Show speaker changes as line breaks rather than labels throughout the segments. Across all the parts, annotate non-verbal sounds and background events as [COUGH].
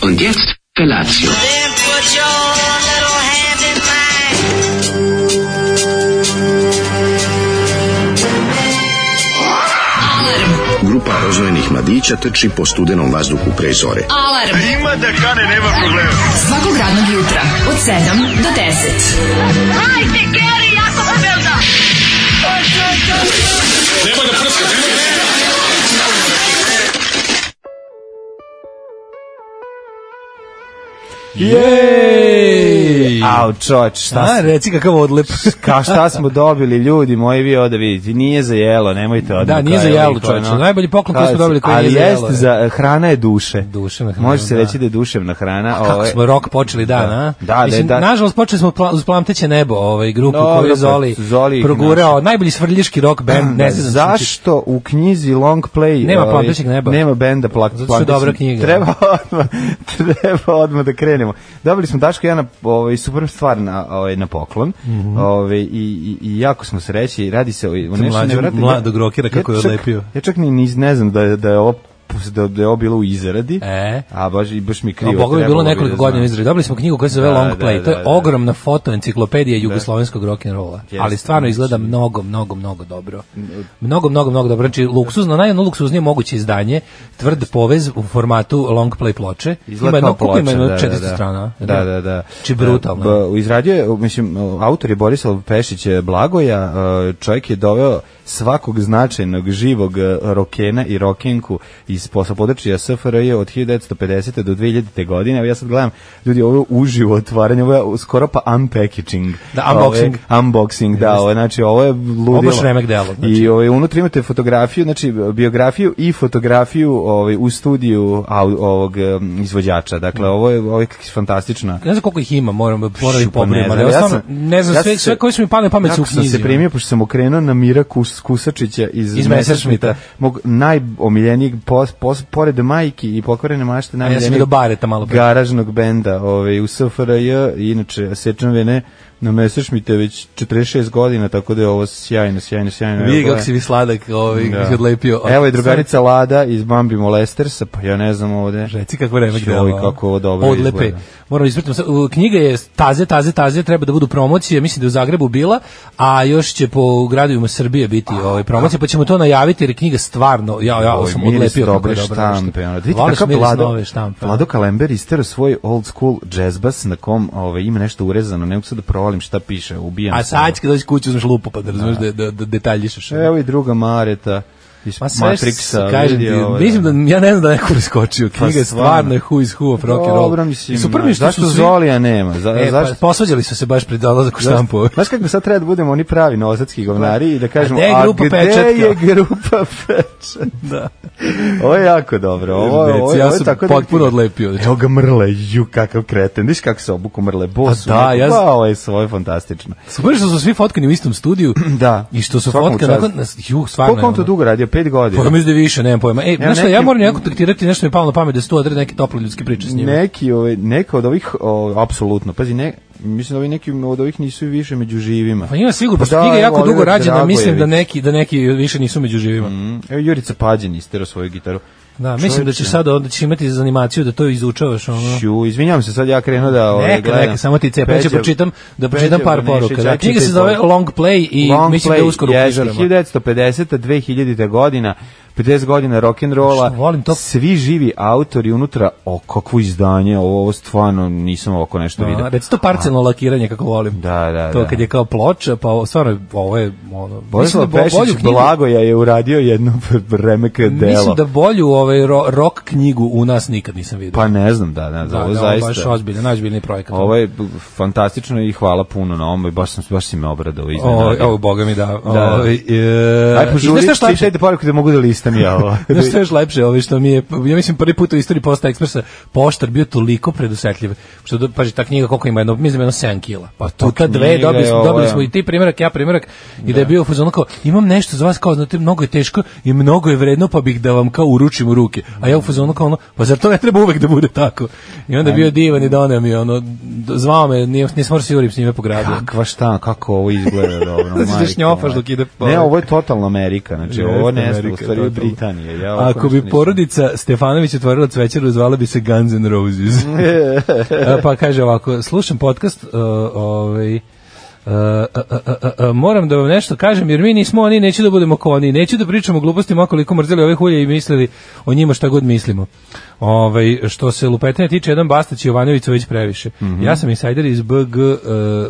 Und jetzt Felatio.
Then put your little hand in mine.
Grupa rozvojenih mladića trči po studenom vazduhu pre zore.
Alarm. Ima da kane, nema problema. Svakog radnog jutra, od 7 do 10.
Jej!
Au, čoč, šta
A,
smo,
reci kakav odlep.
[LAUGHS] ka, šta smo dobili, ljudi moji, vi ovde vidite, nije za jelo, nemojte odmah.
Da, nije za
kao je
jelo,
liko,
čoveče,
ono.
najbolji poklon koji smo
Kao-
dobili, koji
ali
nije za jelo,
jeste za, eh, hrana je duše.
Duševna hrana,
Može se
da.
reći da je duševna
[LAUGHS]
hrana.
Kako
ovo je-
smo rok počeli dan, a?
Da, da,
Mislim,
da.
Nažalost, počeli smo pla, uz plamteće nebo, ovaj, grupu
Dobro,
koju je
pa,
Zoli,
Zoli ih
progurao. Najbolji svrljiški rock
[CLEARS THROAT]
band, ne znam. znači-
Zašto u knjizi Long Play
Nema
ovaj,
Plantećeg neba.
Nema benda plak,
Zato što je dobra knjiga.
Treba odmah, [LAUGHS] treba odmah da krenemo. Dobili smo Daško i ja na ovaj super stvar na ovaj na poklon.
Mhm.
ovaj i, i, i jako smo sreći. Radi se o, o nešto
mlađu-
nevjerojatno.
mladog rokera kako je
čak-
odlepio.
Ja čak ni, ni ne znam da je, da je ovo da, da je ovo bilo u izradi.
E.
A baš i baš mi je
A
krivo.
Boga mi je bilo
trebalo bi
nekoliko
da
godina
znam.
izradi. Dobili smo knjigu koja se zove
Da,
Long
da,
Play. To je
da, da.
ogromna fotoenciklopedija jugoslovenskog rock'n'rolla.
Jeste,
Ali stvarno izgleda
znači. Mm,
mnogo, mnogo, mnogo dobro. Mnogo, mnogo, mnogo dobro. Znači, luksuzno, najjedno luksuznije moguće izdanje, tvrd povez u formatu Long Play ploče.
Izgleda
Ima jedno,
kao
koliko ima
ploča,
jedno
da, da,
400
da.
strana.
Da, da, da.
Či brutalno.
E, ba, Izradio je, mislim, autor je Borislav Pešić e, Blagoja, e, čovjek je doveo svakog značajnog živog e, rokena i rokenku iz posla područja SFRJ od 1950. do 2000. godine. Evo ja sad gledam, ljudi, ovo je uživo otvaranje, ovo je skoro pa unpackaging.
Da,
Ovo je
unboxing.
Unboxing, da, ovo, je, znači ovo je ludilo.
Ovo baš remek delo, znači.
I ovaj, unutra imate fotografiju, znači biografiju i fotografiju ovaj, u studiju au- ovog em, izvođača. Dakle, ovo je, ovo je kak- fantastična.
Ne znam koliko ih ima, moram moram ih
Šupa,
pobrojim,
pa ne
ali ja
znam, ja
stvarno
sam-
ne znam
ja
sve
sam
sve
se-
koji su mi pale na pamet su u
Jako sam
knjizi. ono.
se primio, pošto sam okrenuo na Mira Kus, Kusačića iz,
Iz Messerschmitta.
Messerschmitta, mog najomiljenijeg, pos, pos, pored majki i pokvarene mašte,
A ja sam i
najomiljenijeg
do Bareta malo pre.
garažnog benda ovaj, u SFRJ, inače, sečan vene, na Messerschmitte već 46 godina, tako da je ovo sjajno, sjajno, sjajno.
Vidi
Evo,
kako si vi sladak, ovaj,
Da.
kako si odlepio.
Evo je drugarica Lada iz Bambi Molestersa, pa ja ne znam ovde.
Reci kako remek
Joj,
delo.
kako ovo dobro
Odlepe.
izgleda.
Moram ispratiti. Sad, u, Knjiga je taze, taze, taze, treba da budu promocije, mislim da je u Zagrebu bila, a još će po gradovima Srbije biti ovaj promocija, pa ćemo to najaviti jer je knjiga stvarno, ja, ja ovo
Oj,
sam
miris
odlepio kako
dobre
je dobro.
štampe. Ono. Vidite
Voliš
kakav
miris
Vlado,
nove štampe. ono.
Vlado Kalember istero svoj old school jazz bass na kom ovaj, ima nešto urezano, ne mogu sad da provalim šta piše, ubijam
A
se. ono.
sad kad dođeš kući uzmeš lupu pa da razumeš da, da, da detaljišeš.
Evo i druga Mareta iz
Ma sve
Matrixa.
kažem ti,
E, vidi ovaj, ovo, Pa
mislim da ja ne znam da je neko preskočio. Knjiga je stvarno
stvarno.
je who is who of rock and roll.
Dobro, mislim,
I super mi je što
zašto
su svi-
Zolija nema? Za,
E, pa,
zašto?
posvađali su se baš pred dolazak u
Znaš-
štampu. ovaj.
Znaš kako sad treba da budemo oni pravi novosadski govnari i da kažemo,
gde je
a,
grupa
gde
pečatka?"
je grupa pečatka? da. Ovo je jako dobro. Ovo, ovo,
Deci,
ovo,
ja
ovo je
sam
tako
potpuno odlepio.
Evo ga mrle, ju, kakav kreten. Viš kako se obuku mrle, bos.
Pa da, ja znam.
Pa, ovo je svoje fantastično.
Super što su svi fotkani u istom studiju.
[CLEARS THROAT] Da.
I što su
Svakom
fotkani
čast.
nakon ju stvarno. ono-
Koliko on to dugo radio? Pet godina?
Pa mislim da je više, nemam pojma. Ej, znaš šta, ja
neki-
moram njega kontaktirati, nešto mi je palo na pamet da se tu odrede neke tople ljudske priče s njima.
Neki, ovaj, neka od ovih, o, apsolutno, pazi, ne, mislim da ovi neki od ovih nisu više među živima.
Pa ima sigurno, pošto
da,
knjiga je
evo,
jako dugo
Oliver
rađena, mislim da
Dragojević.
neki, da neki više nisu među živima.
Mm, Evo Jurica Pađin istero svoju gitaru.
Da, mislim da će
Čoveče.
sad onda će imati za animaciju da to izučavaš ono.
Ću, izvinjavam se, sad ja krenuo da ovaj,
Neka,
gledam.
neka, samo ti cepa, ja ću
Peđa-
pročitam, da
Peđa
pročitam par
Banišić,
poruka. Da,
ja
knjiga se
čitaj
zove
poruku.
Long Play i
Long
mislim da je
Play,
uskoro u
jeste,
knjižarama.
1950. 2000. godina, 50 godina rock'n'rolla,
Što volim to?
svi živi autori unutra, o kakvo izdanje, ovo, ovo stvarno nisam ovako nešto
Da,
vidio.
Reci Pa to parcelno lakiranje kako volim.
Da, da,
To
da.
kad je kao ploča, pa ovo- stvarno ovo je ono, mislim da
Borislav
bo- bolju
Pešić
knjigu,
Blagoja je uradio jedno [LAUGHS] remek delo.
mislim da bolju ovaj ro, rock knjigu u nas nikad nisam vidio.
Pa ne znam, da, da, da,
da,
ovo
da, ovo je baš
zaista...
ozbiljan, najozbiljniji projekat.
Ovo je b- fantastično i hvala puno na ovom, baš, sam, baš si me obradao
ovo,
iznenadio.
ovo boga mi da.
da.
Ovo, e,
Aj
i
požuri,
znaš šta je lepše?
čitajte poruku da mogu da listam ja ovo.
Znaš što je još lepše, ovaj što mi je, ja mislim prvi put u istoriji Posta Ekspresa poštar bio toliko predusetljiv, što do, paži, ta knjiga koliko ima, jedno, mislim jedno 7 kila, pa tu ta dve,
knjiga
dobili,
je
smo,
ovo,
dobili
ja.
smo i ti primjerak, ja primjerak, i da je bio fuzon kao, imam nešto za vas, kao, znate, mnogo je teško i mnogo je vredno, pa bih da vam kao uručim u ruke. A ja u fazonu kao ono, pa zar to ne treba uvek da bude tako? I onda je bio divan i doneo mi ono, d- zvao me, nije, nisam morao se jurim s njime po gradu.
Kakva šta, kako ovo
[LAUGHS]
izgleda dobro.
Da se
majko
šnjofaš
moja.
dok ide po-
Ne, ovo je totalno Amerika, znači ovo
Jeste,
ne znam,
Amerika
u
je
stvari je
totalno.
Britanija. Ja ovako
Ako
nešto
bi
nisam-
porodica Stefanović otvorila cvećaru, zvala bi se Guns N' Roses.
[LAUGHS]
E, pa kaže ovako, slušam podcast, uh, ovaj, e, a, a, a, a, e, moram da vam nešto kažem jer mi nismo oni, neću da budemo kao oni neću da pričamo o glupostima koliko mrzeli ove hulje i mislili o njima šta god mislimo Ovaj, što se lupetanja tiče jedan Bastać i Jovanović su već previše
Mhm.
ja sam insajder iz BG, uh,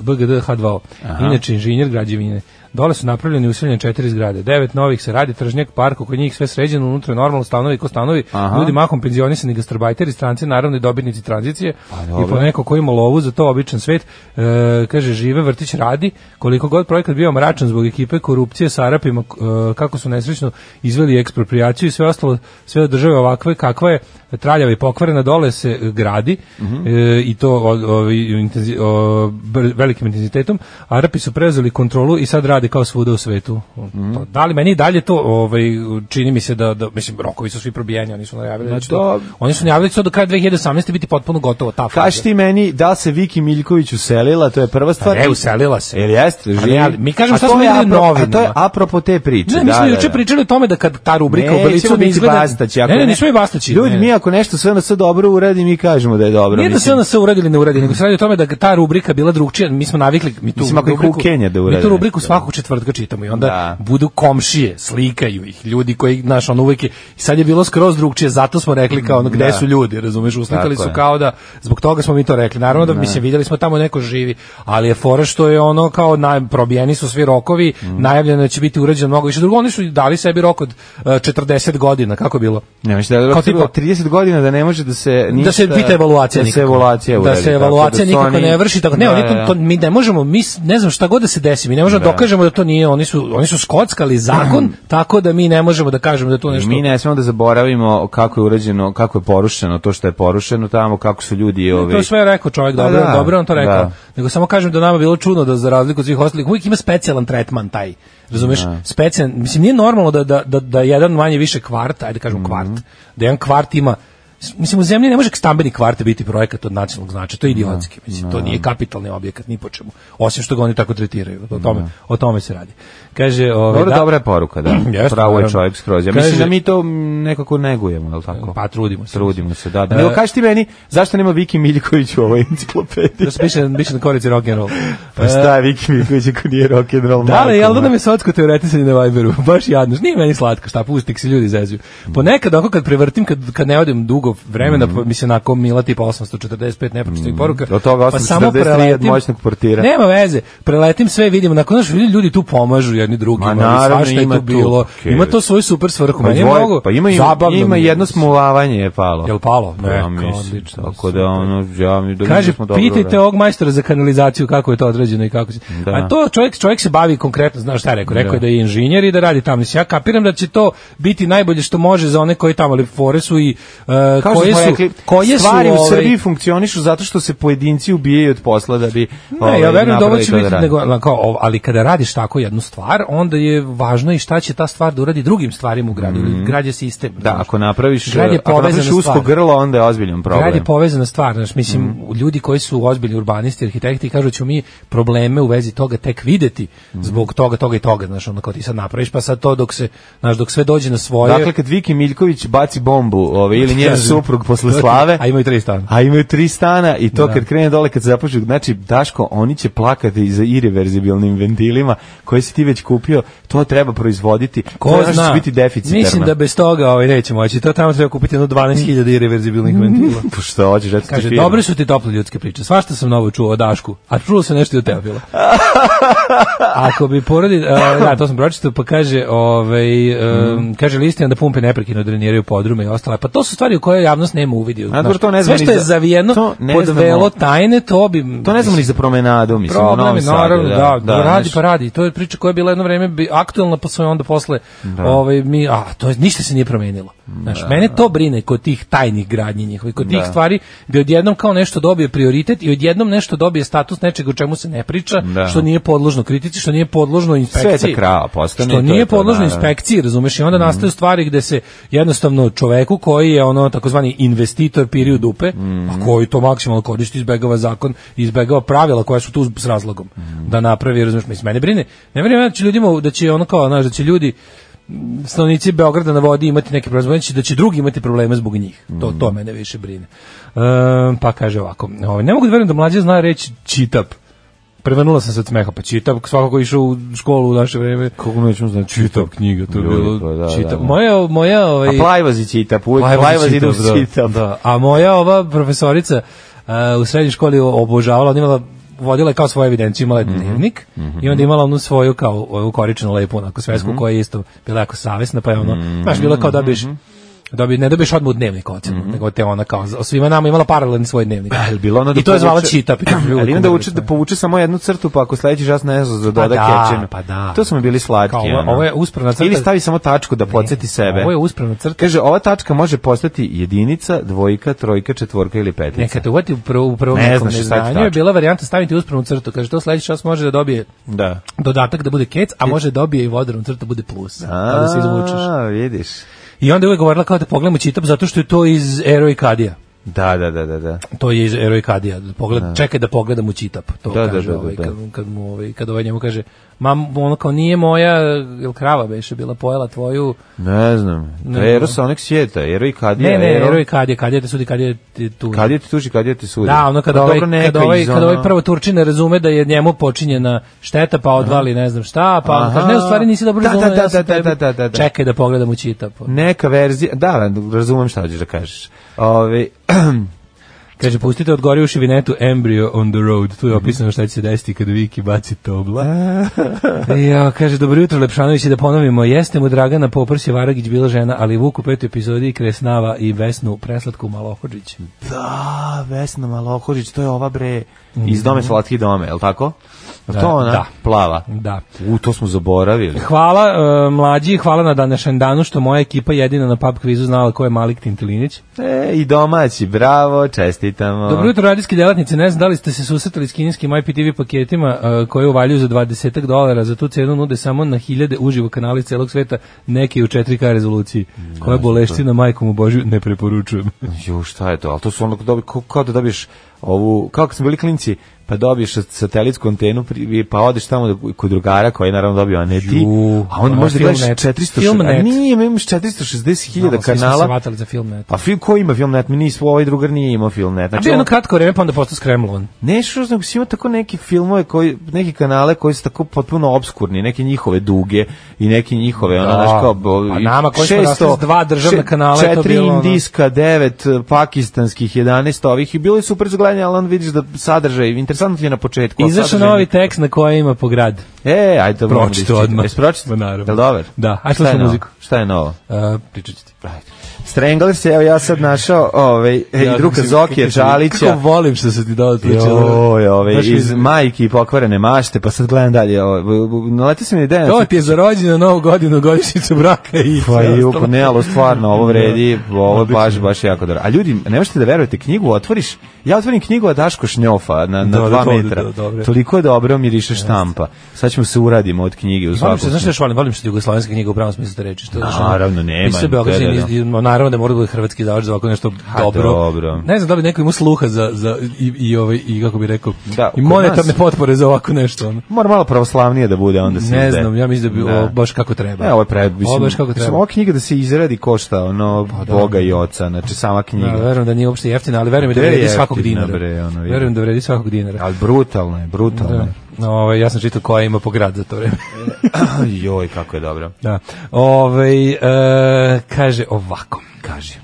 BGD H2 inače inženjer građevine Dole su napravljeni useljene četiri zgrade. Devet novih se radi, tržnjak, park, oko njih sve sređeno, unutra je normalno stanovi ko stanovi,
Aha.
ljudi mahom penzionisani, gastarbajteri, stranci, naravno i dobitnici tranzicije i
Pa dobro.
po neko ko ima lovu za to običan svet. E, kaže, žive, vrtić radi, koliko god projekat bio mračan zbog ekipe korupcije sa Arapima, k- e, kako su nesrećno izveli eksproprijaciju i sve ostalo, sve od države ovakve kakva je, traljava i pokvarena, dole se e, gradi
Mhm.
e, i to o, o, intenzi, o, br- velikim intenzitetom. Arapi su preuzeli kontrolu i sad rade kao svuda u svetu.
Mhm.
Pa, Da li meni i dalje to ovaj, čini mi se da, da mislim, rokovi su svi probijeni, oni su najavili. da će to-
to-
oni su najavili da će to do kraja 2018. biti potpuno gotovo ta faza.
Kaži ti meni, da li se Viki Miljković uselila, to je prva
Pa
stvar.
ne, uselila se.
Jel jeste?
Pa ne,
Živi.
ali mi kažemo
A
šta
to
smo
je
videli u
apro-
novinama.
A to je apropo te priče.
Ne, mi smo juče pričali o tome da kad ta rubrika u Blicu ne
biti
izgleda...
Bastaći, ako
ne, ne, nismo i Bastaći.
Ljudi,
ne, ne.
mi ako nešto sve na sve dobro uradi, mi kažemo da je dobro.
Nije da se
mislim.
ona se uradili ne uradili, nego se radi o tome da ta rubrika bila drugčija, mi smo navikli, mi tu
Mislim, ako je
rubriku,
Kenja da
mi
uradi
tu rubriku
nešto.
svakog četvrtka čitamo i onda
Da.
budu komšije, slikaju ih, ljudi koji, znaš, on uvek je, i sad je bilo skroz drugčije, zato smo rekli kao ono, gde
Da.
su ljudi, razumeš, uslikali
Tako
su
je.
kao da, zbog toga smo mi to rekli, naravno da, mislim, vidjeli smo tamo neko živi, ali je fora što je ono kao, naj, probijeni su svi rokovi,
Mm.
najavljeno je da će biti urađeno mnogo više, drugo, oni su dali sebi rok od e, 40 godina, kako je bilo?
Ne, mislim da je
Kao
tipa,
tipa-
30 godina da ne može da se ništa,
da se pita evaluacija
da se
nikako.
evaluacija uradi,
da se
tako
evaluacija
da su
nikako
oni-
ne vrši tako ne
Da,
oni
da,
to,
da.
to mi ne možemo mi s- ne znam šta god da se desi mi ne možemo da. dokažemo da to nije oni su oni su skockali
[CLEARS THROAT]
zakon tako da mi ne možemo da kažemo da to nešto
Mi ne smemo da zaboravimo kako je urađeno, kako je porušeno, to što je porušeno tamo, kako su ljudi ovi.
To je sve rekao čovjek, dobro,
Pa da,
dobro je on to rekao.
da.
Nego samo kažem da nama je bilo čudno da za razliku od svih ostalih uvijek ima specijalan tretman taj. Razumeš? Specijalan, mislim nije normalno da, da, da, da jedan manje više kvart, ajde
Mhm.
kažem kvart, da jedan kvart ima Mislim, u zemlji ne može stambeni kvart biti projekat od nacionalnog značaja, to je idiotski. Mislim, to nije kapitalni objekat, ni po čemu. Osim što ga oni tako tretiraju. O tome, o tome se radi. Kaže, ovaj,
Dobro,
da-
dobra je poruka, da.
[CLEARS THROAT] Jeste,
Pravo je
naravno.
čovjek skroz. Ja mislim
Kaže-
da mi to mm, nekako negujemo, je li tako?
Pa trudimo se.
Trudimo se, da. da. Nego
E,
kaži ti meni, zašto nema Viki Miljković u ovoj enciklopediji?
Da se piše, piše na korici rock'n'roll.
Pa šta je Viki Miljković ako nije rock'n'roll?
Da, ali jel da
majko
nam je sotsko teoretisanje na Viberu? [LAUGHS] Baš jadno. Nije meni slatko, šta, pusti nek se ljudi zezuju. Ponekad, ako kad prevrtim, kad, kad ne odem dugo vremena, pa mi se onako mila tipa 845 nepročitih poruka.
Mhm. Od toga
pa samo
843
preletim-
od moćnog portira.
Nema veze. Preletim sve, vidim. Nakon znaš, vidi, ljudi tu pomažu jedni drugima.
Ma,
ali
naravno,
svašta je
ima
tu
tu.
bilo.
Okej.
Ima to svoju super svrhu.
Pa,
Meni je
dvoje-
mnogo
pa ima, i-
zabavno
ima
mi je.
jedno smulavanje je palo.
Jel palo? Ne,
Ja
kao
mislim,
odlično,
Tako da,
super.
ono, ja mi da
Kaže,
smo dobro
pitajte
uradili.
ovog majstora za kanalizaciju kako je to određeno i kako će.
Da.
A to čovjek, čovjek se bavi konkretno, znaš šta je rekao, rekao je da je inženjer i da radi tamo. Mislim, Ja kapiram da će to biti najbolje što može za one koji tamo, ali fore su i uh,
Kao što
koje
smo
su,
rekli,
koje su,
stvari u
ovaj,
Srbiji funkcionišu zato što se pojedinci ubijaju od posla da bi
ovaj- Ne,
ovaj,
ja verujem da ovo
napravili
će
to
biti,
rade.
nego, ali kao, ov- ali kada radiš tako jednu stvar, onda je važno i šta će ta stvar da uradi drugim stvarima u gradu. Mm. Grad je sistem.
Mhm. Da,
znaš.
ako napraviš,
Grad je
ako napraviš
povezana
usko
stvar.
grlo, onda je ozbiljan problem. Mm.
Grad je povezana stvar, znaš, mislim, ljudi koji su ozbiljni urbanisti, arhitekti, kažu ćemo mi probleme u vezi toga tek videti
Mm.
zbog toga, toga i toga, znaš, ono kao ti sad napraviš, pa sad to dok se, znaš, dok sve dođe na svoje...
Dakle, kad Viki Miljković baci bombu ovaj,
[LAUGHS]
ili njen
Kažem.
suprug
[LAUGHS]
posle slave,
A imaju tri stana.
a imaju tri stana i to kad krene dole, kad započu, znači, Daško, oni će plakati za irreverzibilnim ventilima koje si ti već kupio, to treba proizvoditi. To je
Ko
ono što
zna,
će biti deficitarno.
mislim da bez toga ovaj, neće moći, to tamo treba kupiti jedno 12.000 irreverzibilnih ventila.
Pa Što hoćeš, eto ti
Kaže,
firma.
dobre su ti tople ljudske priče. Svašta sam novo čuo o Dašku, a čulo se nešto i o tebi
[LAUGHS]
bilo. Ako bi porodi, a, da, to sam pročitao, e,
Mhm.
pa kaže, ovaj, em, kaže listijan da pumpe neprekidno dreniraju podrume i ostale. Pa to su stvari u koje koje javnost nema uvidio.
A dobro, to ne
Sve
znamo
što
ni
je
za-
zavijeno
to ne
pod
znamo.
velo tajne, to bi...
To ne znamo ni za promenadu, mislim, u
Problem
Novom
je,
Sadu.
naravno, da, da, radi
znaš.
pa radi. To je priča koja je bila jedno vreme bi- aktuelna, pa su je onda posle, ovaj, mi, a, to je, ništa se nije promenilo. Znaš, mene to brine kod tih tajnih gradnji njihovih, kod tih stvari gde odjednom kao nešto dobije prioritet i odjednom nešto dobije status nečega o čemu se ne priča,
Da.
što nije podložno kritici, što nije podložno inspekciji.
Sveta krava postane, to
Što
je
nije
to, Mhm.
podložno
naravno.
inspekciji, razumeš, i onda nastaju stvari gde se jednostavno čoveku koji je ono takozvani investitor piri u dupe,
Mhm.
a koji to maksimalno koristi, izbegava zakon, izbegava pravila koja su tu s razlogom
Mhm.
da napravi, razumeš, mislim, mene brine. Ne vjerujem da će ljudima, da će ono kao, znaš, da će ljudi m, stanovnici Beograda na vodi imati neke probleme, znači da će drugi imati probleme zbog njih. To, to mene više brine. E, pa kaže ovako, ovaj, ne mogu da verujem da mlađe zna reći čitap. Prevrnula sam se od smeha, pa čitam, svako ko je išao u školu u naše vreme,
Kako nećemo znači
čitav knjiga, to je
Ljudi,
bilo
pa da, da,
čitav.
da.
Moja, moja, ovaj,
A plajvoz i čitap, uvijek
Plajvoz i
plajvoz ide u
čitap, da,
čitap.
da. a moja ova profesorica a, u srednjoj školi obožavala, ona imala vodila je kao svoju evidenciju, imala je
Mhm.
dnevnik i onda imala onu svoju kao ovu koričnu lepu, onako svesku
Mhm.
koja je isto bila jako savjesna, pa je ono, znaš, bila kao dobiješ dobi, ne dobiješ odmah u dnevnik ocenu, nego te ona kao, svima nama imala paralelni svoj dnevnik.
Ali Mhm. bilo ono da
I to je zvala
povuče- [CLEARS THROAT]
čitap.
Ali ima da uči da povuče samo jednu crtu, pa ako sledeći čas ne znam da doda
da,
kečenu.
pa da.
To smo bili slatki.
Kao, ovo-
ono.
ovo je uspravna crta.
Ili stavi samo tačku da podsjeti sebe.
Ovo je uspravna crta.
Kaže, ova tačka može postati jedinica, dvojka, trojka, četvorka ili petica.
Neka te uvati u prvo u prvom
Ne
nekom
znaš šta će
neznanju je
tačno.
bila varijanta staviti uspravnu crtu. Kaže to sledeći čas može da dobije
Da.
dodatak da bude kec, a može dobije i vodarnu crtu da bude plus. Pa da se izvučeš.
A, vidiš.
I onda je uvek govorila kao da pogledamo čitap zato što je to iz Ero i Kadija.
Da, da, da, da, da.
To je iz Ero i Kadija. Pogled, Čekaj da pogledam u čitap. To
Da, da,
kaže
da, da,
ovaj,
da.
kad, kad mu, ovaj, kad ovaj njemu kaže mam, ono kao nije moja, jel krava beše bila pojela tvoju.
Ne znam. To je Eros Onyx Sjeta, Ero i Kadija.
Ne, ne,
Ero-
Ero i Kadija, Kadija te sudi, Kadija te tu.
Kadija ti tuži, Kadija ti sudi.
Da, ono kad
Pa
ovaj,
dobro, neka
kad ovaj,
iz
kad ovaj
ono-
prvo Turčin ne razume da je njemu počinjena šteta, pa odvali ne znam šta, pa on
Aha.
kaže, ne, u stvari nisi dobro
Da, da,
razumeo,
da,
ja sam
da,
tebi-
da, da, da, da.
Čekaj da pogledam u čitap.
Neka verzija, da, razumem šta hoćeš da kažeš. Ovaj- Ove,
Kaže, pustite odgori u šivinetu Embryo on the road, tu je opisano šta će se desiti kad Viki baci tobla. E, ja, kaže, dobro jutro Lepšanović i da ponovimo, jeste mu Dragana Poprs je Varagić bila žena, ali Vuk u petoj epizodi Kresnava i Vesnu Preslatku Malohođić.
[CLEARS THROAT] da, Vesna Malohožić, to je ova bre, iz dome slatki dome, je li tako? Da, to ona
da.
plava.
Da.
U, to smo zaboravili.
Hvala e, mlađi, hvala na današnjem danu što moja ekipa jedina na pub kvizu znala ko je Malik Tintilinić.
E, i domaći, bravo, čestitamo.
Dobro jutro, radijski delatnici. Ne znam da li ste se susretali s kineskim IPTV paketima e, koje uvaljuju za 20 dolara. Za tu cenu nude samo na hiljade uživo kanali iz celog sveta, neki u 4K rezoluciji. Koja boleština, majkom u Božju, ne preporučujem.
Ju, šta je to? Ali to su ono kao dobi, kao, kao da dobiješ ovu, kao kad smo bili klinci, pa dobiješ satelitsku antenu, pri- pa odeš tamo da- kod drugara koji je naravno dobio, a ne ti.
Ju,
a onda
ono,
možda gledaš
Filmnet.
460, a
Filmnet.
nije, mi imaš 460.000
Znamo, svi smo se
kanala.
vatali za film, ne.
Pa film, ko ima Filmnet? Mi nismo, ovaj drugar nije imao Filmnet.
A
Znači,
bio je jedno
on,
kratko vreme, pa onda postao skremlon.
ne što znam, ima tako neki filmove, koji, neki kanale koji su tako potpuno obskurni, neke njihove duge i neke njihove, ono,
Da.
znaš kao... bo-
A nama koji smo
600,
rasli s dva državna
še-
kanala je to
četiri
bilo, ono.
indijska, devet eh, pakistanskih, 11 ovih i bilo je super zgledanje, ali onda vidiš da sadržaj, interesantno ti je na početku. a
Izašao
sadržaj-
novi tekst na koje ima po grad.
E, ajde to
Pročito odmah.
Jesi pročito?
Ma, naravno.
Jel dobar?
Da, ajde
Šta je
slušamo
novo?
muziku.
Šta je novo?
Uh, pričat ću ti.
Stranglers, evo ja sad našao ovaj, ja, i druga
mislim,
Zokija,
kako-
Čalića.
Kako volim što se ti dao tu
Joj, ove,
Znaš,
iz majke i pokvarene mašte, pa sad gledam dalje. Ove, naleti se mi ideja.
To Ovaj ti je za rođendan, novu godinu, godišnjicu braka i
Pa
sve
i
ostalo.
uko, ne, ali stvarno, ovo
[LAUGHS]
vredi, ovo je baš, baš jako dobro. A ljudi, ne možete da verujete, knjigu otvoriš, ja otvorim knjigu, a Daško šnjofa na, na
Dobro,
dva
dobro,
metra.
dobro, dobro.
Toliko je dobro, miriše štampa. Sad ćemo se uradimo od knjige u
Volim
svakom.
što, znaš što još volim? Volim što je jugoslovenska knjiga u pravom smislu te reči. Što, što-
Naravno, nema,
Mislim, sve Beograđani
da, da, da.
iz- naravno da mora da bude hrvatski izdavač za ovako nešto
Ha,
dobro.
dobro.
Ne znam da bi neko imao sluha za, za i, i, ovaj, i kako bi rekao,
Da,
i
kod
monetarne
nas-
potpore za ovako nešto. Ono.
Mora malo pravoslavnije da bude, onda se
Ne
izde.
znam, ja mislim da bi ovo baš kako treba.
E, ovo je pre, mislim,
Ovo baš kako
mislim,
treba. Pa
Ova knjiga da se izradi košta, ono, Boga i Oca, znači sama knjiga.
Da, verujem da nije uopšte jeftina, ali verujem da
Gde je
vredi svakog
jeftina,
dinara.
bre, ono, vidi.
verujem da vredi svakog dinara.
Ali brutalno je, brutalno
Da.
je.
Ovaj, ja sam čitao koja ima po grad za to vreme. [LAUGHS]
Joj, kako je dobro.
Da. Ovaj, e, kaže ovako. Kaže.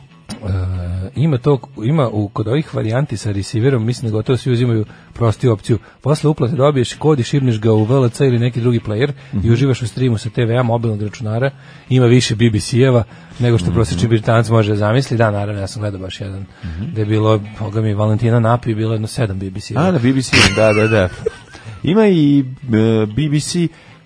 ima to ima u kod ovih varijanti sa receiverom mislim da gotovo svi uzimaju prostiju opciju posle uplate dobiješ kod i šibneš ga u VLC ili neki drugi player i uživaš u streamu sa TV-a mobilnog računara ima više BBC-eva nego što prosječni Britanac može zamisliti da naravno ja sam gledao baš jedan da je bilo boga mi Valentina Napi bilo jedno sedam BBC-eva
A, na BBC, da, da, da. Ima i e, BBC,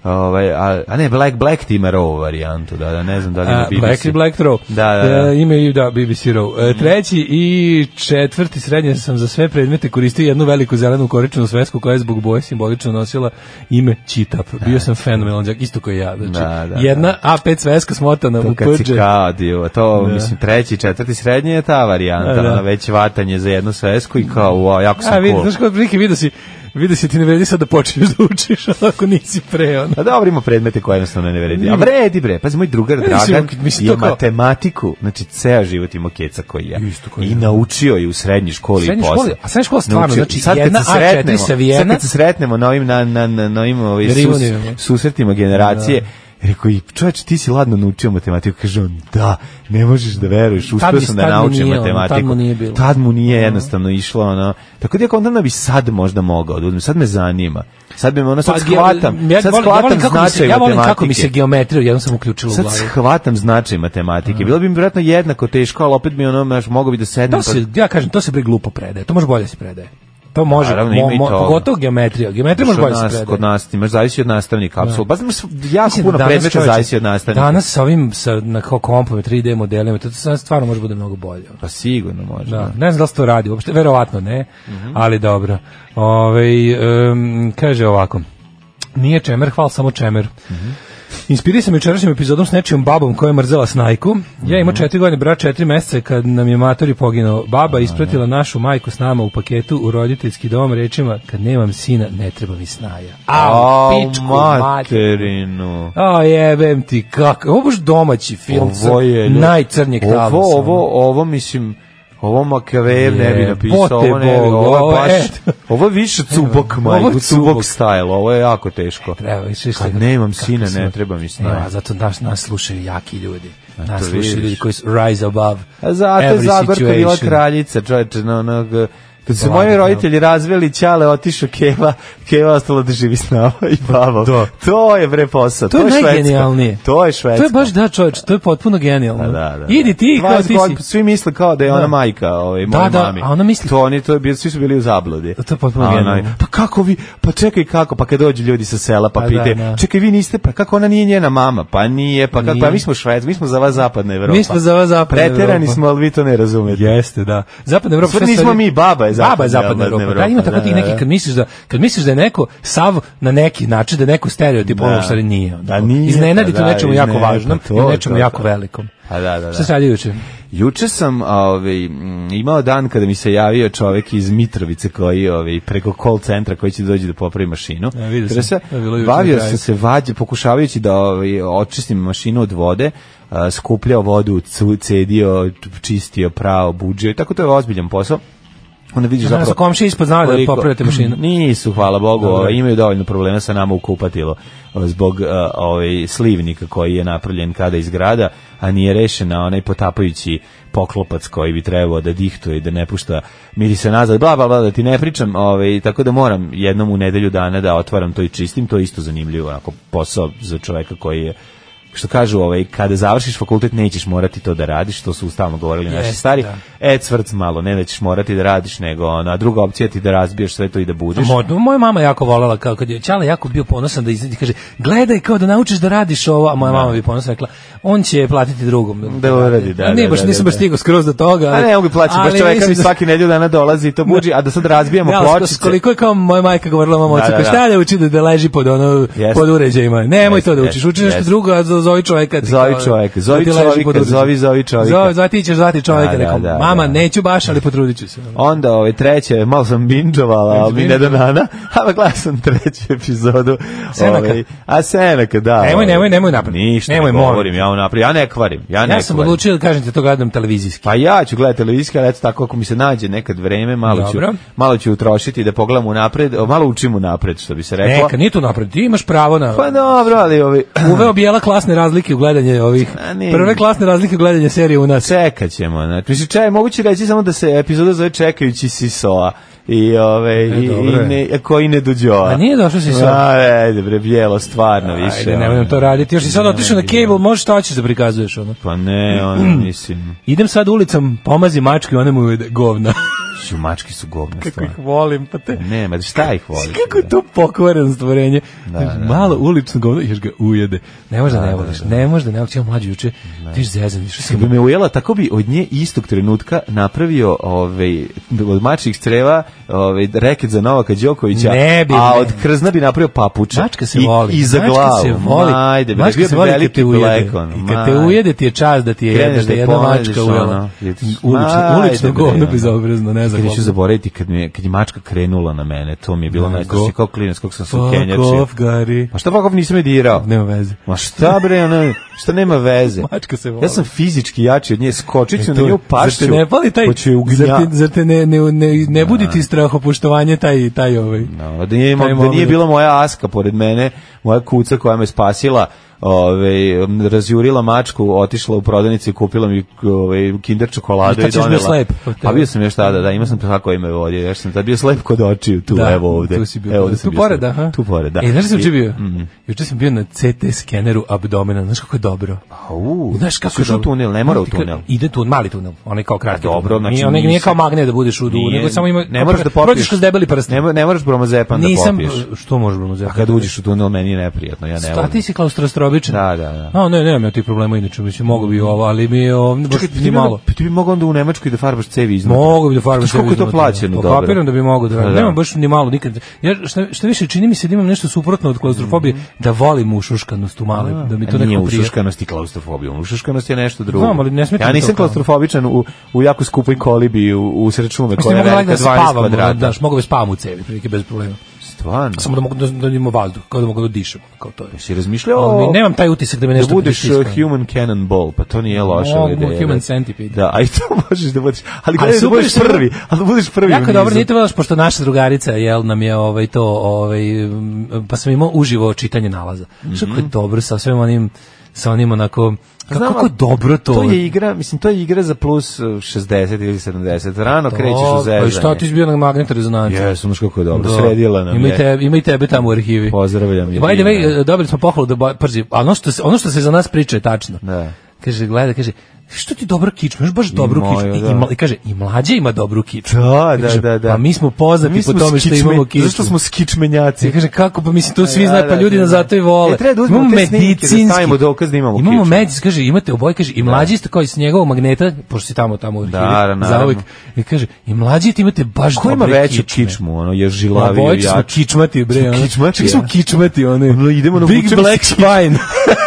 ovaj, a, a ne, Black, Black ti ima rovu varijantu, da, da, ne znam da li ima
A,
BBC.
Black i Black Row.
Da, da, da. Mhm.
E, ima i da, BBC Row. E, treći i četvrti srednje sam za sve predmete koristio jednu veliku zelenu koričnu svesku koja je zbog boje simbolično nosila ime Čitap. Bio sam fenomenalan đak, isto koji ja. Znači,
Da, da,
jedna A5 sveska smotana
To
u
kad si
prđe.
kadio, to, mislim, treći, četvrti, srednji je ta varijanta,
Da, da.
ono, već vatanje za jednu svesku i kao, wow, jako sam
A vidi,
cool.
znaš kod prilike vidi si, vidi si ti ne vredi sad da počneš da učiš, [LAUGHS] ali ako nisi pre, ono.
A Pa dobro, ima predmete koje jednostavno ne vredi. A vredi bre, pazi, moj drugar Dragan
ok- mislim,
je
to kao-
matematiku, znači ceo život ima keca koji ja.
Isto kao
I
ja.
naučio je u srednjoj školi
Srednje
i posle.
škole- a srednja škola stvarno,
Naučio-
znači,
I sad kad
jedna
se
A4
sretnemo,
Savijena-
sad kad se sretnemo na ovim, na, na, na, na ovim ovaj, sus,
Reunijama.
susretima generacije, Rekao, i čoveč, ti si ladno naučio matematiku. Kaže on, da, ne možeš da veruješ, uspio
mi-
sam da
tad mu
naučim
nije, ono, tad
matematiku.
mu nije bilo.
Tad mu nije jednostavno išlo, ono. Tako da ja kontam da bi sad možda mogao, da uzmem, sad me zanima. Sad me ono, sad
Pa, ge-
shvatam,
ja
sad
volim- ja volim
shvatam
kako mi se-
značaj
Ja volim
matematike.
kako mi se geometrija, jednom sam uključila u
Sad
glavu.
shvatam značaj matematike. Bilo bi mi vjerojatno jednako teško, ali opet bi ono, znaš, mogao bi da
To
sednem.
se, ja kažem, to se bre glupo predaje. To može bolje se predaje. To može,
Naravno,
mo,
ima i
mo,
toga.
pogotovo geometrija.
pa,
Geometrija može
Znaš,
bolje
od
se
nas,
predaje.
kod nas, imaš, zavisi od nastavnika, apsolutno. Baš imaš jako
Mislim
puno
da danas,
predmeta
čoveče,
zavisi od nastavnika.
Danas sa ovim sa na kao kompom 3D modelima to sad stvarno može bude mnogo bolje. ono.
Pa sigurno može.
Da,
Da. Mhm.
ne znam da li se to radi uopšte, verovatno ne, ali dobro. Ovaj em, kaže ovako, nije čemer, hval samo čemer.
Mhm.
Inspirisam jučerašnjim epizodom s nečijom babom koja je mrzela snajku. Ja
Mhm.
imao četiri godine, brat četiri meseca kad nam je matori poginuo. Baba ispratila našu majku s nama u paketu u roditeljski dom rečima kad nemam sina ne treba mi snaja. Au, pičku materinu.
materinu.
A jebem ti kako. Ovo je baš domaći film.
Ovo je... ljudi,
najcrnjeg talasa.
Ovo, ovo, ovo, mislim... Ovo Makavejev ne bi
Je,
napisao,
bote
ovo ne bi,
Boga,
ovo
ovo
je baš,
je-
ovo je više cubok,
Ovo je
majko, cubok
cubok.
style, ovo je jako teško.
Treba više
Kad nemam sina, ne treba mi snaja.
Evo, zato nas, nas slušaju jaki ljudi. Nas
to
slušaju
vidiš.
ljudi koji su rise above
A zato je
every
Zagorka bila
situation.
kraljica, čoveče, na onog... Kad su
Vlada,
moji
da.
roditelji razveli Ćale, otišao Keva, Keva ostala da živi s nama i babom.
Da.
To je bre posao,
To
to,
je
je švedsko.
najgenijalnije.
To je švedsko.
To je baš, da čovječ, to je potpuno genijalno.
Da, da, da.
Idi ti kao
20
ti
godina,
si.
Svi misle kao da je ona majka, ovaj,
Da,
moje
da,
mami.
a ona misli-
To oni, to je, bio- svi su bili u zabludi.
To je potpuno
A ona-
genijalno.
Pa kako vi, pa čekaj kako, pa kad dođu ljudi sa sela pa
Pa da,
pite,
da.
čekaj vi niste, pa kako ona nije njena mama, pa nije, pa kako,
Nije.
pa mi smo Švedska, mi smo za vas zapadna Evropa.
Mi smo za vas zapadna
Preterani
Evropa.
smo, ali vi to ne razumete.
Pa, Jeste, da. Zapadna Evropa.
Sve
šta
nismo
stvari-
mi, baba je zapadna
Baba je zapadna
Evropa,
Evropa. Da, ima tako
da,
tih
da,
nekih,
da.
kad misliš da, kad misliš da je neko sav na neki način, da je neko stereotip,
Da.
ono što nije. ono.
Da, nije, pa
Iznenadi
da,
tu nečemu jako
iznenadi,
važnom
pa to,
i nečemu
to,
jako
to.
velikom.
A Pa da, da, da.
Šta se radi juče?
Juče sam ovaj, m, imao dan kada mi se javio čovek iz Mitrovice koji ovaj, preko call centra koji će dođi da popravi mašinu.
Ja, E, vidio sam.
Kada se,
To je bilo juče
bavio
na kraju.
sam se vađe, pokušavajući da ovaj, očistim mašinu od vode, a, skupljao vodu, cu- cedio, čistio, pravo, buđio i tako to je ozbiljan posao. Onda vidiš
Zapravo,
zapravo...
komši ispod znao da
koliko-
popravljate mašinu.
[CLEARS THROAT] Nisu, hvala Bogu,
Dobro.
ovaj, imaju dovoljno problema sa nama u kupatilo o, zbog a, ovaj, slivnika koji je napravljen kada iz grada, a nije rešena onaj potapajući poklopac koji bi trebao da dihtuje, da ne pušta mirisa nazad, bla, bla, bla, da ti ne pričam, ovaj, tako da moram jednom u nedelju dana da otvaram to i čistim, to je isto zanimljivo, onako posao za čoveka koji je što kažu, ovaj, kada završiš fakultet nećeš morati to da radiš, to su stalno govorili naši
Jeste,
stari,
da.
e, cvrc malo, ne da ćeš morati da radiš, nego ona druga opcija je ti da razbiješ sve to i da budiš.
Modno, moja mama jako volela kao kad je Ćala jako bio ponosan da izađe i kaže gledaj kao da naučiš da radiš ovo, a moja mama bi ponosno rekla on će platiti drugom.
Da uradi, da,
A Ne,
da,
baš
da,
nisam
da,
baš
da.
stigao skroz do toga.
A ne, mogu plaćati, baš
ali
čoveka
mislim
mi
da-
svaki nedjelju dana dolazi i to buđi, a da sad razbijamo
Ja, ali s- s
pločice.
koliko je kao moja majka govorila mom ocu,
Da, da,
kao,
da.
šta da uči da, da leži pod, ono,
Jeste.
pod uređajima. Nemoj
Jeste,
to da učiš, uči
jeste,
nešto
jeste.
drugo, a zo- zovi čoveka. ti
Zovi
kao-
čoveka,
da
zovi
ti leži
čoveka,
pod uređajem.
zovi, zovi čoveka.
Zovi, zovi, ti ćeš zvati čoveka,
Da, da,
rekom,
da,
mama,
da.
neću baš, ali potrudit ću se.
Onda ove treće, malo sam binđovala, ali mi ne do nana, [LAUGHS] ali gledao sam treću epizodu.
Senaka.
ovaj, a Senaka, da.
Nemoj,
ovaj.
nemoj, nemoj napred.
Ništa,
Nemoj,
nemoj,
molim.
govorim, ja ovo napred, ja ne kvarim, ja ne
Ja sam
kvarim.
odlučio da kažem ti to gledam televizijski.
Pa ja ću gledati televizijski, ali eto tako ako mi se nađe nekad vreme, malo ću,
Dobro.
malo ću utrošiti da pogledam unapred, o, malo učim unapred, što bi se reklo.
Neka, nije tu napred, ti imaš pravo na...
Pa dobro, ali ovi...
Uveo bijela klasne razlike u gledanje ovih,
A ne.
prve klasne razlike u gledanje serije u nas.
Čekat ćemo, znači. Mislim, čaj, moguće reći samo da se epizoda zove Čekajući Sisoa i, ove, i, i
E, dobro je.
ne, koji ne dođova.
A nije došao si sad.
A, ajde, bre, bijelo, stvarno više. ono.
Ajde, nemoj nam to raditi. Još si sad otišao na cable, možeš šta hoćeš da prikazuješ. Ono.
Pa ne, ono, mislim,
Idem sad ulicom, pomazi mačke, one mu je govna.
ću, mački su govne stvarno.
volim, pa te...
Ne, ma šta ih voliš?
Kako je to pokvareno stvorenje? Malo ulično govno, još ga ujede. Ne može da ne voliš, ne može da ne voliš. Ja mlađi juče, ti još zezan, više sam...
bi me ujela, tako bi od nje istog trenutka napravio ovaj, od mačih creva ovaj, reket za Novaka Đokovića,
Ne bi,
a
ne.
od krzna bi napravio papuče.
Mačka se
I-
voli.
I za
mačka
glavu.
se voli.
Ajde, bre,
mačka
bio
se
bi
voli kad
veliki
te ujede.
plekon.
I kad te
Ma.
ujede ti je čast da ti je
Kreneš
jedna, da
da
je jedna
pomadiš,
mačka
ono,
ujela.
ideš,
Ulično,
ajde,
ulično
bre,
govno
ono.
bezobrazno, ne znam. ono,
Kad ću zaboraviti kad, mi je, kad je mačka krenula na mene, to mi je bilo
Ma,
najstrašnije
go-
kao klinac, kog sam se
Fuck
ukenjačio.
off, Gary.
Ma šta pakov nisam je dirao?
Nema veze.
Ma šta bre, ono, šta nema veze?
Mačka se voli.
Ja sam fizički jači od nje, skočit ću na nju pašću.
E
pa
Zar te ne pali taj,
hoću je ugnja-
zar te, zar te ne, ne, ne, ne budi ti strahopoštovanje taj, taj ovaj.
No, da nije, ima-
Taj
da nije
moment.
bila moja aska pored mene, moja kuca koja me spasila, ove, razjurila mačku, otišla u prodavnicu i kupila mi ove, kinder čokoladu
I tad
i
ćeš
donela.
bio slep od
Pa
tebe.
bio sam još tada, da, imao sam tako ime vodio, još sam tad bio slep kod očiju, tu, evo ovde.
Tu si bio.
Evo,
pored.
ovde sam
tu
bio
pored,
slep.
aha.
Tu pored, da.
E, znaš gde sam
I- Mhm.
juče bio? Juče sam bio na CT skeneru abdomena, znaš kako je dobro.
Au,
Znaš kako je
slušaj,
dobro.
u tunel, ne mora u
Ti kad-
tunel.
Ide tunel, mali tunel, onaj kao kratki.
A dobro,
tunel.
znači
nije, onaj nije
nisi-
kao magnet da budeš u dugu,
Nije-
nego samo ima...
ne moraš da popiješ.
Prođeš kroz debeli prst.
Ne, mo- ne moraš bromazepan
Nisam,
da popiješ.
što možemo uzeti?
A kad uđeš u tunel, meni je neprijatno, ja ne
A ti
volim.
si klaustrofobičan?
Da, da, da.
A, ne, nemam ja tih problema, inače, mislim, mogu bi ovo, ali mi je ovo, baš
Čekaj, ti,
ti
bi
malo.
onda- ti bi mogao onda u Nemačkoj da farbaš cevi iznutra.
Mogu bi da farbaš.
Znaš koliko je to
sebi
plaćeno
iznutra.
dobro?
Pa kapiram da bi mogao da radim.
Pa da.
Nemam baš ni malo nikad. Ja šta, šta više čini mi se da imam nešto suprotno od klaustrofobije, da volim ušuškanost u male, da mi to
Mhm. A nije
nekako prija.
ušuškanost i klaustrofobija. Ušuškanost je nešto drugo.
Znam, ali ne smeta
ja
mi to
nisam
kao-
klaustrofobičan u, u jako skupoj kolibi u, u sred šume
Mislim,
koja je
mogu
velika
lagano da
12
spavam, ono,
kvadrata.
daš, mogu da spavam u cevi, prilike, bez problema.
Stvarno.
Samo da mogu da, da imam vazduh, kao da mogu da dišem, kao to je.
Si razmišljao
Ali
o-
mi nemam taj utisak da me
da
nešto
budeš uh,
pritiska.
human cannonball, pa to nije loša
Mogu,
ideja.
human
da.
centipede.
Da, a i to [LAUGHS] možeš da budeš. Ali
Ali
gledaj da
super
budeš
što je-
prvi, ali da budeš prvi u
Jako
nizu.
dobro, nije to velaš, pošto naša drugarica, jel, nam je ovaj, to, ovaj, m, pa sam imao uživo čitanje nalaza. Što kako je dobro sa svim onim, sa onim onako, kako,
Mhm. Pa Znam,
kako je
ali
dobro to.
To je igra, mislim, to je igra za plus uh, 60 ili 70. Rano krećeš u zezanje.
Pa šta ti izbio na magnet rezonanci?
Jesu, znaš kako je dobro.
Da.
Sredila nam
ima i
je.
tebe, ima i tebe tamo u arhivi.
Pozdravljam je.
By the way, e, dobili smo pohvalu da ba- przi, a ono što se, ono što se za nas priča je tačno.
Da.
Kaže, gleda, kaže, što ti dobro kičmu, imaš baš dobru
moju,
kičmu. I,
da.
i, mla- I kaže, i mlađe ima dobru kičmu.
Da,
I
da,
kaže,
da, da.
Pa mi smo poznati
Mi smo
po tome što
skičme-
imamo kičmu.
Zašto smo skičmenjaci?
Ja kažem kako pa mislim to svi
da,
znaju pa
da,
ljudi
da,
nas
da.
zato i vole.
E, treba da uzmemo
Imamo
te snimke da
medicinski-
stavimo dokaz da imamo
Imamo
kičmu.
medicinski, kaže imate oboje kaže i mlađi ste kao i s njegovog magneta pošto si tamo tamo u arhivi,
Da, da, naravno.
zauvek. I kaže i mlađi ti imate baš
Ko ima
dobre
veću
kičme.
kičmu, ono, je
Pa
žilavio
bojić
i
smo
jači.
kičmati, bre.
Smo
ono.
kičmati,
Čak smo
ja.
kičmati, one.
Ono, idemo na
Big
vučemo se
Black Spine. [LAUGHS]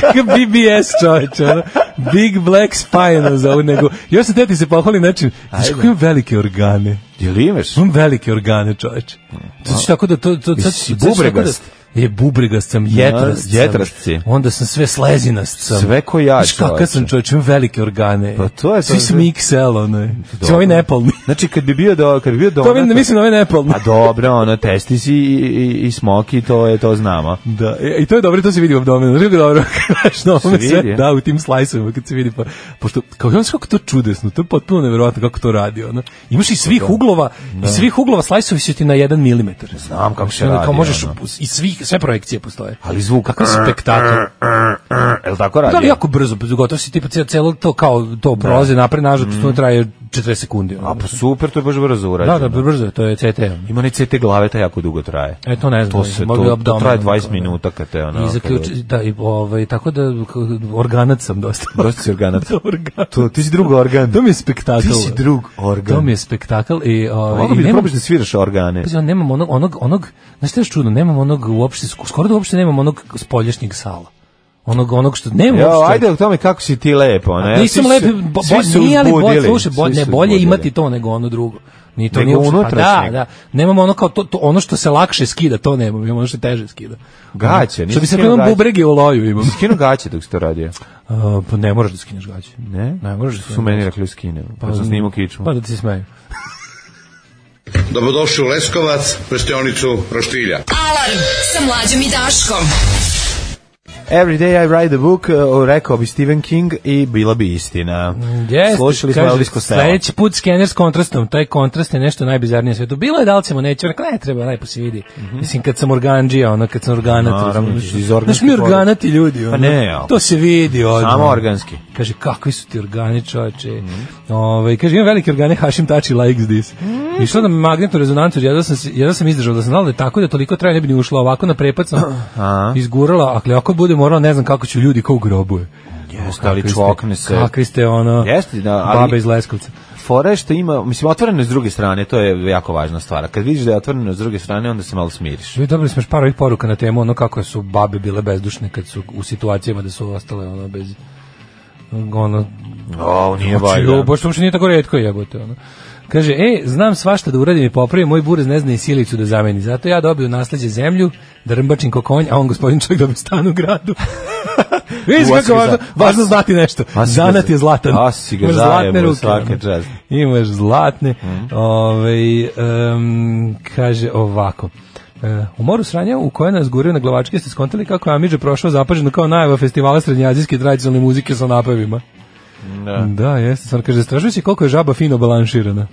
Kakav BBS čovječ, ono. Big Black Spine za ovu nego. Još se teti se pohvali način. Znaš kako imam velike organe.
Jel imaš?
Imam velike organe, čovječ. Znači tako da to... to sad,
Jesi
sad tako
bubregast?
Da, je, bubregast sam, jetrast sam.
jetrast si.
Onda sam sve slezinast sam.
Sve ko ja,
Znaš kakav
čovječe.
sam čovječ, imam velike organe.
Pa to je to-
Svi smo XL, ono. Svi ovi nepalni.
Znači, kad bi bio do, kad bi bio do...
To Pa vidim, mislim na ove nepalni.
A dobro, ono, testi si i, i, i smoki, to je, to znamo.
Da, e, i i to je dobro, to se vidi u abdomenu. Znaš kako je dobro, [LAUGHS] što ovome
vidi, e?
sve,
je?
da, u tim slajsovima, kad se vidi, pa, pošto, kao, ja kako je to čudesno, to je potpuno nevjerojatno kako to radi, ono.
Pa
Imaš i svih uglova, i svih uglova slajsovi su ti na jedan milimetar.
Znam kako se
Ono,
radi,
Kao možeš,
ono.
i svih, sve projekcije postoje.
Ali zvuk...
Kakav spektakl. Pa
Jel tako radi?
Da, ali jako brzo, gotovo si ti celo to kao to prolaze napred nazad, to traje 40 sekundi. ono.
Mhm. A pa super, to je baš brzo
Da,
urađeno.
da, brzo, je, to je CT. ono.
Ima ne CT glave, ta jako dugo traje.
E to ne znam.
To se,
mogli
to, to
abdomen,
traje
ono,
20
kao da.
minuta kad te, ono...
I
kad-
zaključi, da, i, ovaj, tako da k- organac sam dosta.
[LAUGHS] Dosta si organac.
organ.
To, ti si drug organ.
To mi je spektakl.
Ti si drug organ. Pa
To mi je spektakl i ovaj
Mogu Pa
i
bi da
nemam-
probaš da sviraš organe.
pazi, on nemam onog onog onog, znaš šta je još čudno, nemam onog uopšte skoro da uopšte nemam onog spoljašnjeg sala. Onog onog što nemam
Jo,
uopšte.
ajde o tome kako si ti lepo, ne?
Nisam
Svi su-
lep, bo,
svi
bo,
su
nije ali bolje,
uzbudili.
slušaj, bo,
Svi
ne,
su
bolje
uzbudili.
imati to nego ono drugo. Ni to
Nego
nije uopšte- pa Da,
unutrašnjeg.
da. Nemam ono kao to, to, ono što se lakše skida, to nemam, imam ono što teže skida.
Gaće, nisi
Što bi se
skinuo
rekao, imam
gaće.
bubrege u loju imam.
Si Skinu gaće dok si to radio.
A, pa ne možeš da skineš gaće.
Ne?
Ne možeš da
Su meni rekli skine. Pa sam snimao kičmu.
Pa da ti se smeju.
Dobrodošli u Leskovac, prštionicu Roštilja.
Alarm sa mlađom i Daškom.
Every day I write a book, uh, rekao bi Stephen King i bila bi istina.
Jeste,
Slušali smo
kaže,
Elvis Costello.
Sledeći put skener s kontrastom, taj kontrast je nešto najbizarnije na svetu. Bilo je da li ćemo neće, rekla ne treba, najpo se vidi. Mislim, kad sam organđija, ono, kad sam organat.
Mhm. Naravno,
razumeš?
iz organske
Znaš mi
porodice.
organati ljudi, ono,
ne, al-
to se vidi. Odmah.
Samo Mhm. organski.
Kaže, kakvi su ti organi, čoveče. Ovaj, kaže, imam velike organe, Hašim Tači likes this.
Mhm.
Išla da mi magnetnu rezonancu, jedva sam, se- jedva sam izdržao da sam znala da je tako da toliko traje ne bi ni ušla, ovako na prepad sam izgurala, ako ako bude morala, ne znam kako ću ljudi kao u grobu je.
Jeste, ali
Kakvi ste-
čvokne se.
Kakvi ste ono,
Jeste, da, ali-
babe iz Leskovca.
Fora je što ima, mislim, otvoreno je s druge strane, to je jako važna stvar. Kad vidiš da je otvoreno s druge strane, onda se malo smiriš.
Vi dobili smo još par ovih poruka na temu ono kako su babe bile bezdušne kad su u situacijama da su ostale ono bez ono
O, nije
Znači,
valjda.
Baš uopšte nije tako redko jebote. Ono. Kaže, e, znam svašta da uradim i popravim, moj burez ne zna i silicu da zameni. Zato ja dobiju nasleđe zemlju, da rmbačim ko konj, a on gospodin čovjek dobije stan u
[LAUGHS]
gradu. Vidiš
U, a si
kako
ga
važno,
za-
važno znati nešto.
a si ga
Zanat
za-
je zlatan.
a si ga
Imaš zlatne
zajebo,
ruke.
svaka
ono.
čast. Mhm.
Imaš zlatne. Ovaj, em, kaže ovako. E, u moru sranja u kojoj nas gurio na glavačke ste skontali kako je Amidža prošao zapaženo kao najava festivala srednjazijske tradicionalne muzike sa napevima.
Da.
Da, jeste. Stvarno, kaže, zastražujuće je koliko je žaba fino balanširana.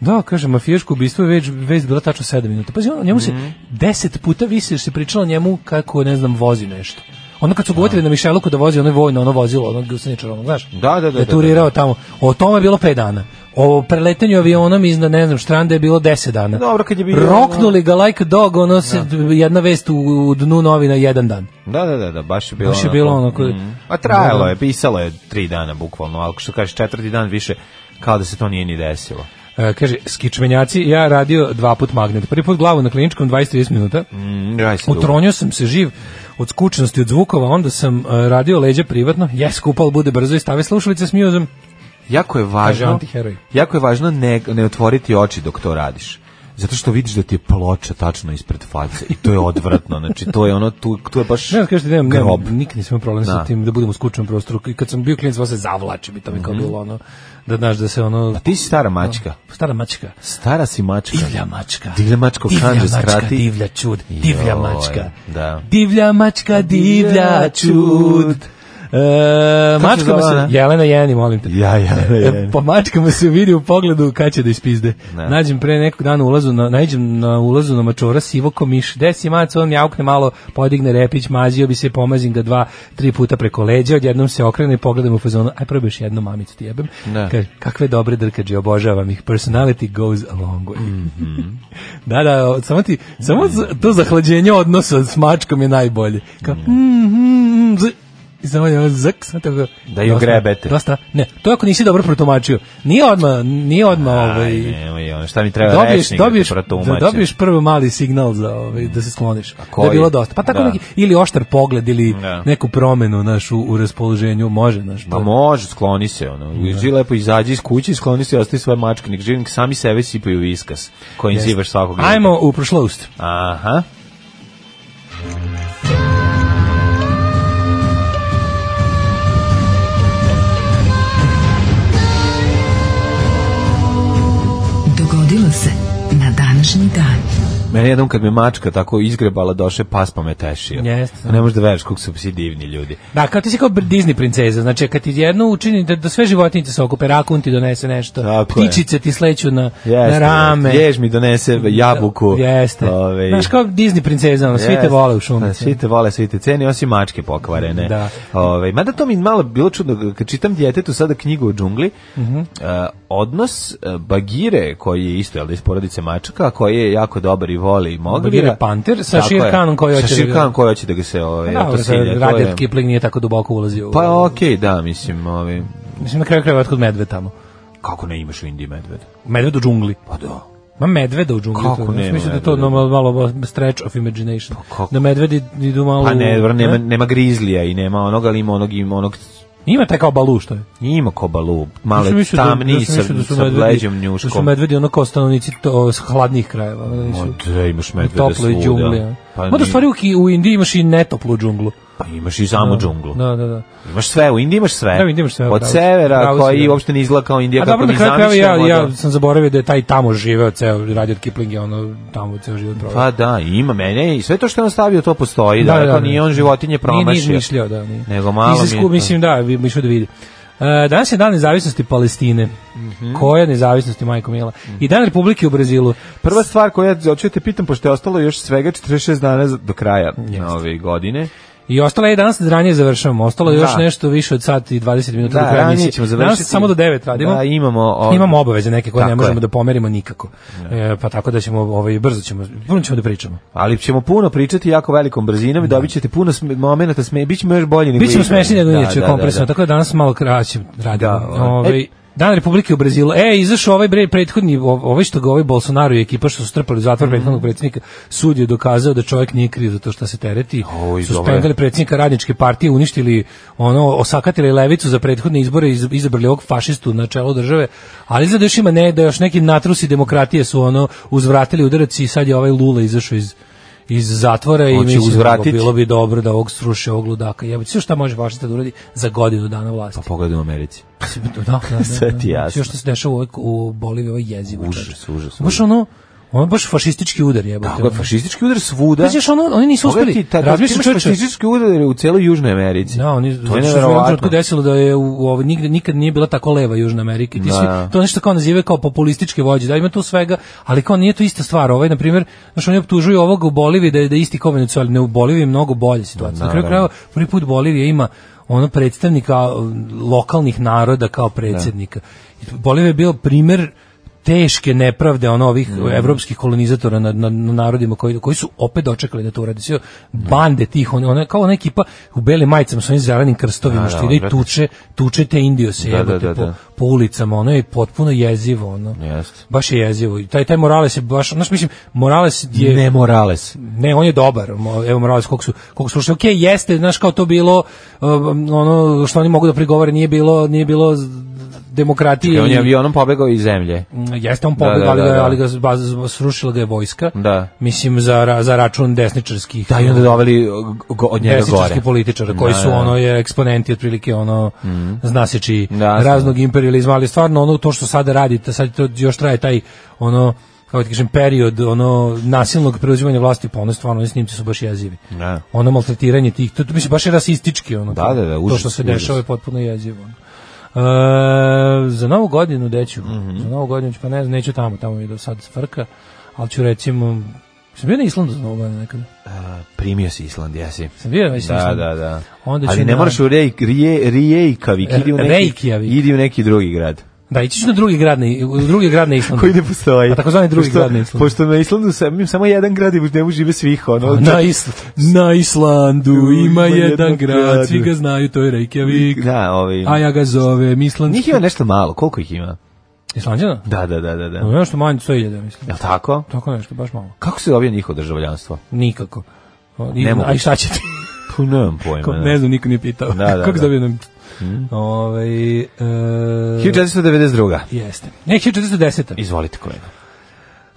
Da, kaže, mafijaško ubistvo je već, već bilo tačno 7 minuta. Pazi, ono, njemu se
Mhm.
10 puta više se pričalo njemu kako, ne znam, vozi nešto. Ono kad su govorili na Mišeluku da vozi ono vojno, ono vozilo, ono guseničar, ono, znaš?
Da, da, da, da,
je turirao tamo. O tome je bilo 5 dana. O preletanju avionom iznad, ne znam, štrande je bilo 10 dana.
Dobro, kad je bio-
Roknuli ga like a dog, ono, se, jedna vest u, u dnu novina jedan dan.
Da, da, da, da, baš je bilo
Baš je bilo onako-
Mm. A trajalo je, pisalo je tri dana bukvalno, ali što kažeš četvrti dan više kao da se to nije ni desilo.
E, kaže, skičmenjaci, ja radio dva put magnet. Prvi put glavu na kliničkom 20-30 minuta.
Mm, raj se dugo.
Utronio sam se živ od skučenosti od zvukova, onda sam e, radio leđa privatno, jes kupal bude brzo i stave slušalice s muzom.
Jako je
Kaže
važno,
antiheroj.
jako je važno ne, ne otvoriti oči dok to radiš. Zato što vidiš da ti je ploča tačno ispred face i to je odvratno. Znači, to je ono, tu, tu je baš
Ne znam, kažete, nemam, nemam,
grob.
nikad nisam imao problem sa
Da.
tim da budem u skučenom prostoru. I kad sam bio klijent, zvao se zavlačim i to mi kao bilo ono, da znaš da se ono,
A Mhm. Pa ti si stara mačka.
stara mačka.
Stara si mačka.
Divlja mačka.
Divlja mačka u
Divlja
kanđe
mačka,
skrati.
Divlja čud. Divlja
Joj,
mačka.
da.
Divlja mačka, divlja čud. E, mačkama
zove ona?
se... Jelena Jeni, molim te.
Ja, ja, ja.
E, po mačkama se vidi u pogledu kad će da ispizde.
Ne.
Nađem pre nekog dana ulazu na nađem na ulazu na mačora sivo komiš. Desi mac, on mjaukne malo, podigne repić, mazio bi se, pomazim ga dva, tri puta preko leđa, odjednom se okrene i pogledam u fazonu. Aj probaj još jednu mamicu ti jebem.
Ne.
Kaže, kakve dobre drkađe, obožavam ih. Personality goes a long way.
Mhm.
[LAUGHS] da, da, o, samo ti, samo za- to zahlađenje odnosa s mačkom je najbolje. Kao, mm, mm, mm, z- i samo je ono zak, samo tako.
Da ju
Dosta,
grebete.
Dosta, ne, to je ako nisi dobro protumačio. Nije odma, nije odma ovaj,
Nemoj, ono, šta mi treba
dobiješ,
rečnik da ti
dobiješ, da
protumačim?
dobiješ prvo mali signal za ovaj, da se skloniš. Da
koji?
je bilo dosta. Pa tako
Da.
neki, ili oštar pogled, ili
Da.
neku promenu naš u, u raspoloženju, može naš.
Pa može, skloni se, ono. Uđi lepo, izađi iz kuće, i skloni se, ostavi svoje mačke, nek živi, nek sami sebe sipaju u iskas, kojim zivaš svakog. jutra.
Ajmo u prošlost.
Aha.
Dogodilo se na današnji dan.
Mene jednom kad me mačka tako izgrebala, doše pas pa me tešio.
Jeste.
Ne možeš da veriš kako su psi divni ljudi.
Da, kao ti si kao Disney princeza, znači kad ti jedno učini da, da sve životinjice se okupe, rakun ti donese nešto,
Tako je.
ptičice ti sleću na, na
Jeste,
rame.
Jež mi donese jabuku.
Jeste.
Ovaj,
Znaš kao Disney princeza, ono, svi te
Jeste.
vole u
Da,
šumi.
Svi te vole, svi te ceni, osim mačke pokvarene.
Da.
Ovaj, mada to mi malo bilo čudno, kad čitam djetetu sada knjigu o džungli,
Mhm.
eh, odnos eh, Bagire, koji je isto, jel da, iz porodice mačaka, koji je jako dobar i voli i mogra.
Bagire je panter sa
Tako
Shere
je.
Khanom koji
Sa
hoće da
Shere
ga- Pa
Khanom koji hoće da ga se... Ovaj,
Da,
to silje, to je-
Radijat Kipling nije tako duboko ulazio. u-
Pa okej, da, mislim, ovaj,
Mislim, na kraju krajeva otkud medved tamo.
kako ne imaš u Indiji medveda?
Medved u džungli.
Pa da.
Ma medveda u džungli.
Kako
to,
nema
Mislim da je to ono
medveda? Pa
malo, malo stretch of imagination.
kako?
Da medvedi idu malo...
Pa ne, dobro, nema,
Ne?
nema grizlija i nema onoga, ali ima onog, ima onog
Ima taj kao balu što je.
Ima kobalu,
Ja
malo
sam
je
mislio da-
tamniji
ja sam
sa,
mislio su
sa
medvedi-
leđem
Da su
njuškom.
medvedi ono kao stanovnici to, s hladnih krajeva. ono Da nisu
Ma da, imaš medveda
u toploj
svuda.
džungli. a.
Pa
Mada u
nije.
stvari u, Ki- u Indiji imaš i netoplu džunglu.
Pa imaš i samu džunglu.
Da, da, da.
Imaš sve, u Indiji imaš sve.
Da, u Indiji imaš sve,
Od
bravo si,
severa
bravo si,
koji
da.
uopšte ne izgleda kao Indija
A
kako
dobro,
mi
na kraju krajeva ja,
zamišljamo.
ja
da.
sam zaboravio da je taj tamo živeo, ceo, radi od Kiplinga, ono, tamo ceo život proveo.
Pa da, ima mene i sve to što je on stavio to postoji, da, da, nije on životinje promašio.
Nije, nije izmišljao, da. Nije.
Nego malo mi je to.
Izisku, mislim, da, vi- mi što da vidi. E, danas je dan nezavisnosti Palestine.
Mhm.
Koja nezavisnosti, majko Mila? I dan Republike u Brazilu.
Prva stvar koja ja hoću da te pitam, pošto je ostalo još svega 46 dana za- do kraja ove godine.
I ostalo je danas, ranije završavamo. Ostalo je još
Da.
nešto više od sati i 20 minuta
Da,
do kraja
ranije
emisije.
ćemo završiti.
Danas samo do 9 radimo.
Da, imamo, ovaj,
imamo obaveze neke koje ne
tako
možemo
je.
da pomerimo nikako. E, pa tako da ćemo, ovaj, brzo ćemo, puno ćemo da pričamo.
Ali ćemo puno pričati jako velikom brzinom i dobit ćete puno sme, momenta, sme, bit ćemo još bolji nego
Bićemo
ikad.
smešniji nego
Da,
inače
da, da,
kompresno,
da.
tako da danas malo kraće radimo.
Da, ovaj.
ovaj, Dan Republike u Brazilu. E, izašao ovaj bre, prethodni, ov- ovaj što ga ovaj Bolsonaro i ekipa što su strpali u zatvor
Mhm.
prethodnog predsjednika, sud je dokazao da čovjek nije kriv za to što se tereti.
Oj, dobro.
Suspendali predsjednika radničke partije, uništili, ono, osakatili levicu za prethodne izbore, iz- izabrali ovog fašistu na čelo države, ali izgleda još ima ne, da još neki natrusi demokratije su ono uzvratili udarac i sad je ovaj Lula izašao iz iz zatvora i
Hoće
mislim
uzvratiti.
bilo bi dobro da ovog sruše ovog ludaka. Jebote, sve šta može važno da uradi za godinu dana vlasti.
Pa Pogledaj u Americi.
Pa, Da, da, da.
Sve ti jasno.
Sve što se dešava u, u Boliviji, ovo je jezivo.
Užas,
čoveče.
užas,
Baš ono, ono baš fašistički udar jebote.
Tako je, fašistički udar svuda.
Znaš, još ono, oni nisu
Pogledaj
uspeli.
ti, ta-
Razmišljaj,
imaš
čoveče.
Fašistički udar u celoj Južnoj Americi.
Da, oni
to je
zato što se u jednom trenutku
neverovatno.
desilo da je u, u ovoj- nigde nikad nije bila tako leva Južna Amerika. Ti
Da,
svi-
da.
to nešto kao nazivaju kao populističke vođe, da ima tu svega, ali kao nije to ista stvar. Ovaj na primjer, znači oni optužuju ovog u Boliviji da je da je isti kao Venezuela, ne u Boliviji je mnogo bolja situacija. Na kraju krajeva prvi put Bolivija ima ono predstavnika um, lokalnih naroda kao predsjednika. I Bolivija je bio primjer teške nepravde ono ovih
Mm.
evropskih kolonizatora nad, nad narodima koji koji su opet dočekali da to urade. Sve bande tih on ona kao ona ekipa u belim majicama sa onim zelenim krstovima što ide i
odvratno.
tuče tuče te Indiose
Da, da,
jebote,
da,
po,
da.
po ulicama, ono je potpuno jezivo ono.
Jeste.
Baš je jezivo. I taj taj Morales je baš, znaš mislim, Morales je
Ne Morales.
ne, on je dobar. Mo- Evo Morales koliko su koliko su okej, jeste, znaš kao to bilo um, ono što oni mogu da prigovore nije bilo nije bilo z- demokratije.
I E, on je
i- Mm,
avionom pobegao iz zemlje.
Jeste on pobegao,
Da, da,
ali, ga-
da, da.
ali ga baz- srušila ga je vojska.
Da.
Mislim za ra- za račun desničarskih.
Da, i onda doveli go, od njega gore.
desničarskih političara koji
Da,
su
da. Mhm.
ono je eksponenti otprilike ono zna se čiji
Da,
raznog imperializma, ali stvarno ono to što sada radite, sad to još traje taj ono kako ti kažem period ono nasilnog preuzimanja vlasti, pa ono stvarno oni snimci su baš jezivi.
Da.
Ono maltretiranje tih, to, to mislim baš je rasistički ono.
Da,
to,
da, da,
to
užas,
što se
užas.
dešava je potpuno jezivo. ono. E, za novu godinu deću.
Mhm.
Za novu godinu ću, pa ne znam, neću tamo, tamo mi je do sad frka, ali ću recimo Sam bio na Islandu za novu godinu nekada.
Primio si Island, jesi.
Sam bio na Islandu.
Da, da, da.
Onda
Ali
ću E,
ne
na-
moraš u Rej- Rije- Rijejkavik, idi u neki,
Reykjavik.
idi u neki drugi grad.
Da, ići ću na drugi grad na, u drugi grad
[LAUGHS]
na Islandu.
Koji ne postoji.
A takozvani drugi
Pošto-
grad na Islandu.
Pošto na Islandu sam, imam samo jedan grad i u njemu žive svih. Ono,
Na, Isl na Islandu ima
Ima
jedan
jedan
grad, svi
grad.
ga znaju, to je Reykjavik,
Da, ovaj.
a ja ga zovem Island.
Njih ima nešto malo, koliko ih ima?
Islanđana?
Da, da, da, da. da.
Da. Ono što manje, 100.000, mislim.
Jel tako?
Tako nešto, baš malo.
Kako se dobija njihovo državljanstvo?
Nikako. O, I,
Ne mogu.
a i šta će ti?
Pa nemam pojma.
Ko,
da.
ne znam, niko nije pitao.
Da, da,
[LAUGHS]
Mhm.
Kako
da.
se dobio nam... Ovaj, e,
1492.
Jeste. Ne, 1410.
Izvolite kolega.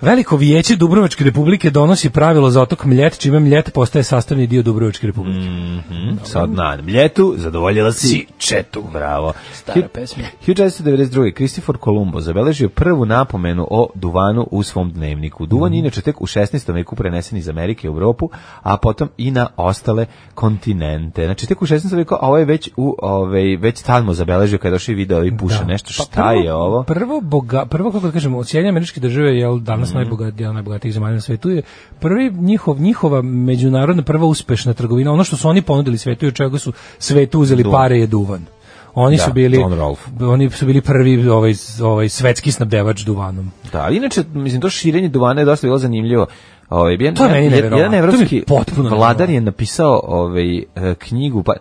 Veliko vijeće Dubrovačke republike donosi pravilo za otok Mljet, čime Mljet postaje sastavni dio Dubrovačke republike. Mm.
Mhm, Sad na ljetu zadovoljila si četu. Bravo. Stara
pesma.
1492. Kristifor Kolumbo zabeležio prvu napomenu o duvanu u svom dnevniku.
Mm.
Duvan je inače tek u 16. veku prenesen iz Amerike u Europu, a potom i na ostale kontinente. Znači tek u 16. veku, a ovo je već, u, ovaj, već tamo zabeležio kada je došao i video i puša nešto.
Pa
Šta je ovo?
Prvo, boga, prvo kako da kažemo, Sjedinjene američke države je danas
Mhm.
najbogatija, jedan od najbogatijih zemalja na svetu je prvi njihov njihova međunarodna prva uspešna trgovina, ono što su oni ponudili svetu i od čega su svetu uzeli
Duvan.
pare je duvan. Oni
Da,
su bili
John Rolfe.
oni su bili prvi ovaj ovaj svetski snabdevač duvanom.
Da, ali inače, mislim, to širenje duvana je dosta bilo zanimljivo. Ovaj jedan,
To je meni
jedan-
neverovatno.
jedan
To mi je
evropski
potpuno
vladar
neverovatno.
je napisao ovaj, e, knjigu, pa,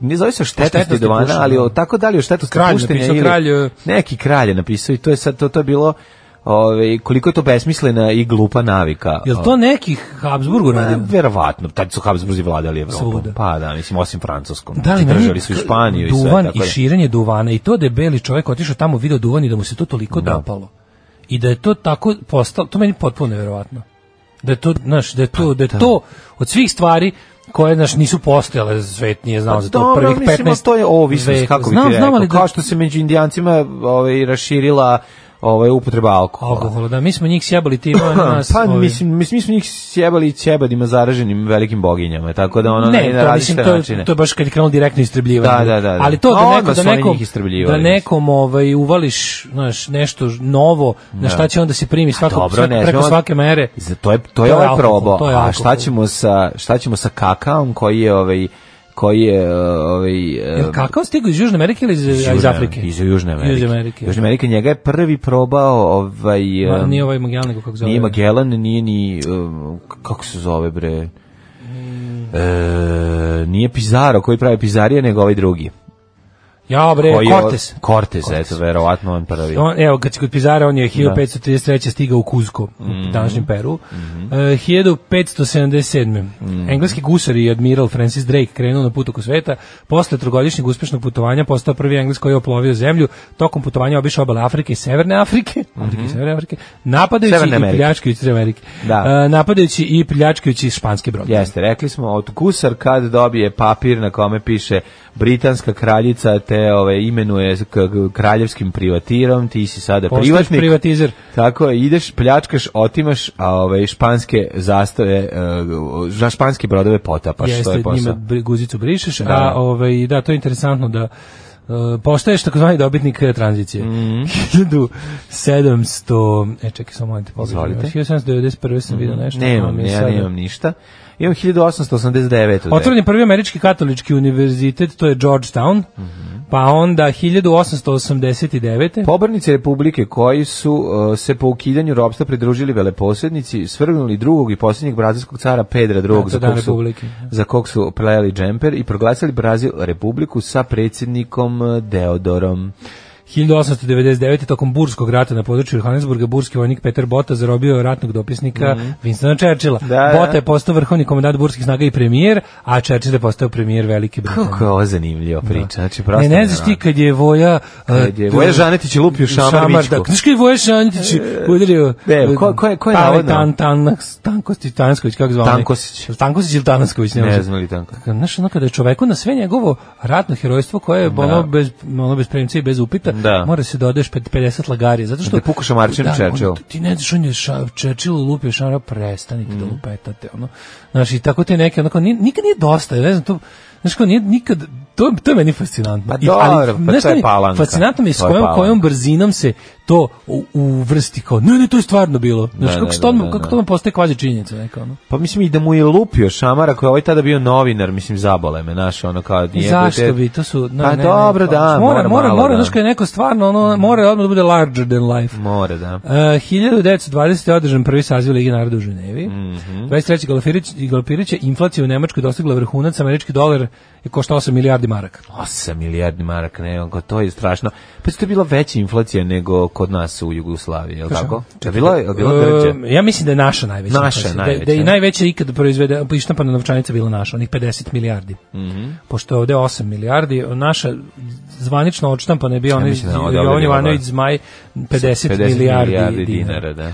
ne zove se o štetnosti,
štetnosti
duvana,
pušenja.
ali o, tako da li o štetnosti
Kralj
puštenja
napisao,
ili-
kralj, e.
neki kralj je napisao i to je sad, to, to je bilo ovaj, koliko je to besmislena i glupa navika.
Jel to nekih Habsburg
Pa,
uradio?
verovatno, tad su Habsburzi vladali Evropom.
Svuda.
Pa da, mislim, osim Francuskom.
Da li meni
Znači, Držali su i Španiju i sve.
duvan
tako
i
da.
širenje duvana i to da je beli čovjek otišao tamo video duvan i da mu se to toliko dopalo. I da je to tako postalo, to meni potpuno neverovatno. da je to, znaš, da je
Pa
to, da je to od svih stvari koje naš nisu postojale svet nije znao za to
Pa Dobro,
prvih 15
mislim, to je ovisnost,
veka.
kako bi
Znam,
ti
znam,
rekao.
ali da-
Kao što se među indijancima ovaj, raširila ovaj, upotreba alkohola.
alkohola da mi smo njih sjebali time
[CLEARS THROAT]
oni nas
Pa,
ovi-
mislim, mislim, mi smo njih sjebali i ćebadima zaraženim velikim boginjama, tako da ono
ne,
na
to, mislim,
različite
to,
načine.
je- to je baš kad je krenulo direktno istrebljivanje.
Da, da, da, da.
Ali to
A
da,
odmah
neko, da,
su oni
nekom,
njih istrebljivali,
da
mislim.
nekom ovaj, uvališ znaš, nešto novo, na šta će onda se primi svako,
Dobro,
svako-
ne,
preko
smemo-
svake mere.
Za- to je to je
To je
ovaj
alkohol,
probao.
to je
A
alkohol.
šta ćemo sa šta ćemo sa kakaom koji je ovaj koji je ovaj e,
Jel kakao stigo iz Južne Amerike ili iz,
iz
iz,
Južne-
Afrike?
Iz Južne Amerike.
Južne Amerike.
Južne Amerike njega je prvi probao ovaj
Ma,
e,
nije ovaj Magellan, nego kako zove.
nije Magellan, nije ni um, k- kako se zove bre. E, nije Pizarro koji pravi Pizarije, nego ovaj drugi.
Ja bre,
Koji je-
Cortez.
Cortez, eto, verovatno on prvi.
E, On, evo, kad, kod Pizara on je 1533. stigao u Kuzko,
Mhm.
u današnjem Peru. E, 1577.
Mhm.
Engleski gusar i admiral Francis Drake krenuo na put oko sveta. Posle trogodišnjeg uspešnog putovanja postao prvi Engles koji je oplovio zemlju. Tokom putovanja obišao obale Afrike i Severne Afrike. [LAUGHS] Afrike i Severne Afrike. Napadajući
Mhm.
i
Severne Amerike.
pljačkajući Severne Amerike.
Da.
E, napadajući i pljačkajući španske brode.
Jeste, rekli smo od gusar kad dobije papir na kome piše britanska kraljica te ove, imenuje k- kraljevskim privatirom, ti si sada
Postaješ
privatnik.
privatizer.
Tako je, ideš, pljačkaš, otimaš, a ove, španske zastave, e, za španske brodove potapaš. to
Jeste,
Pa je posao.
njima bri- guzicu brišeš, a
Da.
ovaj, da, to je interesantno da Uh, postaješ takozvani dobitnik eh, tranzicije. [LAUGHS]
Mhm.
Mm 1700... E, čekaj, samo malo te pogledam.
Izvolite. Mhm.
1791. sam vidio nešto.
Nemam,
ali mi je
ja
sada-
nemam ništa. Imam 1889. u
Otvoren je prvi američki katolički univerzitet, to je Georgetown,
Mhm.
pa onda 1889.
Pobornici Republike koji su uh, se po ukidanju ropstva pridružili veleposjednici, svrgnuli drugog i posljednjeg brazilskog cara Pedra II,
to je
za
Dan
kog, su,
Republike.
za kog su plejali džemper i proglasili Brazil Republiku sa predsjednikom uh, Deodorom.
1899. tokom Burskog rata na području Johannesburga burski vojnik Peter Bota zarobio je ratnog dopisnika Winstona Churchilla.
Mhm. Da,
Bota
da.
je postao vrhovni komandant burskih snaga i premijer, a Churchill je postao premijer Velike Britanije.
Kako je ovo zanimljiva priča. Znači,
Ne,
prosto
ne znaš ti
nevjerojatno.
kad je Voja...
Kad je
eh,
Voja Žanetić je lupio šamar Mičku.
da, znaš kad je Voja Žanetić udario...
ne, e, ko- ko je- ko je
Pave Tan,
navodno?
Tan- Tankostić, Tansković, kako zvao? onaj?
Tankosić.
Jel Tankosić ili Tanasković?
Ne
može.
znam li tanko.
Znaš, ono kada je čoveku na sve njegovo ratno herojstvo koje je ono, bez, ono bez premca i bez upita,
Da.
mora se dodeš pet- 50 lagarije. Zato što...
Da puka šamarčin Churchill.
ono, Ti ne znaš, on je ša, Churchill lupio šara, prestanite
Mhm.
da lupetate. Ono. Znaš, i tako te neke, onako, ni- nikad nije dosta, ja ne znam, to, znaš, kao, nije, nikad, to, to je meni fascinantno.
Pa
I- ali,
dobro, pa
znaš
to je
šta mi-
palanka.
Fascinantno mi je s
To je
kojom,
palanka.
kojom brzinom se to u- uvrsti kao, ne, ne, to je stvarno bilo. Znaš,
Da,
kako,
da,
se to, odmah-
da, da,
kako
da.
to vam postaje kvazi činjenica, neka, ono.
Pa mislim i da mu je lupio šamara koji je ovaj tada bio novinar, mislim zabole me, znaš, ono kao...
Zašto bi to su
Pa dobro, da,
mora
mora
mora
malo,
mora
da.
znači kad je neko stvarno ono mora odmah da bude larger than life.
More, da.
Uh, 1920. je održan prvi saziv Lige naroda u Ženevi.
Mhm.
23. Galopirić, Galopirić je inflacija u Nemačkoj dostigla vrhunac, američki dolar je koštao 8 milijardi maraka.
8 milijardi maraka, ne, onko, to je strašno. Pa to je bila veća inflacija nego kod nas u Jugoslaviji, je li tako? Čekaj, bilo je, je bilo drđe?
E, ja mislim da je naša najveća.
Naša
inflacija. Da,
najveća,
da je i
ne?
najveća ikad proizvede, ištampana novčanica bila naša, onih 50 milijardi.
Mhm.
Pošto je ovde 8 milijardi, naša zvanično odštampana je bio onaj
mislim da je ona
Jovan
dobila
Jovanović
bar
Zmaj 50,
50
milijardi,
milijardi
dinara.
dinara, da.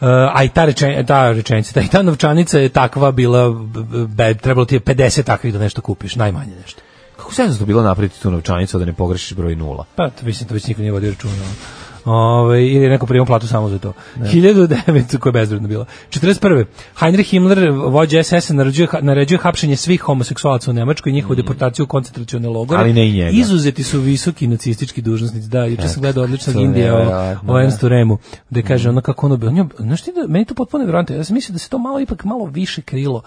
Uh, a i ta, rečen, ta rečenica, ta, i ta novčanica je takva bila, b- b- be, trebalo ti je 50 takvih da nešto kupiš, najmanje nešto.
Kako se jednostavno bilo napraviti tu novčanicu da ne pogrešiš broj nula?
Pa, to, mislim, to već niko nije vodio računa. ono. Ove, ili je neko primao platu samo za to. 1900, koja je bezvredno bila. 41. Heinrich Himmler, vođa SS-a, naređuje, naređuje hapšenje svih homoseksualaca u Nemačkoj i njihovu deportaciju u koncentracione logore.
Mm. Ali ne i njega. Izuzeti
Izuzeti su visoki nacistički dužnosnici. Da, juče sam gledao odličnog
to je
Indija o,
nevjerojatno,
o
da. Mhm.
Ernstu Remu, gde kaže ono kako ono bi, on je, znaš ti da, meni to potpuno nevjerojatno, ja sam mislio da se to malo ipak malo više krilo.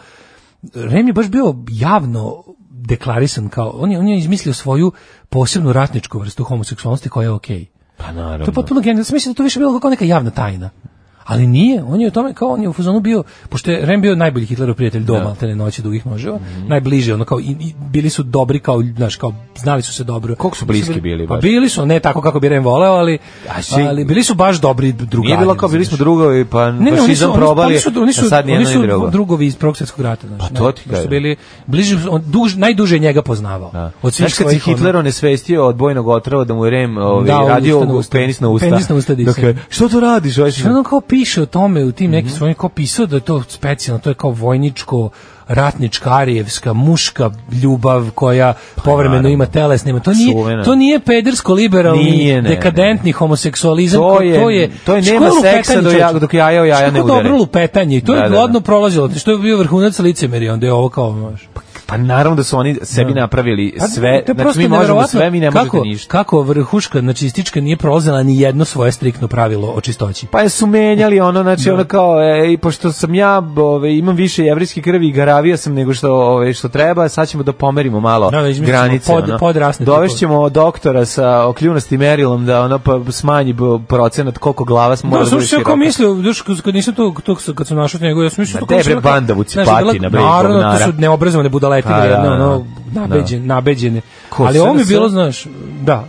Rem je baš bio javno deklarisan kao, on je, on je izmislio svoju posebnu ratničku vrstu homoseksualnosti koja je okej.
Pa
To je
naravno.
potpuno genijalno. Ja sam mislio da je to više bilo kao neka javna tajna. Ali nije, on je u tome kao on je u fazonu bio, pošto je Rem bio najbolji Hitlerov prijatelj doma, da. te noći dugih moževa,
Mhm.
najbliže, ono kao i, i bili su dobri kao, znaš, kao znali su se dobro.
Koliko su bliski bili
Pa
baš?
bili su, ne tako kako bi Rem voleo, ali,
A si-
ali bili su baš dobri drugari.
Nije bilo kao, bili smo
razumeš.
drugovi, pa
Ne, ne, oni su,
fašizam
oni, su-
probali,
oni su, oni su,
a sad
oni
nijedno
su
ni drugo.
drugovi iz Prvog svjetskog rata. Znaš,
Pa to ti
Baš su
kažem.
bili, bliži, su- on, duž, najduže je njega poznavao.
Da.
Od svih
Znaš kad se
svojih, ono-
Hitler onesvestio od bojnog otrova da mu je Rem ovaj,
Da, u
radio
usta na usta.
penis na usta.
Penis na usta disao.
Dakle, što to radiš? Ovaj,
Što ono kao piše o tome u tim nekim
Mhm.
svojim, kao pisao da je to specijalno, to je kao vojničko, ratnička, arijevska, muška ljubav koja povremeno
Pa naravno.
ima telesne, ima- to nije,
Čuvena.
to nije pedersko liberalni
Nije, ne,
dekadentni homoseksualizam,
To
ko-
je-
to je,
to je nema
ško lupetanje,
seksa do ja-
čovječe.
dok jaja o jaja
Ško
ne udare.
dobro lupetanje i to
Da,
je
da, da.
gladno prolazilo, što je bio vrhunac licemerja, onda je ovo kao, znaš.
Pa naravno da su oni sebi napravili
Pa,
sve,
to je
znači
prosto
mi možemo
neverovatno
sve, mi ne možete
kako,
ništa.
Kako vrhuška, znači istička nije prolazila ni jedno svoje striktno pravilo o čistoći.
Pa je su menjali ono, znači ono kao, ej, pošto sam ja, ove, imam više jevrijske krvi i garavija sam nego što, ove, što treba, sad ćemo da pomerimo malo
Da, da, izmislit ćemo
granice.
pod-
ono.
podrasne
Dovešćemo doktora sa okljunasti merilom da ono pa smanji b- procenat koliko glava smo
Da,
mora da bude
slušaj, ja
široka.
kao mislio, duš, kad- kad nisam to, to kad sam našao njegov, ja sam mislio...
Ma
to
te,
kao što
bre,
ono kao-
banda vuci
znaš, bila-
patina, bre, iz
Naravno, to
govnara.
su neobrazovane budaletine,
Pa, da,
jedno,
da,
ono,
da.
nabeđene, nabeđene.
Ko,
Ali ovo mi je
SNS?
bilo, znaš, da.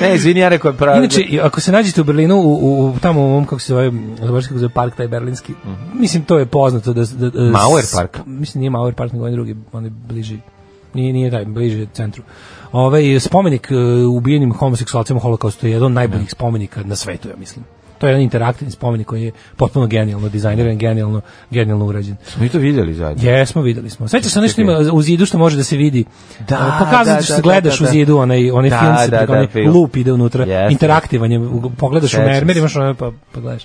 Ne, izvini, ja rekao je pravi.
Inače, i ako se nađete u Berlinu, u, u, u tamo u ovom, kako se zove, zaboravim kako se zove park, taj berlinski, mislim, to je poznato da... da, da
Mhm. Mauer
s-
park?
Mislim, nije Mauer park, nego onaj drugi, onaj bliži, nije, nije taj, bliži centru. Ovaj spomenik e, ubijenim homoseksualcima u holokaustu je jedan od najboljih spomenika na svetu, ja mislim. To je jedan interaktivni spomenik koji je potpuno genijalno dizajniran, genijalno, genijalno urađen.
Mi to vidjeli zajedno.
Jesmo, videli smo. Sećaš se nešto ima u zidu što može da se vidi?
Da,
E, Pokazat
da,
ćeš
da,
se gledaš
da, da.
u zidu, onaj, onaj
Da,
film se,
da,
preko-
da,
onaj
film.
lup ide unutra,
Jeste.
interaktivan je, u- pogledaš
Sećam
u mermer,
se.
imaš onaj, pa, pa gledaš.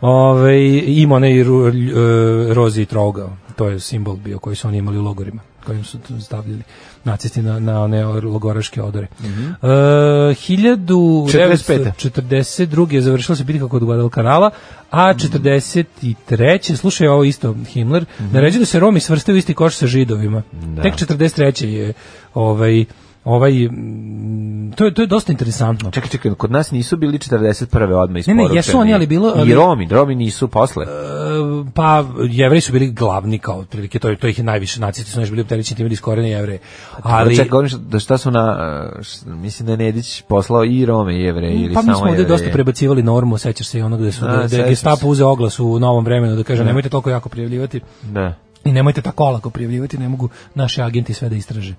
Ove, ima onaj ru, lj- e, rozi i trouga, to je simbol bio koji su oni imali u logorima, kojim su tu stavljali nacisti na, na one logoraške odore. Mm
Mhm.
-hmm. e,
45..
1900 42. je završila se bitka kod Guadalcanala, a
Mhm.
43. slušaj ovo isto Himmler,
Mhm.
naređuje da se Romi svrstaju u isti koš sa židovima. Tek 43. je ovaj ovaj mm, to je to je dosta interesantno.
Čekaj, čekaj, kod nas nisu bili 41. odmah
Ne, ne,
isporučeni.
jesu oni, ali bilo- ali-
I Romi, Romi nisu posle.
E, pa jevreji su bili glavni kao otprilike to je to ih je najviše nacisti su najviše bili opterećeni time da iskorene jevreje.
Ali
Ali
čekaj, govorim šta- da šta su na e, š- mislim da je Nedić poslao i Rome i Jevreje ili
pa mi
samo
smo ovde
Jevreje.
dosta prebacivali normu, sećaš se i onog gde su
Da,
da, da
sećam
je
se.
Gestapo uzeo oglas u novom vremenu da kaže nemojte toliko jako prijavljivati.
Da.
I nemojte tako olako prijavljivati, ne mogu naši agenti sve da istraže.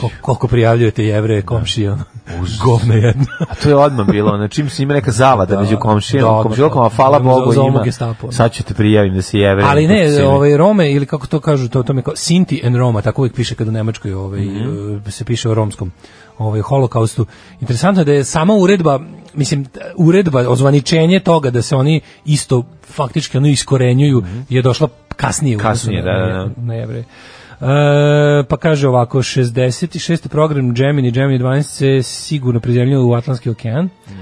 Ko, koliko prijavljujete jevreje, komšije, ono, govno jedno.
A to je odmah bilo, na čim se ima neka zavada među
[LAUGHS]
komšijama,
Da,
komšijokama,
odmah.
hvala
Za-
Bogu
za
ima.
ovog Gestapo, da.
Sad ću te prijavim da si Jevrej.
Ali
da si-
ne, ovaj Rome ili kako to kažu, to to me kao Sinti and Roma, tako uvijek piše kad u Nemačkoj ovaj
Mhm.
e, se piše o romskom ovaj holokaustu. Interesantno je da je sama uredba, mislim t- uredba ozvaničenje toga da se oni isto faktički ono iskorenjuju je došla kasnije, u odnosu
Mhm. Kasnije,
na-
da, da,
na-
da.
na jevreje. E, pa kaže ovako 66. program Gemini Gemini 12 se sigurno prizemljio u Atlantski okean e.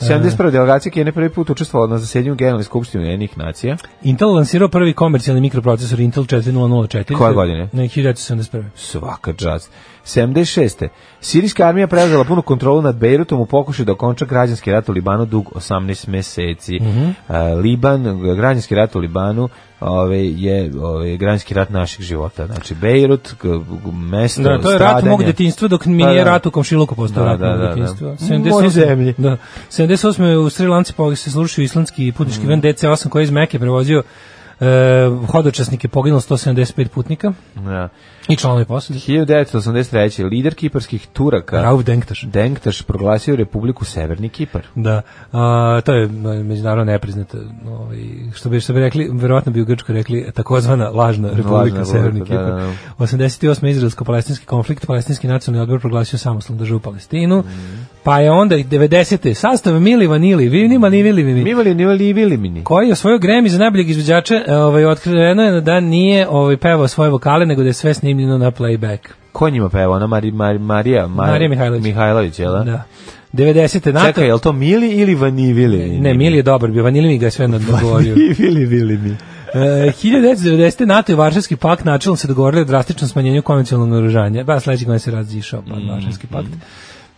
71. delegacija Kine prvi put učestvovala na zasedanju Generalne skupštine Ujedinjenih nacija.
Intel lansirao prvi komercijalni mikroprocesor Intel 4004
Koje godine?
Ne, 1971.
Svaka čast. 76. Sirijska armija preuzela punu kontrolu nad Bejrutom u pokušaju da okonča građanski rat u Libanu dug 18 meseci.
Mhm.
A, Liban, građanski rat u Libanu ove, je ove, građanski rat naših života. Znači, Bejrut, g- g- mesto
Da, to je rat
stradanja.
mog detinjstva dok mi
Pa
nije
da.
rat u komšiluku postao
Da,
rat
da,
mog
da, da.
detinjstva.
U
78
mojoj zemlji.
Da. 78. je u Sri Lanci pa se slušio islandski
Mm.
putnički ven DC-8 koji je iz Meke prevozio e, hodočasnike poginulo 175 putnika
Da.
i članovi posljednje.
1983. lider kiparskih Turaka
Rauf Denktaš.
Denktaš proglasio Republiku Severni Kipar.
Da, a, to je međunarodno nepriznata, ovaj, što bi, što bi rekli, verovatno bi u Grčkoj rekli, takozvana lažna republika
Lažna
Severni
republika,
Kipar.
da, da,
88. izraelsko-palestinski konflikt, palestinski nacionalni odbor proglasio samostalnu državu Palestinu,
Mhm.
pa je onda i 90. sastav Mili Vanili, vi nima ni Vili Vili,
Mi imali, imali i bili mi ni.
koji je osvojio Grammy za najboljeg izvođača, e, ovaj, otkriveno je da nije ovaj, pevao svoje vokale, nego da je sve snimljeno na playback.
Ko njima peva? Ona Mari, Mari, Marija, Mar-
Marija Mihajlović.
Mihajlović, jel da?
Da. 90. NATO...
Čekaj, je li to Mili ili Vanivili?
ne, Mili je dobar bio, Vanili mi ga je sve
[LAUGHS]
nadgovorio.
Vanivili, Vili mi.
E, 1990. NATO i Varšavski pakt načelno se dogovorili o drastičnom smanjenju konvencionalnog naoružanja. Ba, sledećeg godina se razišao,
Mhm,
pa Varšavski pakt.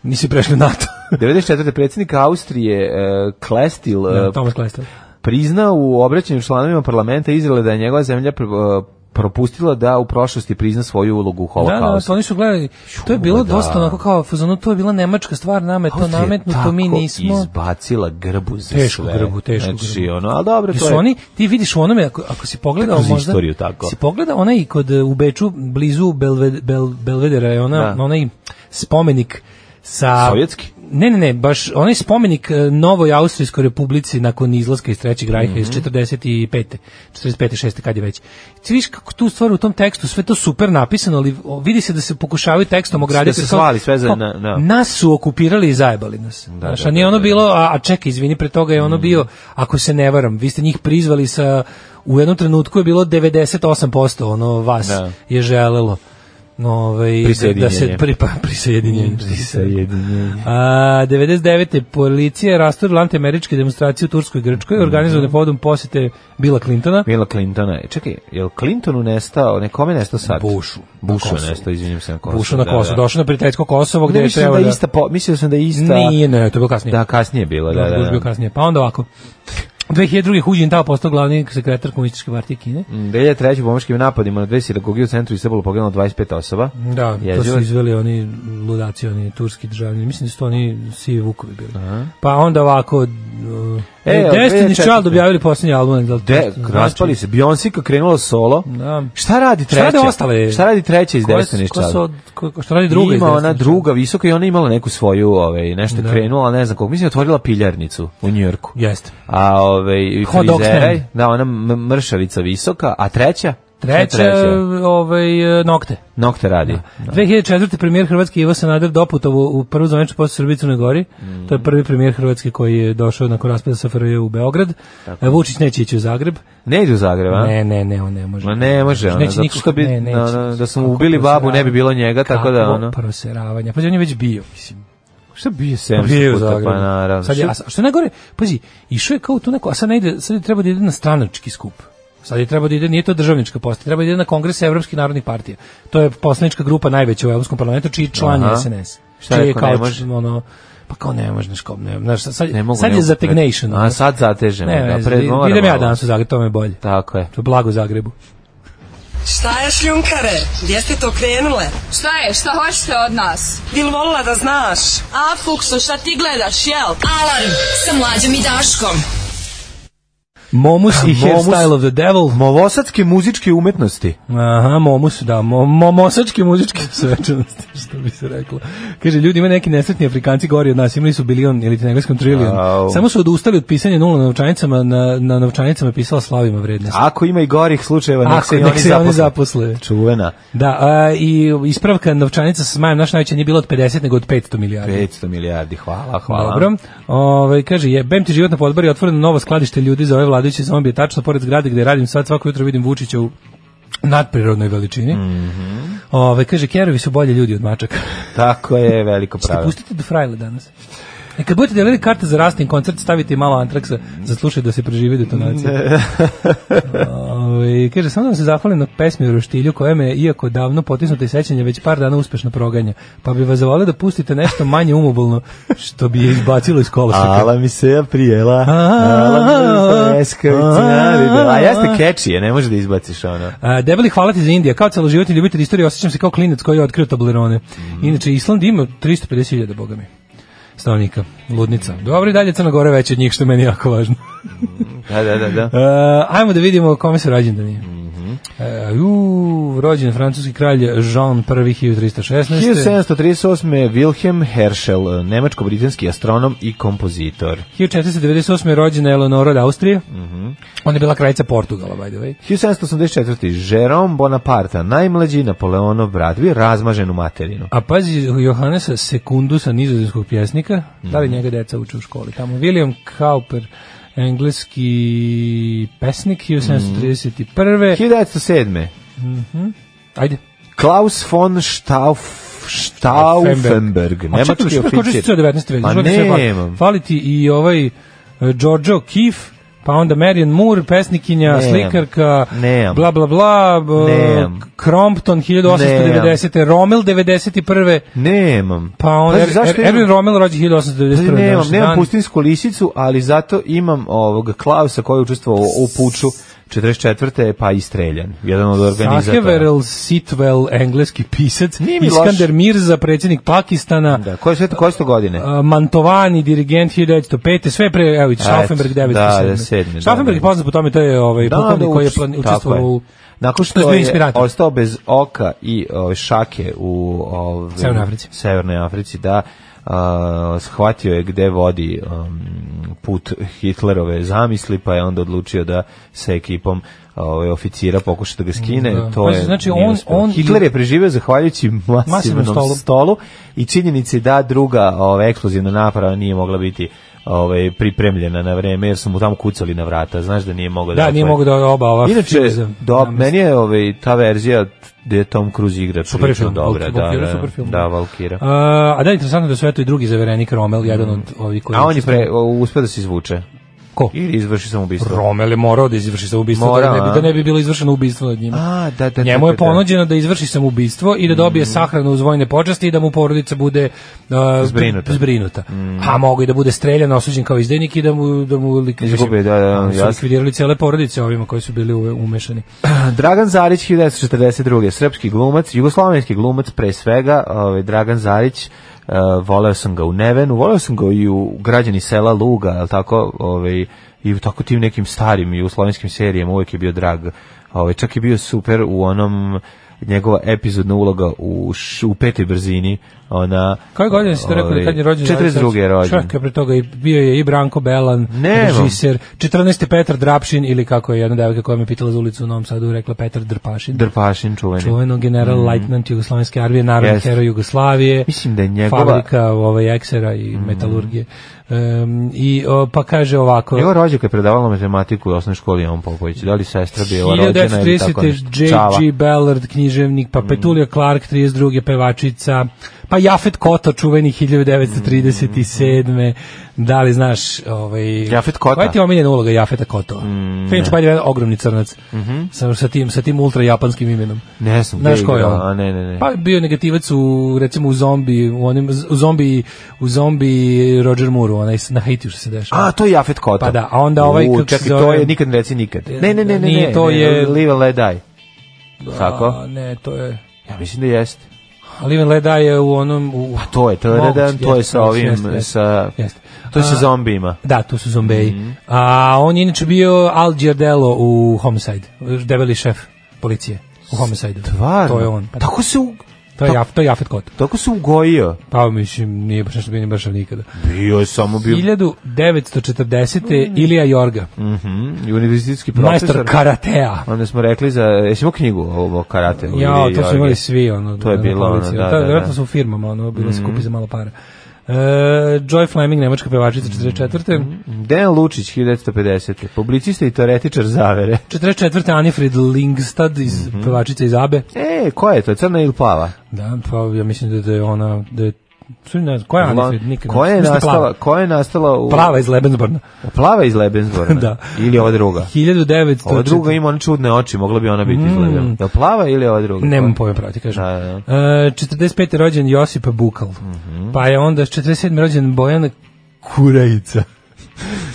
Nisu prešli u
[LAUGHS]
NATO.
94. predsjednik Austrije eh, Klestil eh,
Da, [LAUGHS] Thomas Klestel.
priznao u obraćanju članovima parlamenta Izraela da je njegova zemlja pr- eh, propustila da u prošlosti prizna svoju ulogu u
Da, da,
holokaustu.
to oni su gledali. To je bilo
da.
dosta onako kao fazonu, to je bila nemačka stvar, nama je to
Austrija je
nametnuto, mi
tako
nismo.
izbacila grbu za
Tešku
sve.
grbu, tešku
znači,
grbu.
Ono, ali dobro,
Jer
to
su
je...
oni, ti vidiš u onome, ako, ako si pogledao
kroz
možda...
istoriju tako.
Si pogledao onaj kod, e, u Beču, blizu Belved, Bel, Belvedera, je ona,
Da.
onaj spomenik sa...
Sovjetski?
ne, ne, ne, baš onaj spomenik e, Novoj Austrijskoj republici nakon izlaska iz Trećeg rajha iz
Mhm.
45. 45. 6. kad je već. Ti viš kako tu stvar u tom tekstu, sve to super napisano, ali o, vidi se da se pokušavaju tekstom ograditi.
se
kao-
svali sve za-
kao,
na- na.
Nas su okupirali i zajebali nas. Da, Znaš,
da,
a nije
da,
ono
da. Mm.
bilo, a, a čekaj, izvini, pre toga je ono bio, ako se ne varam, vi ste njih prizvali sa, u jednom trenutku je bilo 98% ono vas
Da.
je želelo. Ovaj, da, da se [LAUGHS]
Prisjedinjenje.
pripa prisjedinjenje. A, 99. policija je rasturila antiameričke demonstracije u Turskoj i Grčkoj, organizovane povodom posete Bila Clintona.
Mila Clintona. E, Čekaj, je li Clintonu nestao, ne, kome je nestao sad?
Bushu.
Bushu
Na
je
Kosovu.
nestao, izvinjam se na Kosovu.
Ušao na
da,
Kosovo,
da.
došao na prijateljsko Kosovo gde
Ne,
je
mislio sam
treba
da je
da...
ista, po, mislio sam da je ista...
Nije, ne, to je bilo kasnije.
Da, kasnije je bila, da, da.
Bush bio
da.
kasnije. Pa onda ovako. 2002. Hu Jintao postao glavni sekretar komunističke partije Kine.
Mm, 2003. u pomoškim napadima na dve sinagogije u centru Istanbulu poginulo 25 osoba.
Da, to
Jezivo.
su izveli oni ludaci, oni turski državljani. Mislim da su to oni sivi vukovi bili. Pa onda ovako... Uh,
E,
e,
od
Destiny
2004.
Child objavili posljednji album. Da, li to
De,
znači?
raspali se. Beyoncé kad krenula solo.
Da.
Šta radi
Šta
treća?
rade ostale?
Šta radi treća iz
Ko je-
Destiny's
ko su
Child?
od- ko- ko- Šta radi druga iz
ima ona
Destiny's Child?
druga visoka i ona je imala neku svoju ovaj nešto je
Da.
krenula ne znam koliko mislim je otvorila piljarnicu u Njujorku
Jeste.
a ovaj
Hot dog
frizeraj,
stand.
da ona m- mršavica visoka a treća
Treća, ovaj, e, nokte.
nokte radi
2004. premijer Hrvatske Ivo Sanader doputovo u prvu zvaničnu posetu Srbije i Crne Gori.
Mhm.
To je prvi premijer Hrvatske koji je došao nakon raspada SFRJ u Beograd. E, Vučić neće ići u Zagreb.
ne ide u Zagreb a
Ne, ne, ne, on ne može.
Ma ne može, ono,
Neće
zato
niko-
što bi-
ne, neće.
no, no, da smo
Kako
ubili babu, ne bi bilo
proseravanje.
njega, tako da,
Kakvo
ono.
proseravanje. Pa on je već bio, mislim.
šta bije
Pa
700
bio je u
puta
Zagrebu.
pa naravno
Sad je,
Šta-
a sa- što je najgore, pazi, išao je kao tu neko, a sad, ne ide, sad je treba da ide na stranački skup. Sad je treba da ide, nije to državnička posta, treba da ide na kongres Evropskih narodnih partija. To je poslanička grupa najveća u Evropskom parlamentu, čiji član je
Aha.
SNS.
Šta
čiji je
rekao, ne
kao,
može?
ono, pa kao ne možeš, kao ne, znaš, sad, sad,
ne mogu
sad je
ne mogu.
zategnation. ono.
a sad zatežemo
ne,
da
ne,
pred moramo
idem ja
ovo.
danas u Zagreb, to me je bolje.
tako je
To je blago Zagrebu.
Šta je šljunkare? Gdje ste to krenule?
Šta je? Šta hoćete od nas?
Bil volila da znaš?
A, Fuksu, šta ti gledaš, jel?
Alarm sa mlađom i Daškom.
[LAUGHS]
Momus i
Momus.
Hairstyle of the Devil.
movosadske muzičke umetnosti
Aha, momus, da, mo, mo, mosačke muzičke [LAUGHS] svečanosti, što bi se reklo. Kaže, ljudi, ima neki nesretni Afrikanci gori od nas, imali su bilion ili ti na engleskom trilion.
Au.
Samo su odustali od pisanja nula na novčanicama, na, na novčanicama je pisala slavima vrednost.
ako ima i gorih slučajeva nek
Ako,
se i
nek
oni
se i oni
zaposle,
zaposle.
čuvena
Da, a, i ispravka novčanica sa zmajem naš najveća nije bila od 50, nego od 500 milijardi.
500 milijardi hvala hvala
Dobro. Ovaj kaže jebem ti život na podbari, otvoreno novo skladište ljudi za ove vladajuće zombije, tačno pored zgrade gde radim sad svako jutro vidim Vučića u nadprirodnoj veličini. Ovaj, kaže kerovi su bolji ljudi od mačaka.
Tako je, veliko
Ste
pravo.
pustite do frajle danas. E kad budete delili karte za rastin koncert, stavite i malo antraksa za slušaj da se preživi detonacija. Ovaj, kaže, samo da vam se zahvalim na pesmi u Roštilju koja me, je, iako davno potisnuta i sećanja, već par dana uspešno proganja. Pa bi vas zavolio da pustite nešto manje umobolno, što bi je izbacilo iz koloseka.
Ala mi se ja prijela,
ala mi preskavica naribela.
A jeste catchy, je, ne može da izbaciš ono.
A, debeli hvala ti za Indija. Kao celoživotni ljubitelj istorije osjećam se kao klinac koji je otkrio Toblerone. Inače, Island ima 350.000, boga mi, stanovnika. Ludnica. Dobro, i dalje Crna Gora je veća od njih, što je meni jako važno.
Da, da, da. da.
E, ajmo da vidimo kome se rođendan je. E, u, rođen je francuski kralj Jean I 1316.
1738. je Wilhelm Herschel, nemačko-britanski astronom i kompozitor.
1498. je rođena Eleonora od Austrije. Ona je bila kraljica Portugala, by the way.
1784. Jerome Bonaparte, najmlađi Napoleonov brat, bio je razmažen u materinu.
A pazi Johannesa Sekundusa, nizozemskog pjesnika, da li njega deca uče u školi tamo? William Cowper, engleski pesnik, 1731.
1907.
Ajde.
Klaus von Stauf
A
Stauffenberg,
čekaj,
nemački
što preskočili ste
oficir.
sve 19. već?
Pa
Izvoli sve hvala.
nemam.
Fali ti i ovaj e, Giorgio Kif, pa onda Marion Moore, pesnikinja,
Nemam.
slikarka,
Nemam.
bla bla bla, b-
Nemam.
Crompton 1890. Rommel 91.
Nemam.
Pa on,
Pazi, zašto imam-
Erwin znači, Rommel rođe
Pazi,
1891.
nemam,
današnji
nemam
dan.
pustinsku lisicu, ali zato imam ovog Klausa koji je učestvovao u puču 44. pa i streljan. Jedan od organizatora.
Saheverel Sitwell, engleski pisac,
Nije mi loš.
Iskander Mirza, predsjednik Pakistana,
Da, koje sve to, koje su to godine?
a, Mantovani, dirigent 1905. Sve pre, evo, i Stauffenberg
eto,
907.
da, da, sedmi, da,
Stauffenberg je
da.
poznat po tome, to je ovaj,
Da,
pukovnik
da,
koji je
uč-
plan,
tako
učestvovao u...
Nakon
To je
što
bio
je
inspirator.
ostao bez oka i ove, šake u ove,
Severnoj Africi.
Severnoj Africi, da. a, shvatio je gde vodi um, put Hitlerove zamisli, pa je onda odlučio da sa ekipom ovaj oficira pokuša da ga skine,
Da.
to
Pazi,
je
znači,
nije
on-
uspelo.
on-
Hitler je preživeo zahvaljujući masivnom,
Masivnom
stolu.
stolu.
i činjenici da druga ova eksplozivna naprava nije mogla biti ovaj pripremljena na vreme jer su mu tamo kucali na vrata znaš da nije mogao
Da, nije
otvori.
mogu da oba ova
Inače,
fiza-
do,
da,
meni je ovaj, ta verzija gde je Tom Cruise igra
Super
prilično
film,
dobra.
Valk- Valkira,
da,
super film.
Da, Valkira. A,
A, a da je interesantno da su eto i drugi zaverenik Rommel, jedan od ovih koji...
Mm. on je pre, o, uspeo da se izvuče.
Ko?
I izvrši samoubistvo.
Rommel je morao da izvrši samoubistvo,
Morao,
da, ne bi,
a?
da ne bi bilo izvršeno ubistvo nad njima.
A, da, da,
Njemu
da,
je
da, da.
ponuđeno da izvrši samoubistvo i da
Mm.
dobije sahranu uz vojne počasti i da mu porodica bude uh,
Zbrinuta. Mm.
zbrinuta. A mogu i da bude streljan, osuđen kao izdajnik i da mu, da mu likvi-
Izgube, da, da,
su
jasno.
likvidirali cele porodice ovima koji su bili uve- umešani.
Dragan Zarić 1942. srpski glumac, jugoslovenski glumac pre svega, ovaj Dragan Zarić eh, voleo sam ga u Nevenu, voleo sam ga i u građani sela Luga, jel tako, ovaj i u tako tim nekim starim jugoslovenskim serijama uvek je bio drag. Ovaj čak je bio super u onom njegova epizodna uloga u š- u petoj brzini, ona
Koje godine si to rekao da kad je rođen?
Ovaj, 42. je rođen.
Čekaj, pre toga i bio je i Branko Belan,
Nemam.
režiser, 14. Petar Drapšin ili kako je jedna devojka koja me pitala za ulicu u Novom Sadu, rekla Petar Drpašin.
Drpašin čuveni.
čuveno general mm. Leitnant Jugoslovenske armije, narodni
Jeste.
heroj Jugoslavije.
Mhm. Mislim da je njegova- Mhm.
Fabrika ovaj, eksera i metalurgije. Um, I o, pa kaže ovako...
Njegova rođaka je predavala matematiku u osnovnoj školi Jovan Popović. Da li sestra bila rođena ili tako
1930.
nešto? Čava. Mhm.
J.G. Ballard, književnik, pa Petulija Clark, 32. pevačica, pa Jafet Koto, čuveni 1937. Da li znaš... Ovaj,
Mhm. Jafet Kota?
Koja ti je omiljena uloga Jafeta Koto? Mm, Finch, pa je ogromni crnac.
Mhm.
sa, sa, tim, sa tim ultra japanskim imenom.
Ne znam,
Znaš
gde
ko je
igrala?
on?
A, ne, ne, ne.
Pa bio je negativac u recimo u zombi, u onim u zombi, u zombi Roger Moore, onaj s- na Haitiju što se dešava.
A, to je Jafet Kota.
Pa da, a onda ovaj,
U,
kako se
čekaj,
zove-
to je nikad ne reci nikad. Ne, ne, ne, ne,
Nije,
ne,
to
ne,
je-
Live and Let Die. Tako?
ne, to je
Ja mislim da jeste.
Ali Ivan Leda je u onom u,
A to je, to je
Moguće,
Redan, to je
jeste,
sa ovim,
jeste, jeste,
sa...
jeste.
To je sa
A,
zombijima.
Da, tu su zombeji.
Mhm.
A on je inače bio Al Giardello u Homicide, debeli šef policije u Homicide.
Varno.
To je on. Pa,
Tako se, u-
to je Jaf, to je Jafet Kot.
tako se ugojio.
Pa mislim nije baš nešto bio ni baš nikada.
Bio je samo bio...
1940. Ilija Jorga,
Mhm, univerzitetski profesor.
majstor karatea.
Onda smo rekli za... Jesi imao knjigu ovo o karate?
Ja,
Ili
to su
Jorge?
imali svi, ono.
To je
na
bilo, ono,
polici. Ta-
da, da,
Vjerojatno
da. Mhm.
su u firmama, ono, bilo se kupi za malo para. E, Joy Fleming, nemačka
Mhm.
pevačica, 44.
Dejan Lučić, 1950. Publicista i teoretičar zavere.
44. Anifrid Lingstad, iz,
Mhm.
pevačica iz Abe.
E, koja je to? Crna ili plava?
Da, pa ja mislim da, da je ona, da je, sve ne znam, koja je
Blan-
Anifrid? Nikad, ne-
koja je
mislim da
nastala,
Plava.
koja je nastala u
Plava iz Lebensborna.
Plava iz Lebensborna.
[LAUGHS] Da.
Ili ova druga.
1900...
Ova druga ima one čudne oči, mogla bi ona biti iz Lebensborna. Je li plava ili ova druga?
Mm. Nemam pojma pravo ti kažem.
Da, da. Mhm.
E, 45. je rođen Josip Bukal. Pa je onda 47. rođen Bojan [LAUGHS] Kurajica.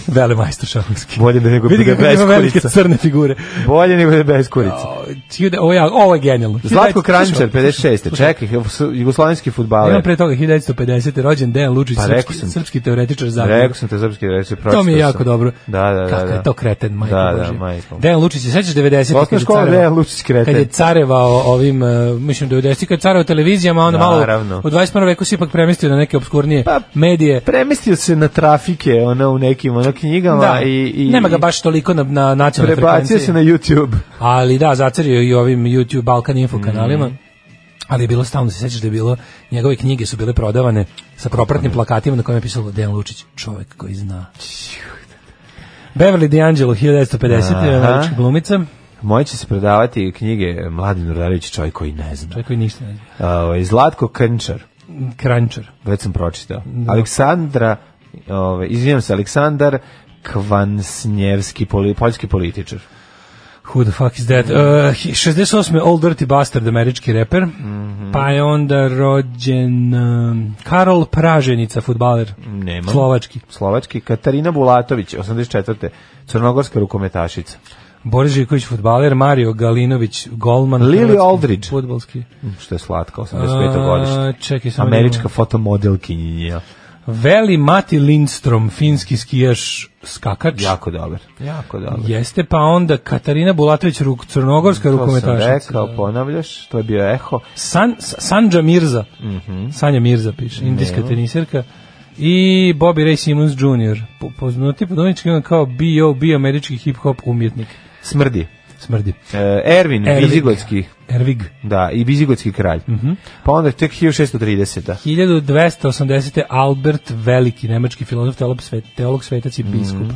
Vele majstor šahovski.
Bolje da nego
Vidi
bude
ga kako
bez
ima velike
kurica.
crne figure.
Bolje nego je bez kurice.
O, hiljade- Ovo, ja, ovo je genijalno.
Zlatko
1900
Kranjčar,
slušaj,
56. Čekaj, jugoslovenski
slušaj, Imam
futbaler.
pre toga 1950. rođen Dejan Lučić,
Pa rekao
srpski,
sam ti.
srpski teoretičar zagreba.
Rekao sam te srpski reći,
To mi je jako dobro.
Da, da, da.
Kako
da.
je to kreten, majko
Da, da,
Božje.
majko.
Dejan Lučić, se sećaš 90. kad
Osnovna
je
škola
carevao?
Dejan Lučić kreten.
Kad je carevao ovim, uh, mislim 90. kad je carevao televizijama, a onda malo
Naravno.
u 21. veku se ipak premestio na neke obskurnije
Pa,
medije.
Premestio se na trafike, ono, u nekim, ono, knjigama
Da,
i, i...
nema ga baš toliko na, na nacionalnoj frekvenciji.
Prebacio se na YouTube. [LAUGHS]
Ali da, zacario i ovim YouTube Balkan
Mhm.
Info kanalima. Ali je bilo stalno, se sećaš da je bilo, njegove knjige su bile prodavane sa propratnim plakatima na kojima je pisalo Dejan Lučić, čovek koji zna. Beverly D'Angelo, 1950.
Aha.
američka glumica.
Moje će se prodavati knjige Mladin Urdarević, čovjek koji ne zna.
Čovjek koji ništa ne zna.
Ovaj, Zlatko Krnčar,
Krančar.
već sam pročitao. Aleksandra, ovaj, izvijem se, Aleksandar Kvansnjevski, poli, poljski političar.
Who the fuck is
Mhm.
that? Uh, 68. Old Dirty Bastard, američki reper.
Mhm.
Pa je onda rođen um, Karol Praženica, futbaler.
Nemam.
Slovački.
Slovački, Katarina Bulatović, 84. Crnogorska rukometašica.
Boris Živković, futbaler. Mario Galinović, golman.
Lily
hrvatski
Aldridge.
Futbolski.
Što je slatka, 85. godište.
A, Čekaj, samo da
Američka
imam.
fotomodelkinja.
Veli Mati Lindstrom, finski skijaš skakač.
Jako dobar. Jako dobar.
Jeste, pa onda Katarina Bulatović, ruk, crnogorska
To sam
rukometašica.
rekao, ponavljaš, to je bio eho.
San, Sa- Sanđa Mirza.
Mhm.
Sanja Mirza piše, indijska teniserka. I Bobby Ray Simmons Jr. Po- Poznati po domaćički on kao B.O.B. američki hip-hop umjetnik.
Smrdi.
Smrdi.
E, Ervin,
Ervig.
Vizigotski.
Ervig.
Da, i Vizigotski kralj. Pa onda tek 1630.
1280. Albert Veliki, nemački filozof, teolog, svet, teolog svetac i biskup.
Mhm.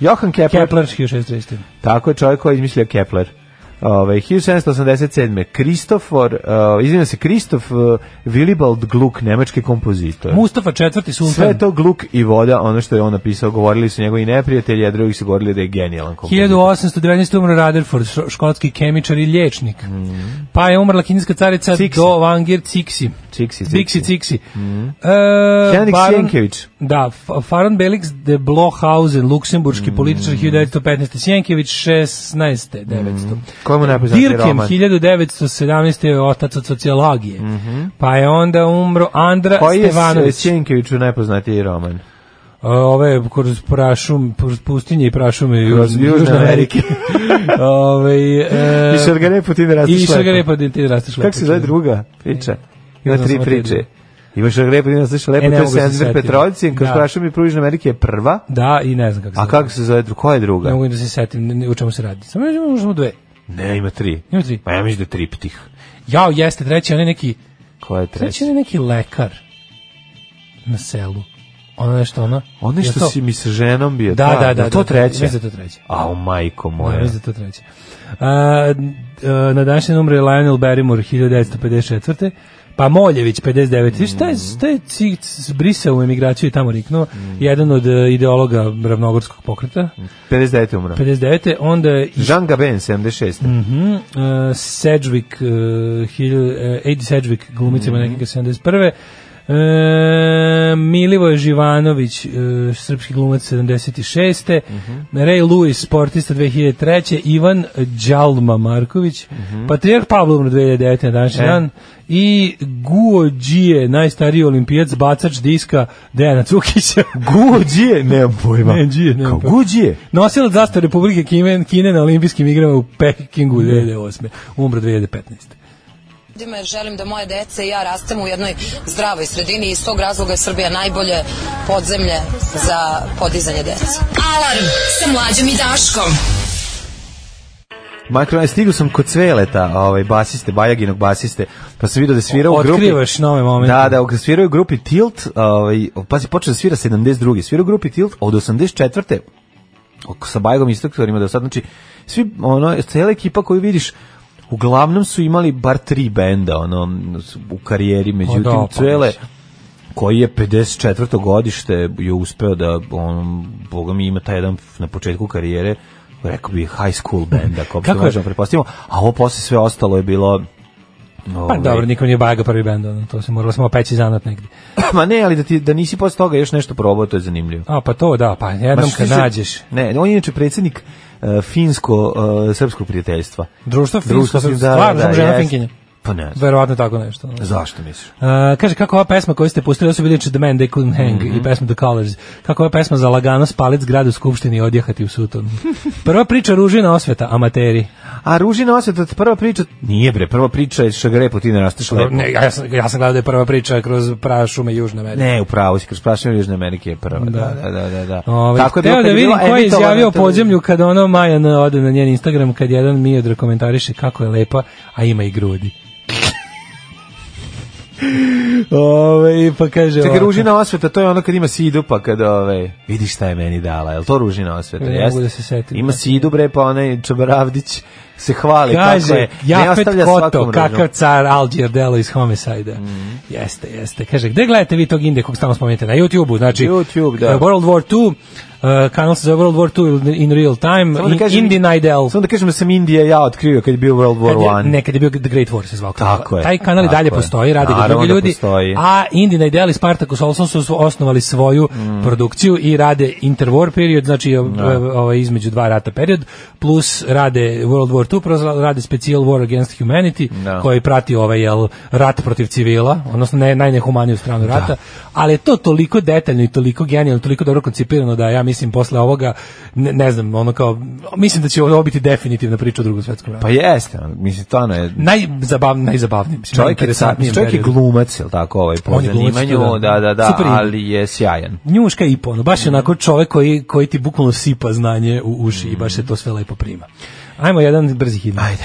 Johan Kepler,
Kepler, 1630.
tako je čovjek koji je izmislio Kepler. Ovaj, Ove, 1787. Kristofor, uh, izvinjam se, Kristof uh, Willibald Gluck, nemački kompozitor.
Mustafa IV. sultan.
Sve je to gluk i voda, ono što je on napisao, govorili su njegovi neprijatelji, a drugi su govorili da je genijalan kompozitor.
1819. umro Rutherford, šo- škotski kemičar i liječnik.
Mhm.
Pa je umrla kineska carica
Cixi.
Do Vangir Cixi.
Cixi,
Cixi.
Cixi.
Cixi. E,
Henrik
baron-
Mhm. Sienkiewicz.
Da, F- Faron Belix de Blochhausen, luksemburški
Mhm.
političar 1915. Sienkiewicz 16. 900.
Ko mu najpoznatiji
Dirkem
roman?
1917. je otac od sociologije. Pa je onda umro Andra
Mhm. Koji je
Stevanović.
Sjenkeviću najpoznatiji roman?
A, Ove kroz prašum, kroz pustinje i prašume
Kroz
Južne,
Južne
Južne Amerike.
[LAUGHS]
Ove, e,
I Šargarepo ti ne
I
rasteš lepo.
Šargarepa, ti rasteš lepo.
Kako se zove druga priča? Ima
znam
tri
samo te
priče.
dve.
Ima Šargarepo ti ne rasteš lepo,
E, ne
to je
mogu se
Senzir
setiti.
Petrovicin, kroz
Da.
prašom i Pružne Amerike je prva.
Da, i ne znam kako se
A
zove.
kako se zove druga? Koja je
Ne
druga?
mogu da se setim ne- ne- u čemu se radi. Samo možemo možemo dve.
Ne, ima tri.
Ima tri.
Pa ja mislim da je triptih.
Jao, jeste, treći, on je neki,
Koja je treća?
treći on je neki lekar na selu. Ono nešto, ono.
Ono
je
što
to?
si mi sa ženom bio.
Da,
ta,
da,
je
da.
To
da,
treće.
Mislim da je to treće.
Au, majko
Da,
moja.
mislim da je to treće. A, d- na današnji numre je Lionel Barrymore 1954. Pa Moljević 59. Mm. Šta je, šta je cig, brisao u emigraciju i tamo riknuo? Jedan od e, ideologa ravnogorskog pokreta.
59. umro.
59. Onda je
Jean Gabin, 76.
Mhm, uh, Sedgwick, uh, hilj- uh, Adi Sedgwick, glumica
Mhm.
ima nekega 71. E, Milivoje Živanović, e, srpski glumac 76.
Mhm.
Ray Lewis, sportista 2003. Ivan Đalma Marković,
Mhm.
Patrijarh Pavlo umro 2009. na
E.
današnji dan i Guo Đije, najstariji olimpijac, bacač diska Dejana Cukića.
Guđije, nemam pojma.
Ne, Đije, nemam
Kao
pojma.
Guđije.
Nosilac zastave Republike Kine, Kine na olimpijskim igrama u Pekingu 2008. Umro 2015.
ljudima jer želim da moje dece i ja rastemo u jednoj zdravoj sredini i iz tog razloga je Srbija najbolje podzemlje za podizanje dece.
Alarm sa mlađom i Daškom.
Makro, stigu sam kod Cveleta, ovaj basiste, Bajaginog basiste, pa sam vidio da svira u grupi.
Otkrivaš nove momente.
Da, da, svirao je u grupi Tilt, ovaj, pazi, počeo da svira 72. Svirao u grupi Tilt od 84. Oko- sa Bajagom i instruktorima do sad, znači, svi, ono, cijela ekipa koju vidiš, uglavnom su imali bar tri benda, ono, u karijeri, međutim,
da, pa
Cvele,
mislim.
koji je 54. godište je uspeo da on boga mi ima taj jedan na početku karijere rekao bi high school band ako
Kako
Kako
je?
možemo pretpostavimo a ovo posle sve ostalo je bilo
Pa
ovaj,
dobro, niko nije Bajaga prvi bend, ono, to se moralo samo peći zanat negdje.
[CLEARS THROAT] ma ne ali da ti da nisi posle toga još nešto probao to je zanimljivo
A pa to da, pa jednom
Ma,
kad
što se-
nađeš.
ne on je inače predsjednik eh, finsko eh, srpskog prijateljstva
Društvo
Društvo
Finsko,
fin-
sam
da,
stvarno
da,
sam žena
jest.
Finkinja.
pa ne znam.
Verovatno tako nešto. ono.
zašto misliš
A, kaže, kako ova pesma koju ste pustili, da su bili inače The Man They Couldn't Hang
Mhm.
i pesma The Colors, kako ova pesma za lagano spaliti zgradu u Skupštini i odjehati u suton. Prva priča ružina osveta, amateri.
a ružina osveta prva priča nije bre prva priča je šagrepo ti ne rasteš lepo
Ne, ja, sam, ja sam gledao da je prva priča kroz prašume Južne Amerike.
Ne, upravo si, kroz prašnje Južne Amerike je prva. Da, da, da. da, da.
Ove, teo
bilo kad
Ovaj, da vidim
bila
ko je
emitovana
izjavio
na
podzemlju kad ono Maja N. ode na njen Instagram kad jedan Miodra komentariše kako je lepa, a ima i grudi. [LAUGHS] Ove, pa kaže
Čekaj,
ovako.
ružina osveta, to je ono kad ima sidu, pa kad ove, vidi šta je meni dala, je li to ružina osveta?
Ne
Jeste?
mogu da se setim. znači.
Ima sidu, bre, pa onaj Čabaravdić se hvali kako
Kaže,
je, ne
Jafet
ostavlja
Koto,
svakom Mhm.
kakav
ružnu.
car Algier Delo iz Homicide. Jeste, jeste. Kaže, gde gledate vi tog Indije kog stalno spomenete? Na YouTube-u, znači
YouTube, da.
World War II, Uh, kanal se zove World War II in real time,
Samo da
in-
kažem-
Indie Night Owl.
Samo da kažem da sam Indija ja otkrio kad je bio World War
Kad je-
One.
Ne, kad je bio The Great War se zvao. kanal.
Tako je,
Taj kanal i
tako
dalje
je.
postoji, radi ga
Naravno
drugi
da
ljudi.
postoji.
A Indina i Deli Spartacus Olson su su osnovali svoju
Mm.
produkciju i rade interwar period, znači o- o- ovaj između dva rata period, plus rade World War II, plus rade Special War Against Humanity, koji prati ovaj jel, rat protiv civila, odnosno ne, najnehumaniju stranu rata, ali je to toliko detaljno i toliko genijalno, toliko dobro koncipirano da ja mislim posle ovoga, ne, ne znam, ono kao, mislim da će ovo biti definitivna priča o drugom svetskom ratu
Pa jeste, ono, mislim, stvarno je...
najzabavniji najzabavniji mislim
Čovjek je,
najinteresantniji
čovjek je
period.
glumac, je li tako, ovaj, po
On je glumac,
zanimanju,
da.
da, da, da,
Super je.
ali je sjajan.
njuška i pono baš je onako čovjek koji koji ti bukvalno sipa znanje u uši i baš se to sve lepo prima ajmo jedan brzi hit ajde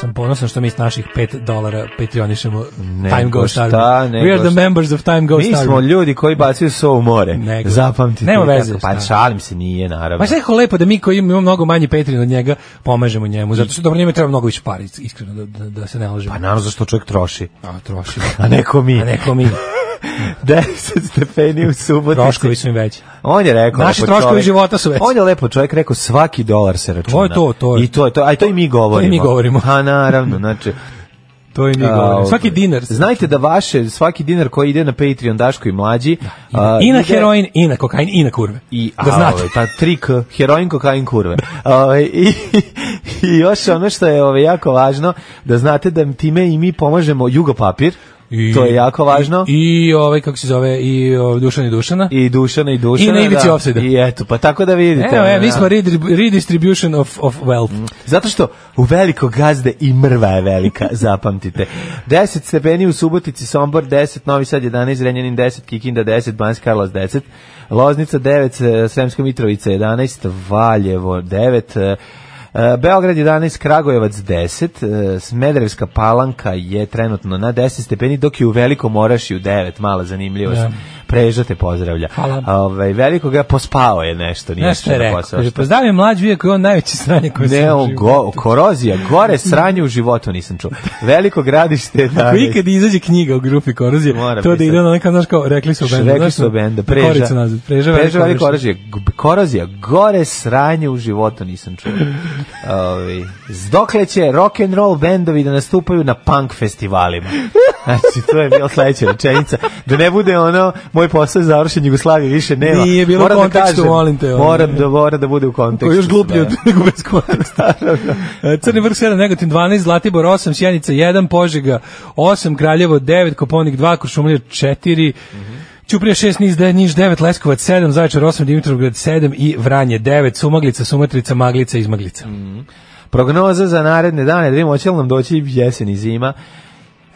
sam ponosan što mi iz naših 5 dolara patronišemo Time Go
Nego
Star.
šta, nego
We are the
šta.
members of Time Go
Mi
Star.
smo ljudi koji bacaju so u more.
Nego.
Zapamtite.
Nema
kako.
veze, šta.
Pa šalim se, nije, naravno.
Pa sve kako lepo da mi koji imamo mnogo manji Patreon od njega pomažemo njemu, zato što dobro njemu treba mnogo više para, iskreno da, da, da se ne lažemo.
Pa naravno zašto čovjek troši. [LAUGHS]
A, troši.
A neko mi.
A neko mi.
10 stepeni u subotici.
Troškovi su im veći.
On je rekao
Naši
lepo
troškovi
čovjek-
života su veći.
On je lepo čovjek rekao svaki dolar se računa.
To je to, to je.
I to je to, a to i mi govorimo.
mi govorimo.
A naravno,
[LAUGHS]
znači
To im mi
a,
govorimo.
ovaj,
Svaki dinar.
Znajte da vaše svaki dinar koji ide na Patreon Daško i mlađi a,
I na
ide-
heroin, i na kokain, i na kurve.
i
da
a,
znate.
ovaj, pa trik heroin kokain kurve. [LAUGHS] Ovaj i, i još ono što je ovaj jako važno da znate da time i mi pomažemo Jugo papir.
I-
to je jako važno. I,
I, i ovaj, kako se zove, i ovaj, Dušan i Dušana.
Dušana i Dušana.
I na ivici
da.
ofsajda.
I eto, pa tako da Mm, vidite.
Evo, e,
ono,
mi smo redri- redistribution of, of wealth.
Zato što u veliko gazde i mrva je velika, [LAUGHS] zapamtite. 10 stepeni u Subotici, Sombor 10, Novi Sad 11, Renjanin 10, Kikinda 10, Banjska Karlovac 10, Loznica 9, eh, Sremska Mitrovica 11, Valjevo 9, eh, eh, Beograd 11, Kragujevac 10, eh, Smederevska palanka je trenutno na 10 stepeni, dok je u Velikom Orašiju 9, mala zanimljivost.
Da.
Preža te pozdravlja.
Hvala.
Ovaj, veliko ga pospao je nešto, nije
Znaš što je
išao na
rekao?
posao.
Kaže,
Šta-
pozdravim mlađu, iako je on najveći sranje koje
ne,
sam u
o,
životu.
go, korozija,
[LAUGHS]
gore sranje u životu nisam čuo. Veliko gradište da.
Ako ikad izađe knjiga u grupi Korozije,
Mora
to da
pisati.
ide na neka, znaš kao, rekli su benda.
Rekli
znaš, ono,
su benda, preža.
Koricu nazad, preža,
preža
veliko
veliko oružje. G- Korozija, gore sranje u životu nisam čuo. Ovi. Zdokle će rock and roll bendovi da nastupaju na punk festivalima. Znači, to je bila sledeća rečenica. Da ne bude ono, moj posao je završen, Jugoslavije više nema.
Nije bilo u
Moram da
kontekstu,
kažem,
molim te, ono.
Moram da, mora da bude u kontekstu.
Koji je još gluplji od
Da.
nego bez
[LAUGHS]
konteksta. E, Crni vrh 7, Negotin 12, Zlatibor 8, Sjenica 1, Požega 8, Kraljevo 9, Koponik 2, Kuršumlija 4, Ćuprija 6, Niš 9, Niš 9, Leskovac 7, Zaječar 8, Dimitrovgrad 7 i Vranje 9, Sumaglica, Sumatrica, Maglica, Izmaglica.
Mm, Prognoza za naredne dane, da vidimo hoće li nam doći jesen i zima.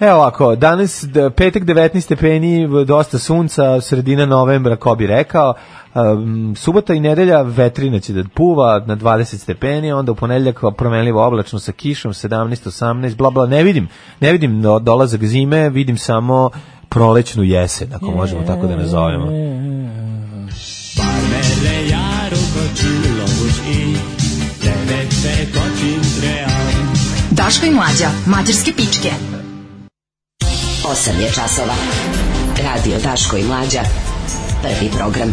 Evo ovako, danas d- petak 19 stepeni, dosta sunca, sredina novembra, ko bi rekao. Um, subota i nedelja vetrina će da puva na 20 stepeni, onda u ponedeljak promenljivo oblačno sa kišom, 17, 18, bla bla, ne vidim, ne vidim do- dolazak zime, vidim samo prolećnu jesen, ako možemo tako da nazovemo.
Daško i mlađa, mađarske pičke.
8 je časova. Radio Daško i Mlađa. Prvi program.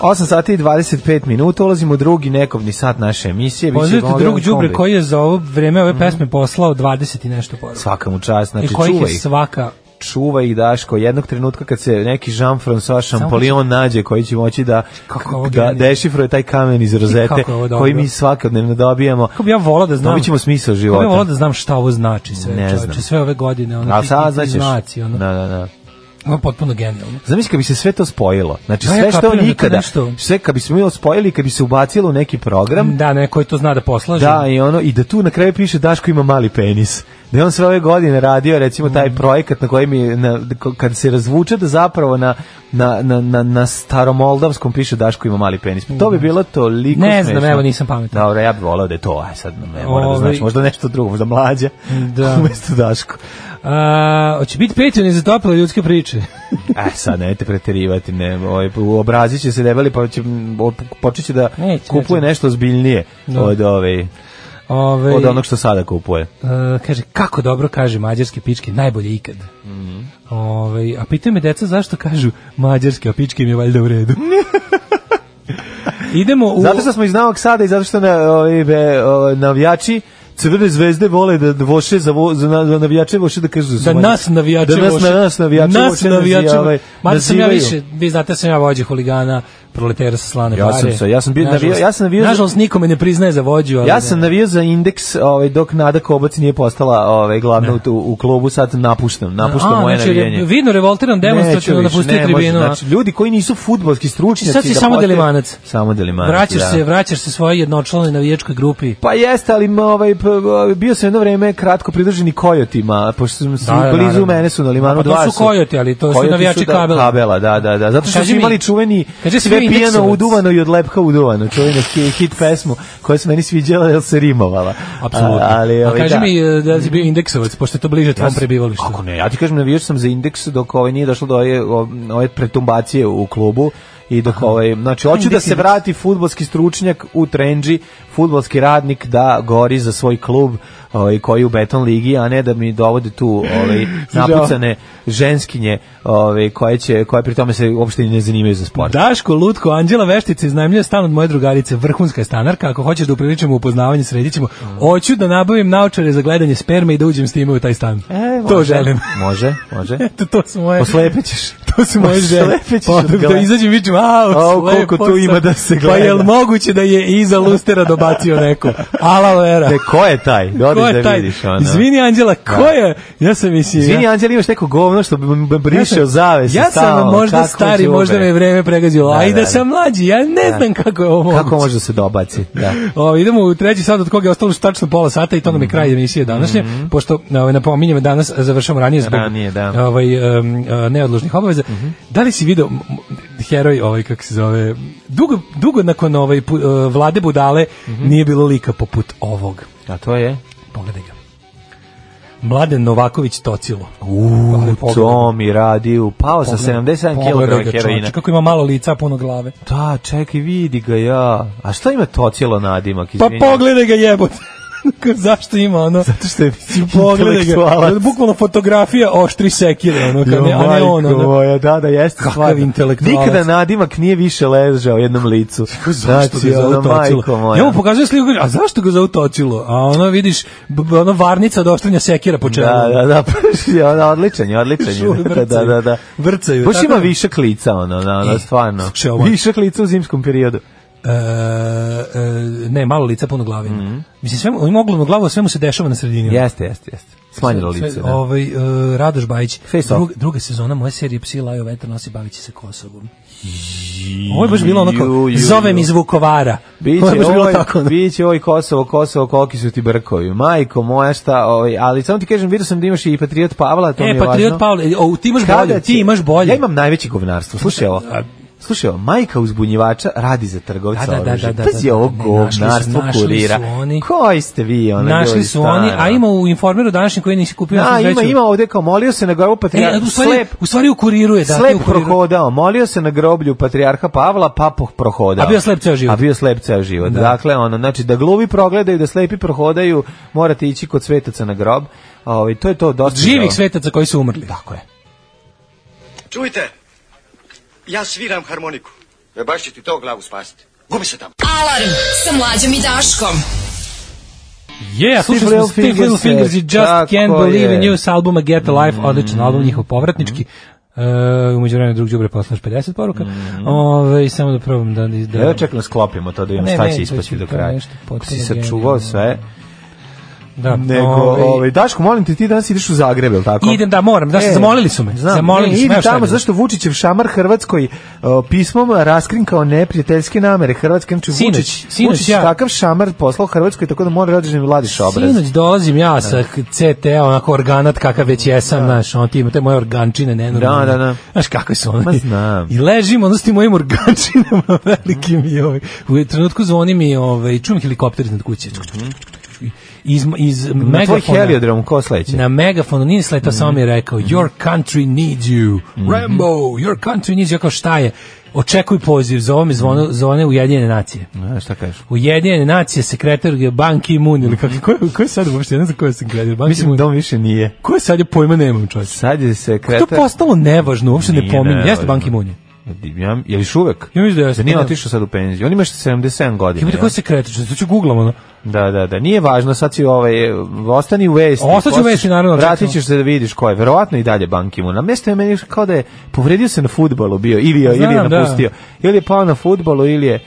8 sati i 25 minuta, ulazimo u drugi nekovni sat naše emisije. Biće
Pozdravite
Golden
drug Đubre
ovaj Kombi. Mhm.
koji je za ovo vreme ove pesme poslao 20 i nešto poruka.
Svaka mu čast,
I
znači
E, kojih
čuva
je
ih,
svaka
čuva ih Daško. Jednog trenutka kad se neki Jean-François Champollion nađe koji će moći da,
Kako je ovo
da
genijalno.
dešifruje taj kamen iz rozete
Kako je ovo dobro.
koji mi svakodnevno dobijamo.
Kako bi ja volao da znam?
Dobit ćemo smisao života.
Kako bi ja volao da znam šta ovo znači sve,
Ne
ne
znam.
sve ove godine, ono,
A
ti-
sad
ti
znaćeš.
znaci, ono,
Da, da, da.
ono je potpuno genijalno.
Zamisli kad bi se sve to spojilo. Znači
Da, Pa ja
sve što
kapiram da to
nikada,
nešto-
sve kad bismo mi spojili, i kad bi se ubacilo u neki program,
Da, neko je to zna da poslaže.
Da, i ono i da tu na kraju piše Daško ima mali penis. Da je on sve ove godine radio recimo
Mm.
taj projekat na kojem je na, ko- kad se razvuče da zapravo na na na na, na staromoldavskom piše Daško ima mali penis. Pa to bi bilo toliko
Mm. Ne znam,
smešno.
evo, nisam pametan.
Dobro, ja bih voleo da je to, aj sad ne mora da
Ovaj-
znaš, možda nešto drugo, možda mlađa.
Da.
[LAUGHS] Umesto Daško. [LAUGHS]
A, hoće biti Patreon i za tople ljudske priče.
E, sad nemojte preterivati, ne, ovaj, obrazit će se debeli, pa će, počet će da
Neće,
kupuje
neće.
nešto zbiljnije
Da.
od, ove,
Ove,
od onog što sada kupuje.
E, kaže, kako dobro kaže mađarske pičke, najbolje ikad.
Mhm.
Ovaj, a pitaju me deca zašto kažu mađarske, a pičke im je valjda u
[LAUGHS]
redu. Idemo u...
Zato što smo iz Novog Sada i zato što na, ovaj, be, o, navijači Crvene zvezde vole da voše za, vo, za, na- za navijače voše da kažu
Da nas navijače
da nas,
voše.
na nas navijače
nas
voše
navijače
nazivaju-
Mada sam ja
nazivaju.
više, vi znate da sam ja vođe huligana, proletera sa slane
Ja sam
bare.
se- ja sam bio
Nažalost-
navija- ja sam navijao za-
Nažalost, nikome ne priznaje za vođu. Ali
Ja
ne.
sam navijao za indeks ovaj, dok Nada Kobac nije postala ovaj, glavna u, u klubu, sad napuštam, napuštam moje
znači,
navijenje.
Vidno revoltiran
Neću
demonstrativno
više,
napustio
ne može,
tribinu. a?
znači, ljudi koji nisu fudbalski stručnjaci.
Sad si
da
samo
postaju-
delimanac.
Samo delimanac,
Vraćaš
da.
se, vraćaš se svojoj jednočlanoj navijačkoj grupi.
Pa jeste, ali m, ovaj, p- b- bio sam jedno vreme kratko pridruženi kojotima, pošto sam da,
da,
blizu
naravno.
mene su na
A
limanu
to
dva.
su kojoti, ali to su
Kojoti
navijači
da-
kabela.
Kabela, da, da, da. Zato što
Kaži
su
mi-
imali čuveni
kaži si
sve
bio
pijano
indeksovac.
uduvano i od lepka uduvano, čuveni hi- hit pesmu koja se meni sviđala jer se rimovala.
Apsolutno.
A, ali,
A
ovaj,
kaži
da.
mi e, da si bio indeksovac, pošto je to bliže tvom prebivalištu.
Kako ne, ja ti kažem, navijač sam za indeks dok ovaj nije došlo do ove, o- ove pretumbacije u klubu i dok ovaj, znači, hoću da
Indeks,
se
indeks.
vrati futbolski stručnjak u trenđi, futbolski radnik da gori za svoj klub ovaj, koji je u beton ligi, a ne da mi dovode tu
[LAUGHS]
ovaj, napucane ženskinje ovaj, koje, će, koje pri tome se uopšte i ne zanimaju za sport.
Daško Lutko, Anđela Veštica iznajmljuje stan od moje drugarice, vrhunska je stanarka, ako hoćeš da upriličimo upoznavanje, sredit ćemo. Hoću da nabavim naučare za gledanje sperme i da uđem s time u taj stan.
E,
to
može,
želim. [LAUGHS]
Može, može.
Eto, to su moje...
Poslepećeš.
[LAUGHS] To su moje želje.
Poslepećeš
Pa,
od
da
gale-
izađem i vidim, a,
Au, koliko tu ima da se gleda."
Pa jel moguće da je iza lustera dobacio neko? Ala vera.
Ne, e, ko je taj? Dodi
Ko je
da
taj?
vidiš. ono.
Izvini, Anđela, ko je? Ja sam mislio...
Izvini,
ja-
Anđel, imaš neko govno što bi- bi briše od zavese.
Ja sam
stalno,
možda
kako
stari,
đubre.
možda me je vreme pregazilo,
Da,
a i
da,
da
da.
sam mlađi, ja ne znam kako je ovo moguće.
Kako može da se dobaci? Da.
O, idemo u treći sat od koga je ostalo još tačno pola sata i to nam je kraj emisije današnje, pošto ovaj, napominjem danas završamo ranije zbog
Mhm. Ranije, da. Mhm.
ovaj, em, e, neodložnih obaveza. Da li si video m, m, heroj, ovaj, kako se zove, dugo, dugo nakon ovaj, pu- e, vlade budale
Mhm.
nije bilo lika poput ovog.
A to je?
Pogledaj ga. Mladen Novaković Tocilo. Ali
U,
pogledaj.
to mi radi, upao sa
Pogledaj.
77
Pogledaj
kg
ga,
heroina.
čoveče, Kako ima malo lica, a puno glave. Pa
Da, čekaj, vidi ga ja. A šta ima to cijelo nadimak?
Pa
Izvinjam.
pogledaj ga jebote. [LAUGHS] Zašto ima ono?
Zato što je [LAUGHS]
Pogledaj ga.
intelektualac.
Bukvalno fotografija oštri sekire, ono, kad ne, a ne
majko
on, ono.
moja, da, da, jeste
Kakav
stvarno.
intelektualac.
Nikada nadimak nije više ležao jednom
[LAUGHS]
licu.
Zašto ga
ono,
zovu
majko
tocilo?
moja.
Ja mu pokazujem sliku, kaže, a zašto ga zovu tocilo? A ono, vidiš, b- b- ono varnica od oštrenja sekira po čelu.
Da,
[LAUGHS]
da, [LAUGHS] da, paš, je ona odličan je, odličan
Šur,
je. Da, da, da, da.
Vrcaju.
Baš
Tako
ima
da-
višak lica, ono, ono, ono,
E,
stvarno.
slušaj ovo.
Višak lica u zimskom periodu.
E, e, ne, malo lica, puno glave. ima.
Mhm.
Mislim, sve, on ima ogromnu glavu, a sve mu se dešava na sredini.
Jeste, jeste, jeste. Smanjilo
Sve-
lice. da.
Ovaj, e, Radoš Bajić.
Face off.
druga sezona moje serije Psi laju vetar nosi bavit će se Kosovom. Ovo je baš bilo ono
Ju,
kao,
ju, ju.
zovem iz Vukovara.
Biće
Ovo je baš bilo
oj,
tako. ono.
biće oj Kosovo, Kosovo, koliki su ti brkovi. Majko moja šta, ovaj, ali samo ti kažem, vidio sam da imaš i Patriot Pavla, to mi
E,
je
Patriot
važno.
Pavle, o, ti imaš
Kada
bolje,
će-
ti imaš bolje.
Ja imam najveće govnarstvo. Slušaj ovo.
A-
Slušaj, ovo, majka uzbunjivača radi za trgovca
Da, da, da, da,
oružja.
da,
Pazi
da, da,
ovo
ne, našli su-
govnarstvo
našli su
kurira.
oni.
Koji ste vi, ona
Našli
ljudi,
su oni,
stvarno?
a ima u informeru današnji koji nisi kupio.
Da,
nisam
ima,
sreću.
ima ovde kao molio se na grobu
E,
patrijarha.
u stvari,
slep,
u stvari u kuriru je, da, to je u
slep
kuriru.
prohodao. Molio se na groblju patrijarha Pavla, pa poh- prohodao.
A bio slep ceo život.
A bio slep ceo život.
Da.
Dakle, ono, znači, da gluvi progledaju, da slepi prohodaju, morate ići kod svetaca na grob. Ovaj, to je to dosta.
Živih
žao.
svetaca koji su umrli.
Tako je.
Čujte, ja sviram harmoniku. E baš će ti to glavu spasiti. Gubi se tamo.
Alarm sa mlađom i Daškom.
Yeah, slušali smo
Little
Steve Little
Fingers je-
Fingers i Just
tako
Can't Believe in
je. Mhm.
You s albuma Get a Life, odličan album, njihov povratnički. Uh, umeđu vremena drug đubre poslaš 50 poruka. Ove, samo da probam da... da
Evo Mhm. čekam E, da sklopimo to da vidimo
Ne,
šta
ne,
će
to
ispasti
će
do
to
kraja.
nešto
Ako si
potpuno
sačuvao
genijalno.
sve.
da,
Nego,
ovaj,
ovaj, Daško, molim te, ti danas ideš u Zagreb, jel tako?
Idem, da, moram, da, zamolili su me,
Znam,
zamolili
ne,
su me,
idi
evo šta
tamo,
je bilo.
zašto Vučićev šamar Hrvatskoj uh, pismom raskrinkao neprijateljske namere Hrvatske, znači
Sinoć,
Vučić,
sinoć
Vučić
ja.
takav šamar poslao Hrvatskoj, tako da mora rođeni vladiš obraz.
Sinoć dolazim ja sa CT, onako organat kakav već jesam, znaš, on ti ima te moje organčine nenormalne.
Da, da, da.
Znaš kako su
Ma
one.
znam.
I ležim, ono s tim mojim organčinama [LAUGHS] velikim i ovaj. U trenutku zvoni mi, ovaj, čujem helikopter iznad kuće. Čuk, čuk, čuk, čuk, čuk. iz, iz
Mhm. Na tvoj
megafona.
heliodrom, ko sleće?
Na megafonu, nije sletao, samo mi je
Mhm.
rekao Your country needs you, Rambo, your country needs you, ja kao šta je? Očekuj poziv, zove me zvone, zvone Ujedinjene nacije.
A, šta kažeš?
Ujedinjene nacije, sekretar je Ban Ki-moon, ili kako, ko, ko je sad uopšte, ja ne znam ko je sekretar, Ban
Mislim
Ki-moon.
da on više nije.
Ko je sad, ja pojma nemam čovječ.
Sad je sekretar...
To je postalo nevažno, uopšte ne
Nije
pominje.
nevažno.
Jeste Ban Ki-moon je.
Ja, je li još uvek?
Ja mislim da jeste, Pa
Da nije
da.
otišao sad u penziju. On ima što 77 godina.
Imate
ja.
koji sekretar, što ću googlam ono.
Da, da, da. Nije važno, sad si ovaj, e, ostani u vesti.
Ostaću u
Posle-
vesti, naravno,
Vratit
čekamo.
ćeš se da vidiš ko je. Verovatno i dalje Ban Ki-moon. Na mesto je meni kao da je povredio se na futbolu bio, ili je, ili je
Znam, da.
napustio. Ili je pao na futbolu, ili je...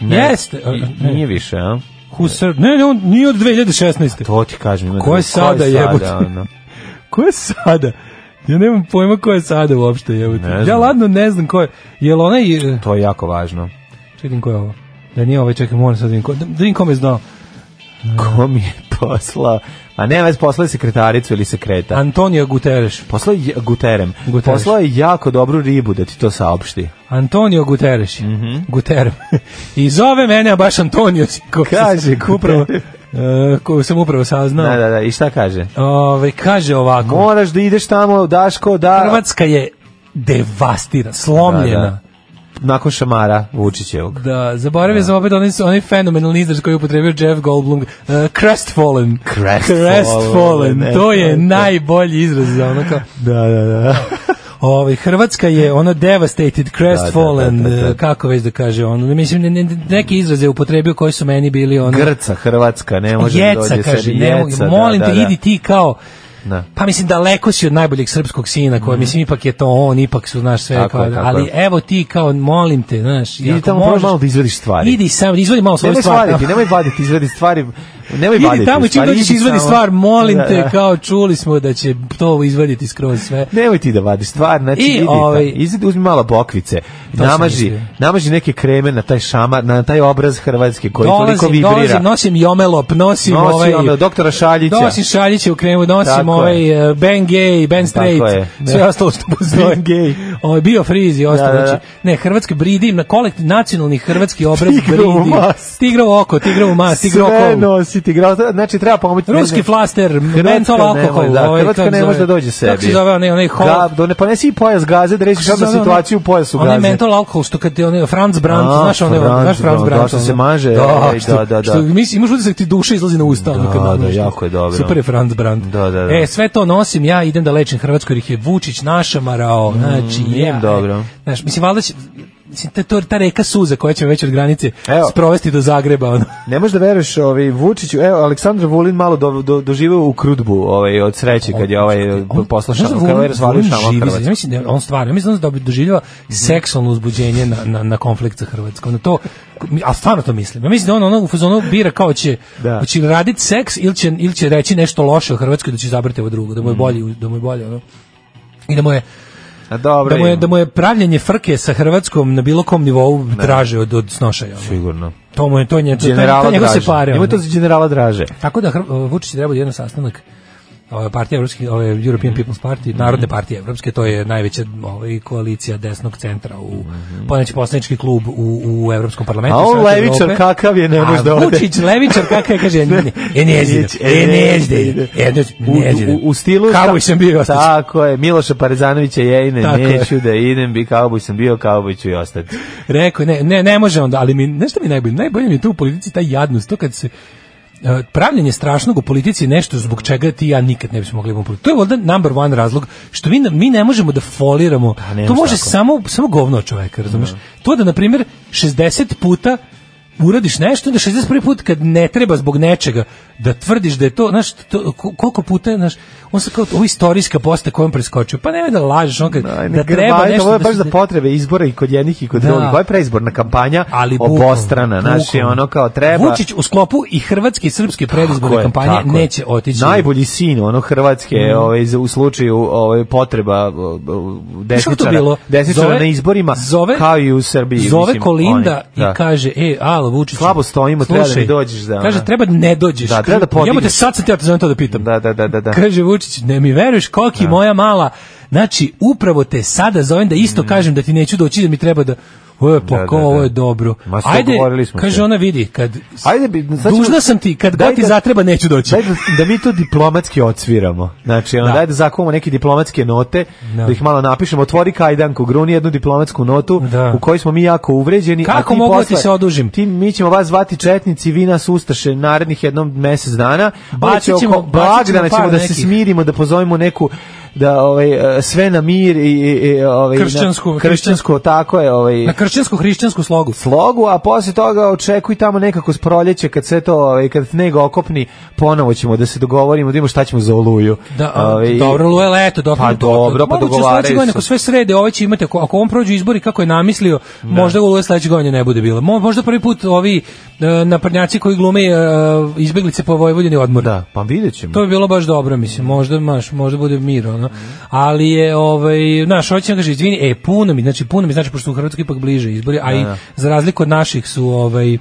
Jeste. e,
I- Nije više, a?
Who served? Ne, ne, on nije od 2016.
To ti kažem. ima
Ko je
drugo.
sada, jebote?
ono?
Ko je sada? Ja nemam pojma ko je sada uopšte, jebote.
Ne znam.
Ja ladno ne znam ko je. Jel onaj... e,
To je jako važno.
Čekam ko je ovo. Da nije ovaj, čekaj, moram sad da vidim ko- da- da vidim kom je znao.
Ko mi je poslao? A ne, već poslao je sekretaricu ili sekreta.
Antonio Guterres.
Poslao je Guterem.
Guterres.
Poslao je jako dobru ribu da ti to saopšti.
Antonio Guterres. Mm
Mhm.
Guterres. [LAUGHS] I zove mene, a baš Antonio. si, Ko
Kaže Guterres.
[LAUGHS] upravo, e, koju sam upravo saznao.
Da, da, da. I šta kaže?
Ovaj, kaže ovako.
Moraš da ideš tamo, Daško, da...
Hrvatska je devastirana, slomljena.
Nakon šamara Vučićevog.
Da, zaboravio sam opet onaj, onaj fenomenalni izraz koji je upotrebio Jeff Goldblum. Uh, crestfallen.
Crestfallen, ne,
to
to
je
je to.
najbolji izraz za ono kao...
Da, da, da.
Ovaj Hrvatska je ono devastated, crestfallen,
Da, da, da, da, da.
eh, kako već da kaže ono. Mislim ne, ne, neki izraze upotrebio koji su meni bili ono
[LAUGHS] Grca, Hrvatska, ne može da
jeca
dođe
kaže,
sebi.
ne mogu,
Jeca, da,
molim
da,
te
da.
idi ti kao
Da.
Pa mislim daleko si od najboljeg srpskog sina, koji mislim ipak je to on, ipak su znaš sve
Mhm. Tako
kao,
je, tako
ali
je.
evo ti kao molim te, znaš,
Idi tamo prvo malo da izvadiš stvari.
Idi sam, izvadi malo svoju
Nemoj
stvar.
svaditi, nemoj vaditi, izvedi stvari. Nemoj vaditi.
Idi tamo čim
stvari,
dođeš
idi
izvadi
samo-
stvar, molim
Da,
te,
da.
kao čuli smo da će to izvaditi skroz sve.
Nemoj ti da vadi stvar, znači
I,
I, idi,
ovaj-
ovaj, izidi, uzmi malo bokvice,
sam
namaži,
mislio.
namaži neke kreme na taj šamar, na taj obraz Hrvatske koji toliko
Dolazim,
vibrira.
dolazim, nosim jomelop, nosim,
Nosi
ovaj...
ono, doktora Šaljića.
Nosim šaljiće u kremu, nosim
Tako
ovaj eh, Ben Gay, Ben
Tako
Straight,
je, da.
sve ostalo što postoji.
Ben Gay.
Ovaj bio friz i ostalo.
Da, da, da.
znači, ne, hrvatski bridi, na kolekt, nacionalni hrvatski
[LAUGHS]
obraz
Tigrovu
bridi.
mast.
Tigrovo oko, tigrovo mas, tigrovo
Sve
oko.
nosi tigrao, znači treba pomoći.
Ruski flaster, mentol
ne
alkohol.
može, da,
ovaj,
Hrvatska
kako
ne
se
može da
zove?
dođe sebi.
Kako se zove onaj, onaj hol?
Da, do ne ponesi i pojas gaze da rešiš
Kako se
odmah
zove onaj-
situaciju u pojasu gaze.
Onaj mentol alkohol što kad je onaj Franz Brandt,
A,
znaš onaj,
Franz
znaš Franz
Brandt,
Brandt.
da, što
ono.
se maže,
da,
ej,
što,
da, da, da.
Što, misli, imaš utisak ti duša izlazi na usta. ono, kad
Da,
ono
da,
što-
jako je dobro.
Super je Franz Brandt.
Da, da, da.
E, sve to nosim, ja idem da lečim Hrvatsku jer ih je Vučić našamarao, znači,
Mm, nije
ja.
dobro.
Znaš, mislim, valjda će, mislim, ta, to- ta reka suza koja će me već od granice
Evo.
sprovesti do Zagreba, ono.
Ne možeš da veruješ ovaj Vučiću, evo Aleksandar Vulin malo do, do, doživeo u krudbu ovaj, od sreće kad je ovaj poslao
znaš da Vulin-
šamar, kad je ovaj razvalio
Vulin
šamar
živi za-
Hrvatske.
Ja mislim da on stvarno, ja mislim da on doživljava seksualno uzbuđenje na, na, na konflikt sa Hrvatskom. Na to, a stvarno to mislim. Ja mislim da on ono u fazonu bira kao će,
Da.
hoće li raditi seks ili će, ili će reći nešto loše o Hrvatskoj da će zabrati ovo drugo, da
Mm.
mu je bolje, da mu je bolje, ono. I da mu je,
A dobro.
da mu je,
im.
da mu je pravljenje frke sa Hrvatskom na bilo kom nivou draže od, od snošaja. ono.
sigurno.
To mu je, to je, nje- to, to, to
Generala
je njegov se
Draže.
pare.
Ima
ono.
to za generala Draže.
Tako da Hr- Vučić je trebao jedan sastanak ove partije evropske, ove European People's Party, Narodne partije evropske, to je najveća ovaj, koalicija desnog centra u mm poslanički klub u, u Evropskom parlamentu.
Mhm. A on
Saveta
levičar
Evrope.
kakav je, ne može da ode.
A Vučić levičar kakav je, kaže,
[LAUGHS]
ne, e, ne zidem, e, ne zidem, e,
U,
ne zidem.
u, u stilu
Kauboj sam bio i ostat ću.
Tako je, Miloša Parezanovića jejne,
Tako je.
neću da idem, bi kauboj sam bio, kauboj ću i ostati.
Rekao je, ne, ne, ne može onda, ali mi, znaš šta mi je najbolje? Najbolje mi je to u politici taj jadnost, to kad se e, pravljenje strašnog u politici je nešto zbog čega ti i ja nikad ne bismo mogli imati politiku. To je valjda number one razlog što mi, mi ne možemo da foliramo.
ne
to
može
može
tako.
samo, samo govno od čoveka, razumeš? To da, na primjer, 60 puta uradiš nešto, onda 61 put kad ne treba zbog nečega da tvrdiš da je to, znaš, to, ko- koliko puta je, znaš, on se kao, ovo je istorijska posta kojom preskočio, pa nemoj da lažeš, on kad, da
Aj, ne
treba
grbajte,
nešto
Ovo je
da
baš
se-
za potrebe izbora i kod jednih i kod
Da.
drugih. Ovo je preizborna kampanja,
ali bukvalno,
obostrana, znaš, je
bukvalno.
ono kao treba...
Vučić u sklopu i hrvatske i srpske predizborne
Tako je,
kampanje
tako je.
neće otići. Mm.
Najbolji sin ono Hrvatske ovaj, za- u slučaju ovaj, potreba o, o,
Znaš kako to
desničara,
bilo?
desničara
Zove-
na izborima
zove-
kao i u Srbiji.
Zove
mislim,
Kolinda
oni,
i kaže, e, alo Vučić.
Slabo stojimo, treba da mi dođeš da,
Kaže,
ono.
treba da ne dođeš.
Da, treba da
Kaže, Jebote,
podigneš.
sad sam te ja te zovem to da pitam.
Da, da, da, da, da.
Kaže Vučić, ne mi veruješ koliki moja mala. Znači, upravo te sada zovem da isto kažem da ti neću doći, da mi treba da... ovo je poko,
Mm. Da, da, da.
ovo je dobro.
Ma, sve
Ajde,
govorili smo
kaže
sve.
ona vidi, kad
Ajde, bi- sad ćemo-
dužna sam ti, kad
Daj
god ti
da-
zatreba neću doći.
Daj da, da mi to diplomatski odsviramo. Znači, ono,
Da.
da. daj da zakuvamo neke diplomatske note,
Da.
da, ih malo napišemo. Otvori kajdanku, gruni jednu diplomatsku notu
Da.
u kojoj smo mi jako uvređeni.
Kako
a ti
mogu da ti
posle-
se odužim?
Ti, mi ćemo vas zvati četnici, vi nas ustaše narednih jednom mesec dana.
Bacit
Onda će
ćemo-
oko
bacit ćemo
blagdana
par
ćemo da se
nekih.
smirimo, da pozovemo neku da ovaj e, sve na mir i, i i, ovaj na-
Kršćansku-
kršćansko tako je ovaj
Na kršćansko-hrišćansku slogu.
slogu, a posle toga očekuj tamo nekako s proleće kad sve to, ovaj, kad sneg okopni, ponovo ćemo da se dogovorimo, da imamo šta ćemo za oluju.
Da, a,
Ovaj,
dobro, Lula je leto, dok
Pa dobro, pa dogovaraju
se.
se.
Ako sve srede, ovaj će imati, ako, ako on prođe izbori kako je namislio, možda Lula sledeće godine ne bude bilo. Mo- Možda prvi put ovi e, naprnjaci koji glume e, izbeglice po Vojvodini odmora.
Da, pa vidjet ćemo.
To bi bilo baš dobro, mislim, možda maš, možda bude mir, ono. Ali je, ovaj, znaš, hoće nam kaže, izvini, e, puno mi, znači, puno mi, znači, pošto su u Hrvatskoj ipak bliže izbori, a i za razliku od naših su, ovaj,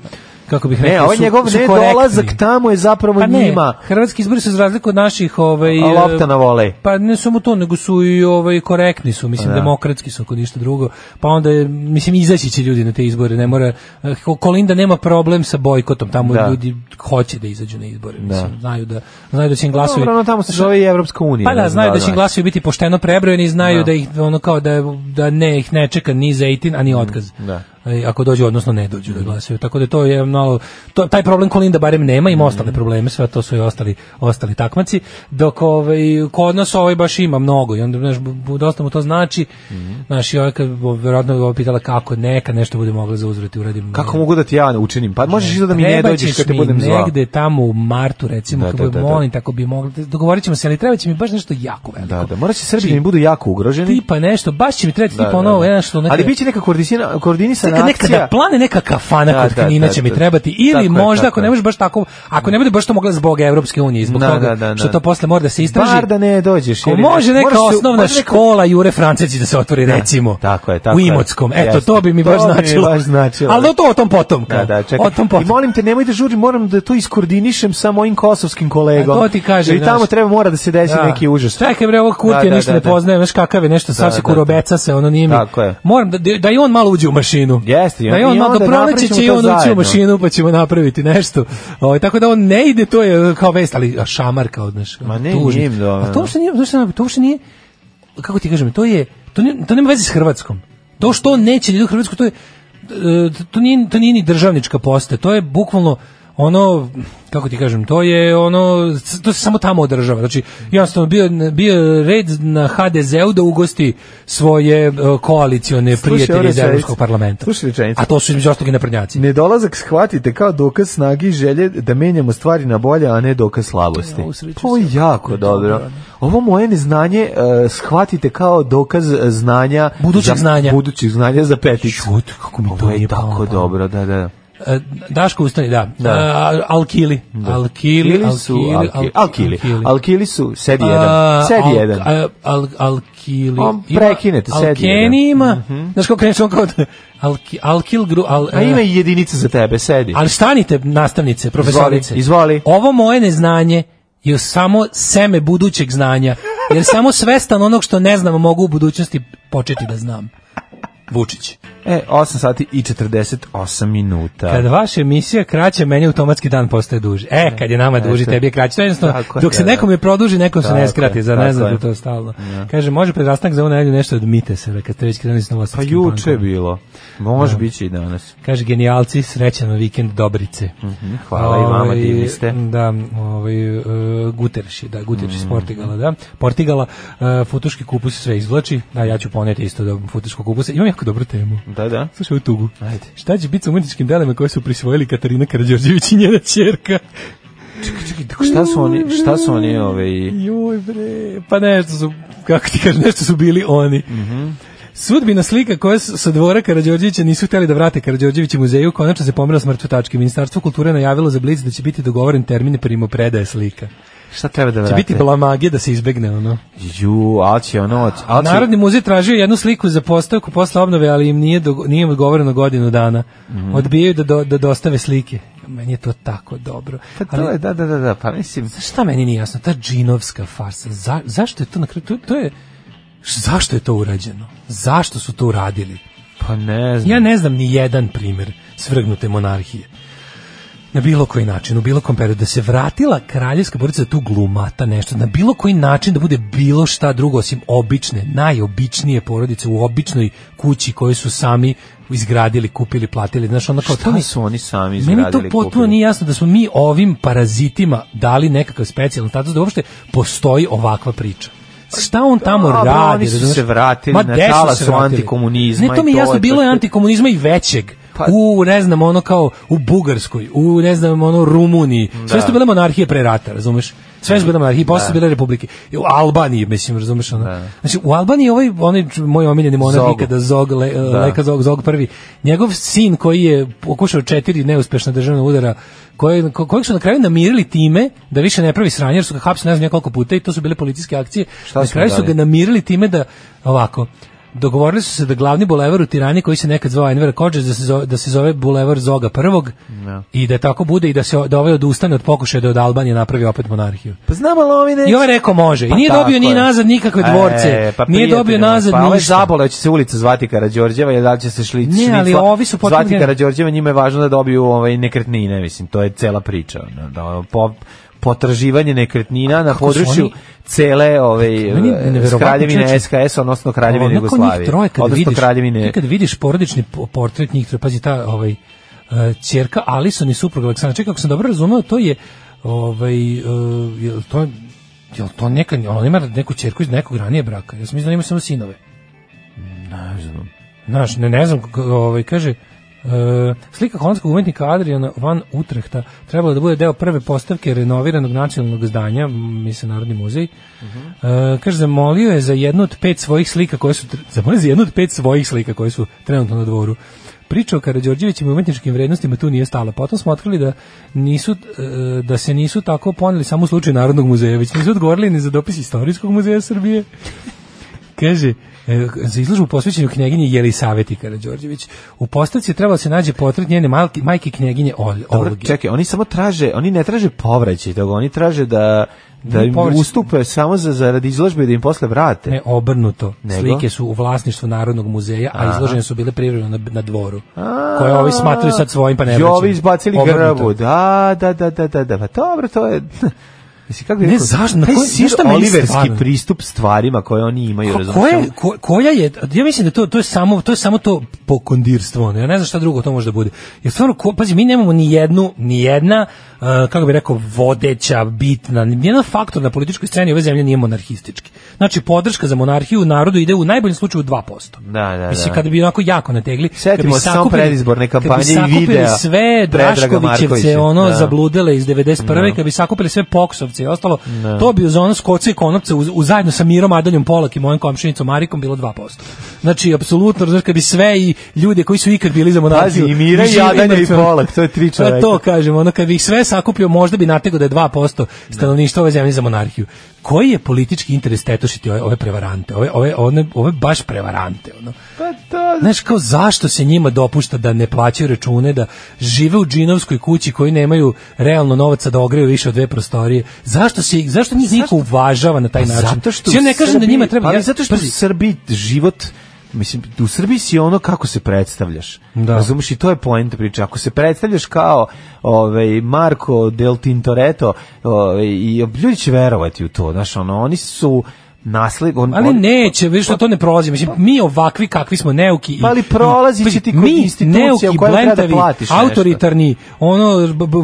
kako bih rekao,
ne, ovaj
su,
njegov
su
ne
korektni.
dolazak tamo je zapravo
Pa ne,
njima.
hrvatski izbori su za razliku od naših ovaj,
A lopta
e,
na volej.
Pa ne samo to, nego su i ovaj, korektni su, mislim, demokratski su ako ništa drugo. Pa onda, je, mislim, izaći će ljudi na te izbore, ne mora, eh, Ko- Kolinda nema problem sa bojkotom, tamo
Da.
ljudi hoće da izađu na izbore, mislim, znaju da, znaju da će im glasovi...
Dobro, ono tamo se zove i Evropska unija.
Pa da,
ne znam
znaju da će im
li-
glasovi biti pošteno prebrojeni, znaju da, ih ono kao da da ne ih ne čeka ni zejtin, a ni otkaz.
Mm, da.
E, Ako dođu, odnosno ne dođu da glasaju. Tako da to je malo to, taj problem Kolinda barem nema,
Mm.
ima ostale probleme, sve to su i ostali ostali takmaci. Dok ovaj kod nas ovaj baš ima mnogo i onda znaš bu- bu- dosta mu to znači.
Mm.
Znaš, i ovaj kad bu- verovatno ga pitala kako neka nešto bude mogla zauzvrat i uradim.
Kako mogu da ti ja učinim? Pa možeš izgleda da mi ne
Trebat
dođeš
ćeš
kad te
mi
budem zvao.
negde tamo u martu recimo,
Da,
kad
da,
budem,
da, da.
molim, tako bi mogli. Dogovorit ćemo se, ali treba će mi baš nešto jako veliko.
Da, da, morat će Srbi
Znači,
da mi budu jako ugroženi.
tipa nešto, baš će mi trebati
Da,
tipa
da,
ono,
da.
jedan što neka...
Ali biće neka koordisina- koordinisana
neka, neka da
akcija.
plane neka kafana
Da,
kod
da,
Knina
da,
će mi
da.
trebati
Tako
ili
je,
možda ako
tako
ne
je.
bude baš tako ako ne bude baš to mogla zbog Evropske unije zbog
Da,
toga
da, da,
što
da.
to posle mora da se istraži
Bar da ne dođeš,
Ako
jer je-
može neka
moraš se-
osnovna
može neka-
škola Jure Franceci da se otvori recimo
tako je, tako
u
je.
Imotskom eto
Jeste.
to bi mi
To
baš
bi mi
značilo
baš značilo.
ali to o tom potom kao.
Da, da, čekaj.
o tom
I
potom
molim te, nemoj da žurim, moram da to iskoordinišem sa mojim kosovskim kolegom.
A E, to ti kažem,
I tamo
znaš.
treba mora da se desi neki užas.
Čekaj bre, ovog Kurtija
Da, da,
ništa
da,
ne
da.
poznaje, znaš kakav je nešto, sad
Da,
se
da, da.
kurobeca se, ono nije mi.
Tako je.
Moram da, da i on malo uđe u mašinu.
Jeste, i
da i
on-
on
i
malo do
onda
proleća
napravit
će i
ćemo
on
to
ući u
zajedno.
mašinu pa ćemo napraviti nešto. Ovaj tako da on ne ide, to je e, kao vest, ali a šamar kao, znaš.
Ma ne,
tužno.
nije im do-
A to uopšte nije, znaš šta, to uopšte nije kako ti kažem, to je to, nije, to nema veze s Hrvatskom. To što on neće da ide u Hrvatsku, to je e, to nije, to nije ni državnička posta, to je bukvalno ono, kako ti kažem, to je ono, s- to se samo tamo održava. Znači, jednostavno, bio, bio je red na HDZ-u da ugosti svoje e, koalicione
ovo
prijatelje iz
rečenicu.
Evropskog parlamenta.
Slušaj rečenicu.
A to su između ostalog i naprednjaci.
Nedolazak shvatite kao dokaz snage i želje da menjamo stvari na bolje, a ne dokaz slabosti.
Ja, usreću
Ovo je
se.
jako dobro. Ovo moje neznanje eh, shvatite kao dokaz eh, znanja
Budućeg
za-
znanja.
budućih znanja za peticu.
Čut, kako mi to
Ovo je
nije palo na
tako
pamet.
dobro, da, da.
E, Daško ustani, da. E, Alkili. Alkili,
Ili su
Alkili,
alkili, alkili, alkili su sedi
A,
jedan, sedi
al-
jedan.
a, Al, alkili.
On
ima-
prekinete, sedi Mhm.
Alkeni ima. Znaš kako krenuš on kao da- alki, alkil gru, al, e,
A ima i jedinica za tebe, sedi.
Ali stanite, nastavnice, profesorice.
izvoli.
Ovo moje neznanje je samo seme budućeg znanja. Jer samo svestan onog što ne znam mogu u budućnosti početi da znam. Vučić.
E, 8 sati i 48 minuta.
Kad vaša emisija kraća, meni automatski dan postaje duži. E, kad je nama duži,
Jeste.
tebi je kraći. To je jednostavno,
Tako je,
dok se
da, da.
nekom ne produži, nekom se ne
Tako
skrati.
je,
Zar ne
tako
znate
je.
to stalno? Kaže, može prerastanak za ovu nedelju nešto od Mitesera, kad ste već krenuli s
Pa
novosadskim
juče je
bankom.
bilo. Može biće i danas.
Kaže, genijalci, srećan vikend, dobrice.
Mhm.
Ovaj,
Hvala i vama, divni ste. Mhm.
Da, ovaj, uh, Guterres je, da, Guterres iz Portugala, da. Portugala, uh, futuški kupus sve izvlači, da, ja ću poneti isto do futuškog kupusa. Imam jako dobru temu.
Da, da.
Slušaj ovu tugu. Ajde. Šta će biti sa umetničkim delima koje su prisvojili Katarina Karađorđević i njena čerka?
Tako šta su oni, šta su oni ovaj- ove i...
Joj bre, pa nešto su, kako ti kažem, nešto su bili oni.
Mhm.
Sudbina slika koja s- sa dvora Karađorđevića nisu hteli da vrate Karađorđević muzeju, konačno se pomera s mrtve tačke. Ministarstvo kulture najavilo za Blic da će biti dogovoren termin primopredaje slika.
Šta treba da
Će
vrate?
biti blamagije da se izbegne ono.
Ju, ali će ono... Ali će...
Narodni muzej tražio jednu sliku za postavku posle obnove, ali im nije, dogo- nije im odgovoreno godinu dana.
Mhm.
Odbijaju da, do- da dostave slike. Meni je to tako dobro.
Pa to
Ali-
je, da, da, da, da, pa mislim...
Šta meni nije jasno, ta džinovska farsa, za, zašto je to na kraju, to, to je, š- zašto je to urađeno? Zašto su to uradili?
Pa ne znam.
Ja ne znam ni jedan primer svrgnute monarhije. Na bilo koji način, u bilo kom periodu. Da se vratila kraljevska porodica da tu glumata nešto. Na bilo koji način da bude bilo šta drugo osim obične, najobičnije porodice u običnoj kući koju su sami izgradili, kupili, platili. Znaš, ono kao, to
Šta
mi-
su oni sami izgradili?
Meni to potpuno
kupili?
nije jasno da smo mi ovim parazitima dali nekakav specijalan status da uopšte postoji ovakva priča. Šta on tamo
Dobro,
radi?
oni su
razumeš?
se vratili,
Ma,
na
gde su
talas
se
su
vratili?
antikomunizma
Ne, to
i
mi je
to
jasno,
je
bilo
to
je
što-
antikomunizma i većeg.
Pa-
u, ne znam, ono kao u Bugarskoj, u, ne znam, ono Rumuniji. Sve su to bile monarhije pre rata, razumeš? Sve su bile monarhije, posle su bile republike. I U Albaniji, mislim, razumeš? Ono. Znači, u Albaniji ovaj, onaj č- moj omiljeni monarh
Zogu.
ikada Zog, le, e, Leka Zog, Zog prvi. Njegov sin koji je pokušao četiri neuspešna državna udara, koje, ko, kojeg su na kraju namirili time da više ne pravi sranje, jer su ga hapsili ne znam ja koliko puta i to su bile policijske akcije.
Šta
na
su mu
kraju su
dali?
ga namirili time da, ovako, dogovorili su se da glavni bulevar u Tirani koji se nekad zvao Enver Kodžes da se zove, da se zove bulevar Zoga prvog i da tako bude i da se da ovaj odustane od pokušaja da od Albanije napravi opet monarhiju.
Pa znam, ali ovi neće.
I ovaj rekao može. I
Pa
nije dobio
tako
ni
je.
nazad nikakve dvorce.
E, pa
nije
prijatelju
dobio
moj,
nazad
pa ovaj
ništa.
zabole, će se ulica zvati Karađorđeva, jer da li će se šli,
Ne, ali
šnicla
ovi su potpuno
Zvati
genu-
Karađorđeva, njima je važno da dobiju ovaj, nekretnine, mislim, to je cela priča. ono, Da, ono, po, potraživanje nekretnina na
su
području
oni-
cele ovaj,
Meni je neverovatno,
kraljevine
čoveče.
SKS, odnosno kraljevine
Onako njih
Jugoslavije.
troje kad
odnosno
vidiš,
kraljevine...
Ti kad vidiš porodični po- portret njih troje, pazi ta ovaj, e, ćerka Alison i suprug Aleksandra. Čekaj, ako sam dobro razumeo, to je ovaj, e, jel to, jel to neka, ona ima neku ćerku iz nekog ranije braka. Ja sam mislio da ima samo sinove. Znaš, ne, ne znam, k- ovaj, kaže, e, slika holandskog umetnika Adriana van Utrehta trebala da bude deo prve postavke renoviranog nacionalnog zdanja, m, misle Narodni muzej. E, kaže, zamolio je za jednu od pet svojih slika koje su, tr- zamolio je za jednu od pet svojih slika koje su trenutno na dvoru. Priča o Karađorđevićim i umetničkim vrednostima tu nije stala. Potom smo otkrili da nisu e, da se nisu tako poneli samo u slučaju Narodnog muzeja, već nisu odgovorili ni za dopis Istorijskog muzeja Srbije. Kaže, e, za izložbu posvećenu knjeginji Jelisaveti Karađorđević, u postavci je trebalo da se nađe portret njene malki, majke knjeginje Ol,
Dobro,
Olge.
pa čekaj, oni samo traže, oni ne traže povraćaj toga, oni traže da da
Nije
im
povraćaj.
ustupe samo za zaradi izložbe i da im posle vrate.
Ne, obrnuto.
Nego?
Slike su u vlasništvu Narodnog muzeja, a izložene su bile privremeno na, na dvoru, koje ovi smatraju sad svojim, pa ne
I
vraćaju.
ovi izbacili
Obrnuto.
grbu. Da, da, da, da, da, da. Pa dobro, to je... [LAUGHS] Mislim, kako bi
Ne,
rekao,
zašto? Na
taj
koji-
Sir
zašto meni
Oliverski
stvarno?
pristup stvarima koje oni imaju,
Ko-
razumiješ?
koja, je- ko- koja je, ja mislim da to, to je samo to je samo to pokondirstvo, ono, ja ne znam šta drugo to može da bude. Jer stvarno, ko, pazi, mi nemamo ni jednu, ni jedna, uh, kako bih rekao, vodeća, bitna, ni jedan faktor na političkoj sceni ove zemlje nije monarhistički. Znači, podrška za monarhiju u narodu ide u najboljem slučaju u 2%.
Da, da,
Mislim,
da.
kada bi onako jako nategli,
Setimo
kad bi
se samo
sakupili-
predizborne
kad bi
kampanje i
sakupili
videa
sve
Predraga
Draškovićevce,
Markovića.
ono,
Da.
zablu ludele iz 91. kad bi sakupili sve poksovce i ostalo, to bi uz ono skoce i konopce uz, uz zajedno sa Mirom Adanjom Polak i mojom komšinicom Marikom bilo 2%. Znači, apsolutno, znaš, kad bi sve i ljude koji su ikad bili za monarhiju...
Pazi, i Mira i
žive
Adanja i
mrtve, ono,
Polak, to je tri
Pa
čoveka.
to kažem, ono, kad bi ih sve sakupio, možda bi natego da je 2% stanovništva ove zemlje za monarhiju. Koji je politički interes tetošiti ove, ove prevarante, ove, ove, one, ove baš prevarante, ono?
Pa to...
Znaš, kao zašto se njima dopušta da ne plaćaju račune, da žive u džinovskoj kući koji nemaju realno novaca da ogreju više od dve prostorije? Zašto se zašto njih niko uvažava na taj način?
Pa Zato što
Mislim, ja
u
ne kažem da
Srbiji-
njima treba...
ali
ja-
zato što u
pazi,
Srbiji život Mislim, u Srbiji si ono kako se predstavljaš.
Da.
Razumeš, i to je poenta priče. Ako se predstavljaš kao ovaj, Marko del Tintoretto, ovaj, i ljudi će verovati u to. Znaš, ono, oni su nasled... On,
Ali
on-
neće, vidiš što to ne prolazi. Mislim, mi ovakvi kakvi smo neuki. i-
Pa ali prolazi će ti kod
mi,
institucija
neuki,
u kojoj treba da
blentavi,
platiš nešto.
autoritarni, ono, b- b-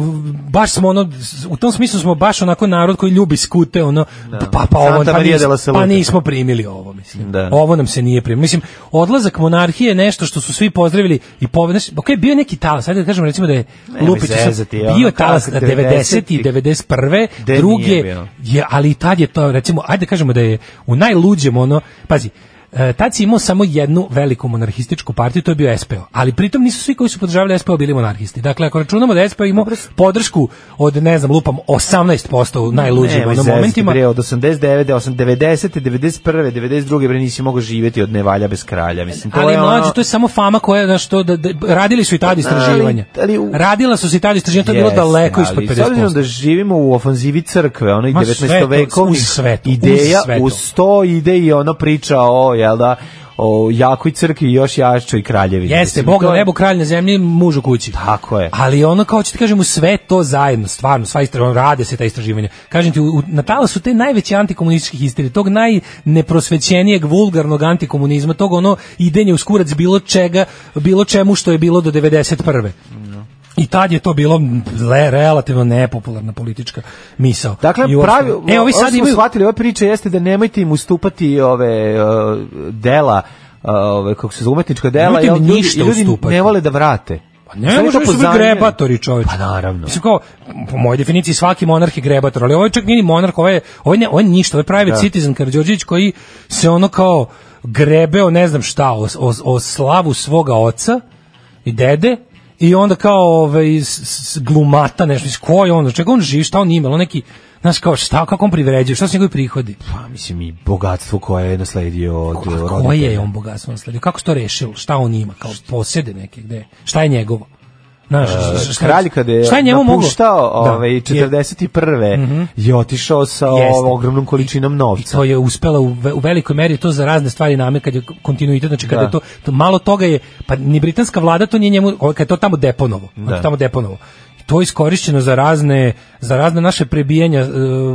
baš smo ono, u tom smislu smo baš onako narod koji ljubi skute, ono, pa, pa, ovo,
Santa
pa,
Maria
nis-
della Salute.
pa nismo primili ovo, mislim.
Da.
Ovo nam se nije primilo. Mislim, odlazak monarhije je nešto što su svi pozdravili i povedaš, ok, bio je neki talas, ajde da kažemo recimo da je
Nemoj
Lupić,
zezati, ono,
bio je talas
kako,
na 90. i 91.
Gde nije
druge,
bio?
je, ali i tad je to, recimo, ajde kažemo da je u najluđem ono, pazi, e, tad si imao samo jednu veliku monarhističku partiju, to je bio SPO, ali pritom nisu svi koji su podržavali SPO bili monarhisti. Dakle, ako računamo da je SPO imao podršku od, ne znam, lupam, 18% u najluđim
Nemoj
ono,
zezati,
momentima,
Bre, od 89, 8, 90, 91, 92, bre, nisi mogao živjeti od nevalja bez kralja. Mislim, to
ali
je ono-
mlađe, to je samo fama koja, znaš, to, da, da, radili su i tad istraživanja.
ali u-
Radila su se i tad istraživanja, to je bilo
Jeste,
daleko
ali
ispod
S obzirom
50%.
da živimo u ofanzivi crkve, ono i
Ma sve to,
19. vekovnih
uz sve to, uz
ideja,
sve to.
uz to ide i ono priča o jel da, o jakoj crkvi još jačoj kraljevi.
Jeste, Bog na nebu, kralj na zemlji, muž u kući.
Tako je.
Ali ono kao ćete kažem u sve to zajedno, stvarno, sva istraživanja, rade se ta istraživanja. Kažem ti, u, u- na talas su te najveće antikomunističke histerije, tog najneprosvećenijeg vulgarnog antikomunizma, tog ono idenje u skurac bilo čega, bilo čemu što je bilo do 91. I tad je to bilo le, relativno nepopularna politička misao.
Dakle,
I uopšte-
pravi,
e, ovi
ovo
sad
smo
imaju,
shvatili, ova priča jeste da nemojte im ustupati ove uh, dela, uh, ove, kako se zove, umetnička dela,
Nemojte im
jel, ljudi,
ništa
ljudi
ustupati.
ne vole da vrate.
Pa ne
Sve
može
to
su biti
pozajmljeno.
grebatori, čoveče.
Pa naravno.
Mislim kao, po mojoj definiciji svaki monarh je grebator, ali ovo je čak nije ni monarh, ovo je, ovo je, ne, ovo je ništa, ovo je private citizen Karđorđević koji se ono kao grebeo ne znam šta, o, o, o slavu svoga oca i dede, i onda kao ovaj, s- s- glumata nešto, mislim, ko je on, od čega on živi, šta on ima, on neki, znaš kao, šta, kako on privređuje, šta su njegovi prihodi?
Pa mislim i bogatstvo koje je nasledio od
A koje je on bogatstvo nasledio? Kako se to rešilo? Šta on ima? Kao posjede neke gde? Šta je njegovo? Znaš, šta- šta-
E, Kralj kada je,
šta je njemu moglo?
napuštao
Da,
ovaj,
je- Mhm.
41. je otišao sa
Jeste.
ovom ogromnom količinom
I
novca.
to je uspela u, ve- u velikoj meri to za razne stvari name kad je kontinuitet, znači kada
Da.
je to, to malo toga je, pa ni britanska vlada to nije njemu, ovo, kad je to tamo deponovo, kad je tamo deponovo. I to je iskorišćeno za razne, za razne naše prebijanja e,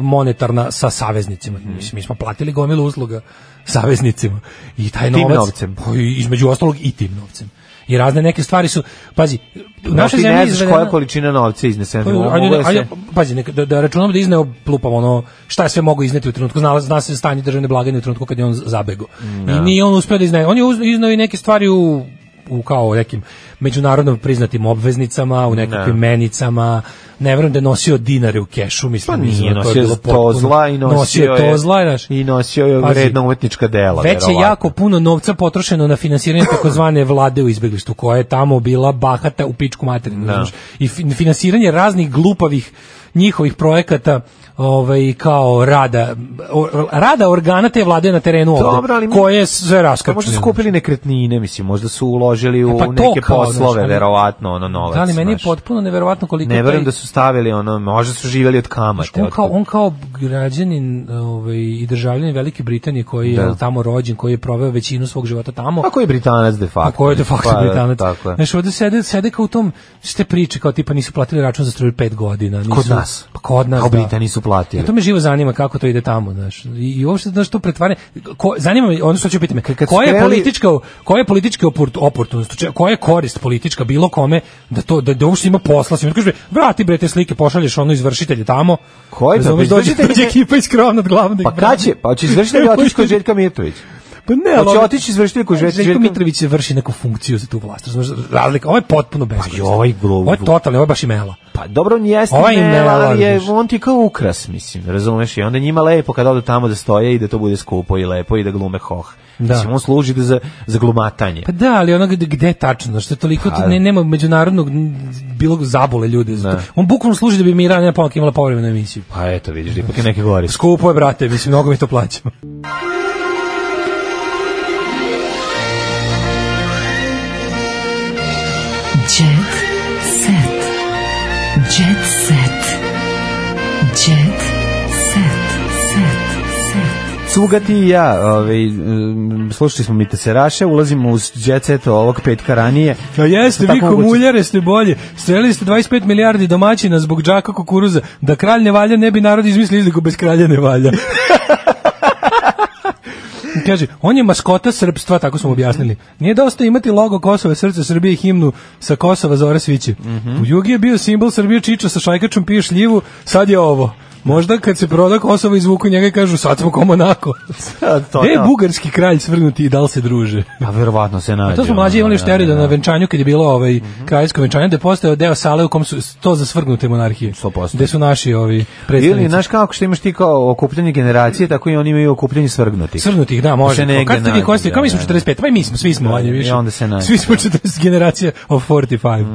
monetarna sa saveznicima.
Mhm.
Mislim, mi smo platili gomilu usluga saveznicima. I taj
Tim
novac,
novcem.
Pa, i između ostalog i tim novcem. I razne neke stvari su, pazi, u
Znaš,
našoj
ti
zemlji
Znači, ne znaš koja
izvedena-
količina novca iznesena.
Pa,
Mogu
ajde,
da ono, se-
ajde, pazi, neka- da, da računam da je izneo plupam ono, šta je sve mogu izneti u trenutku, znala, zna se stanje državne blagajne u trenutku kad je on zabego.
Mm,
I nije on uspeo da iznaje, on je uz- izneo i neke stvari u, u kao nekim međunarodno priznatim obveznicama, u nekakvim menicama, ne verujem da je nosio dinare u kešu, mislim,
Pa
mislim
nije,
da to je
nosio je
bilo
to
potpuno-
zla i nosio,
je to zla, znaš.
I nosio je
Pazi,
vredna umetnička dela.
Već je
verovatno.
jako puno novca potrošeno na finansiranje takozvane vlade u izbeglištu, koja je tamo bila bahata u pičku materinu. znaš. I fin- finansiranje raznih glupavih njihovih projekata ovaj kao rada o- rada organa te vlade na terenu ovde,
Dobro, ali mi-
koje je sve
Pa
raskrčeno.
možda su kupili nekretnine, mislim, možda su uložili u
E, pa to
neke
kao, znaš,
poslove,
ali-
verovatno, ono novac.
Da li meni je
znaš.
potpuno neverovatno koliko
Ne
taj-
verujem da su stavili ono, možda su živjeli od kamate.
on kao
otkud-
on kao građanin ovaj i državljanin Velike Britanije koji je jel, tamo rođen, koji je proveo većinu svog života tamo.
Pa koji je Britanac de facto?
A ko je de facto
Pa,
Britanac?
Tako je.
Znaš, ovde sede, sede kao u tom, ste priče, kao tipa nisu platili račun za struju pet godina. Nisu,
Kod nas.
Pa kod nas,
A u
da.
Britaniji su platili.
I to me živo zanima kako to ide tamo, znaš. I, i uopšte, znaš, to pretvaranje, ko, zanima me, ono što ću pitati me,
kad su
koja je
krenuli-
politička, koja je politička oport, oportunnost, če- koja je korist politička bilo kome da to, da, da uopšte ima posla, s njim. kaže, vrati bre te slike, pošalješ ono izvršitelje tamo,
Koji to?
razumeš,
Pa
dođe,
izvršitelj
dođe
je-
ekipa iz krovna od glavnog.
Pa kad će? Pa
[LAUGHS]
će izvršiti da otići kod Željka Mitrović.
Pa ne,
Hoće
ali-
otići izvršiti kod Željka
Željko
Mitrović.
Mitrović se vrši neku funkciju za tu vlast, razumeš, razlika, ovo je potpuno beskorisno.
i ovaj glu-
Ovo je totalno, ovo je baš imela.
Pa dobro, on jeste
Ovaj im
ne,
ne
ali je,
lažeš.
on ti je kao ukras, mislim, razumeš? I onda njima lepo kad odu tamo da stoje i da to bude skupo i lepo i da glume hoh.
Da.
Mislim, on služi da za, za glumatanje.
Pa da, ali ono gde, gde tačno, što je toliko,
Pa-
ne, nema međunarodnog n- bilo zabole ljudi. za to. On bukvalno služi da bi mi Rana Japanka imala povremenu emisiju.
Pa eto, vidiš, ipak je neke gore.
Skupo je, brate, mislim, mnogo mi to plaćamo.
Jet set. Jet set. Jet set. Set. Set.
Cuga ti i ja, ovaj, um, slušali smo Mite Seraše, ulazimo u džecet ovog petka ranije.
Da Pa jeste,
Tako
vi
moguće.
komuljare ste bolje. Strelili ste 25 milijardi domaćina zbog džaka kukuruza. Da kralj ne valja, ne bi narod izmislio izliku bez kralja ne
[LAUGHS]
valja. I Kaže, on je maskota srpstva, tako smo mu objasnili. Nije dosta imati logo Kosova, srce Srbije i himnu sa Kosova Zora Sviće.
Mhm.
U Jugi je bio simbol Srbije Čiča sa šajkačom pije šljivu, sad je ovo. Možda kad se proda Kosovo izvuku njega i kažu sad smo ko Monako.
A, to
Gde je
da.
bugarski kralj svrnuti i da li se druže?
Pa verovatno se nađe. ono,
To smo mlađi imali što da na venčanju kad je bilo ovaj
Mhm.
kraljevsko venčanje da je postao deo sale u kom su to za svrgnute monarhije.
100%.
Gde su naši ovi predstavnici.
Ili, znaš kako što imaš ti kao okupljanje generacije, tako i oni imaju okupljanje svrgnutih.
Svrnutih, da,
Da se
može.
negde
Kad ste vi
nađe,
kosti, kao mi smo
da,
45, pa i mi smo, svi smo
Da,
manje više.
i onda se nađe, Mhm.
Svi smo 40 generacija of 45.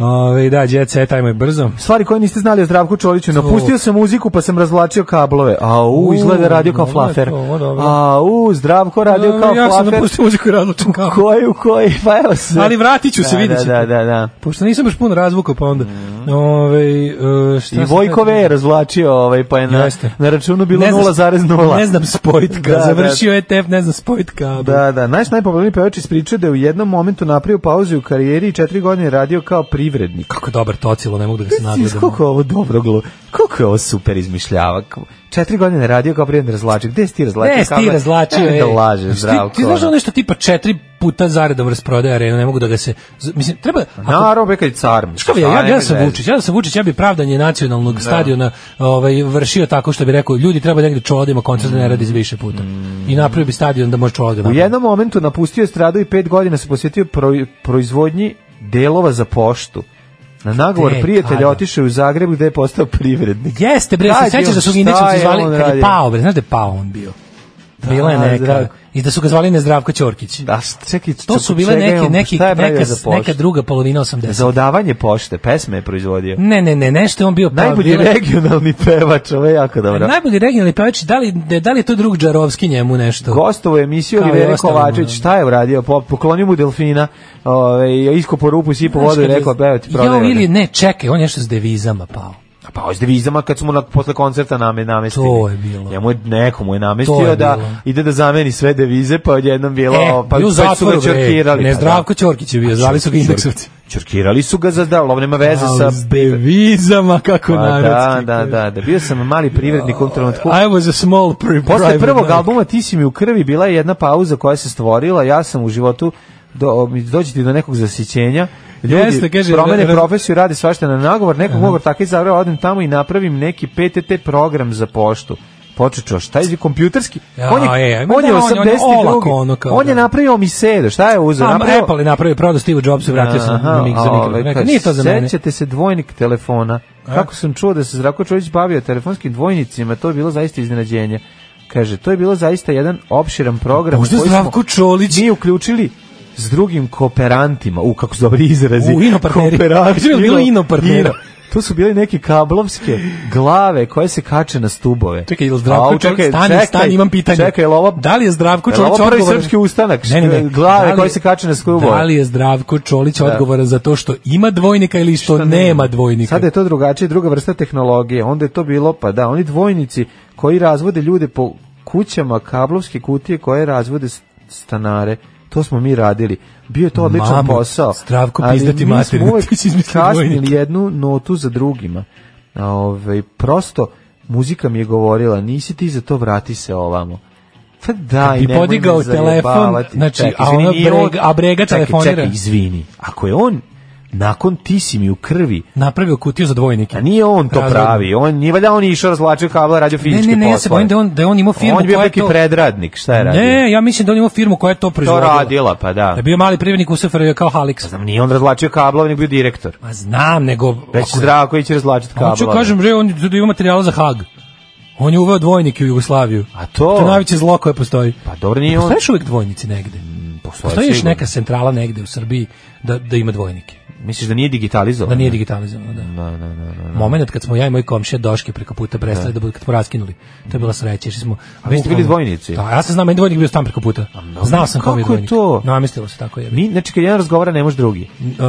Ovaj da, jet set, ajmo je brzo.
Stvari koje niste znali o Zdravku Čoliću. Napustio sam muziku, ruku pa sam razvlačio kablove. A u,
U,
izgleda radio kao
dobro je
flafer.
to, ovo dobro.
A u, zdravko radio kao
ja sam
flafer.
napustio muziku i razlučen kabel.
Koji, u koji, pa evo se.
Ali vratit ću se,
Da,
vidjet
da,
ćete.
Da, da, da.
Pošto nisam baš puno razvuka, pa onda... Ovaj, e, šta
Mhm. I
sam
Vojkove
htio-
je razvlačio, ovaj, pa je na,
Jeste.
na računu bilo
Ne znam-
0,0.
Ne znam spojitka,
Da, da.
završio je tef, ne znam spojitka.
Da, da, naš najpopularniji pevač ispričao da je u jednom momentu napravio pauzu u karijeri i četiri godine radio kao privrednik.
Kako dobar tocilo, ne mogu da ga se
Mislim,
nagledam.
Koliko je ovo dobro glu... Koliko je ovo super izmišljavak. Četiri godine radio kao privredni razlačio. Gde si ti razlačio?
Ne, ti razlačio
je.
je.
Da lažeš,
Ti-
zdravko.
Ti znaš ono nešto tipa četiri puta zaredom rasprodaje arenu, ne mogu da ga se... z- Mislim, treba... ako-
Naravno, bre, kad je car.
Što bi, ja, ja, ja sam Vučić, ja da sam Vučić, ja bi pravdanje nacionalnog stadiona ovaj, vršio tako što bi rekao, ljudi treba negde čola da ima koncert da ne radi za više puta. I napravio bi stadion da može čola da
U
napravi.
jednom momentu napustio je stradu i pet godina se posjetio pro- proizvodnji delova za poštu. Na nagovor
Te,
prijatelja
E, kada?
otišao je u Zagreb gde je postao privrednik.
Jeste, bre,
Kad
se
je
sećaš
on-
da su ga
šta
indeksom
je
zvali
on
kad je
radio?
pao, bre, znaš da je pao on bio? Bila je
Da,
neka.
Zdravko.
I da su ga zvali Nezdravko Ćorkić.
Da, s- čekaj,
To su
čekaj,
bile
čega
neke,
imamo?
neki,
Šta je pravio
neka,
za poštu?
neka druga polovina 80.
Za odavanje pošte, pesme je proizvodio.
Ne, ne, ne, nešto je on bio pa
Najbolji
bile-
regionalni pevač, ovo je jako dobro.
Najbolji regionalni pevač, da li, da li je to drug Džarovski njemu nešto?
Gostovo je emisiju
Kao i
Olivera
ostalima,
Kovačević,
da.
šta je uradio? Po- Poklonio mu delfina, ovaj, iskopo rupu, sipo vodu i rekao, evo ti
Ja, ili
prodaj.
ne, čekaj, on je nešto s devizama pao.
A Pa ovo s devizama kad smo na, posle koncerta name, namestili.
To je bilo.
Njemu je, nekomu je
To
namestio
je
da
bilo.
ide da zameni sve devize, pa odjednom bilo,
e,
pa,
bio u
pa su ga
zatvoru, bre.
čorkirali.
Ne,
pa da.
Zdravko Ćorkić je bio, zvali su ga indeksovci.
Čorkirali su ga za da, ovo nema veze sa...
Al, S devizama, kako
Pa da,
narodski.
da, da, da, bio sam mali privrednik u tom trenutku.
I was a small pri
Posle
private
prvog
man.
albuma Ti si mi u krvi bila je jedna pauza koja se stvorila, ja sam u životu do, dođe ti do nekog zasićenja, ljudi
Jeste, kaže,
promene
ra- ra-
profesiju, rade svašta na nagovor, nekog mogu tako izabrao, odem tamo i napravim neki PTT program za poštu. Počečo, šta je kompjuterski?
Ja,
on je,
e, ma
on je
da, on je
82.
olako ono kao
on je
da.
napravio mi sedo, šta je uzeo?
Sam
Napravio-
Apple je napravio, prodao Steve Jobsu, vratio sam
Aha,
na mik za
ove,
mikro. Rekao,
kaže,
Nije to za mene.
Sećate se dvojnik telefona. Kako sam čuo da se Zdravko Čović bavio telefonskim dvojnicima, to je bilo zaista iznenađenje. Kaže, to je bilo zaista jedan opširan program
Možda
koji
Zdravko Čolić.
mi uključili s drugim kooperantima. U, kako su dobri izrazi.
U, inopartneri.
Kooperanti,
Bilo je bilo
ino-
inopartnera.
ino. To su bile neke kablovske glave koje se kače na stubove.
Čekaj, je li
Au,
Zdravko Čolić,
čekaj,
stani,
čekaj,
stani, imam pitanje.
Čekaj, je li ovo,
Da li je Zdravko
je li
Čolić
ovo prvi
odgovoran-
srpski ustanak?
Ne, ne, ne.
Glave
Da li-
koje se kače na stubove.
Da li je Zdravko Čolić odgovoran za to što ima dvojnika ili što, nema dvojnika?
Sada je to drugačije, druga vrsta tehnologije. Onda je to bilo, pa da, oni dvojnici koji razvode ljude po kućama, kablovske kutije koje razvode s- stanare. To smo mi radili. Bio je to odličan
Mamut,
posao.
Zdravko,
ali
pizdati
mi smo
materinu,
uvek
[LAUGHS] ti si izmislio
kasnili
dvojnike.
jednu notu za drugima. A, Ovaj prosto, muzika mi je govorila, nisi ti za to, vrati se ovamo. Pa daj,
bi
nemoj me
podigao telefon,
zajebavati.
znači,
Čekaj,
a ono
izvini, nije on-
breg- a brega
Čekaj,
telefonira.
Čekaj, izvini. Ako je on nakon ti si mi u krvi
Napravio kutiju za dvojnike.
a nije on to
Razvodno.
pravi. On nije valjda on je išao razvlačio kabla, radio
Ne,
fizički
ne, ne, ja se
poslove.
bojim da je on, da je on imao firmu
on je bio
koja je
neki
to...
predradnik, šta je radio?
Ne, ja mislim da on imao firmu koja je to
to
proizvodila.
radila, pa da.
Da je bio mali privrednik u SFRJ kao Halix.
Znam, nije on razvlačio kabla, nego bio direktor.
Ma znam, nego...
Već Zdravković je razvlačio kabla.
Hoću kažem, bre, on je ima materijala za Hag. On je uveo dvojnike u Jugoslaviju.
A to-
je najveće zlo koje postoji.
Pa dobro, nije on... Mm, pa
Postoješ uvek dvojnici negde. Postoji još
sigurno.
neka centrala negde u Srbiji da, da ima dvojnike.
Misliš da nije digitalizovan?
Da nije digitalizovano,
Mm,
da. Da, da, da. Moment kad smo ja i moj komšija Doške preko puta prestali da, budu kad smo raskinuli. To je bila sreća, išli smo.
A vi ste bili dvojnici?
Da, ja sam znam, meni dvojnik bio stan preko puta. Znao sam kom je
kako je
dvojnik.
to?
Namestilo se tako je.
Ni, znači, kad jedan razgovara, ne može drugi.
E,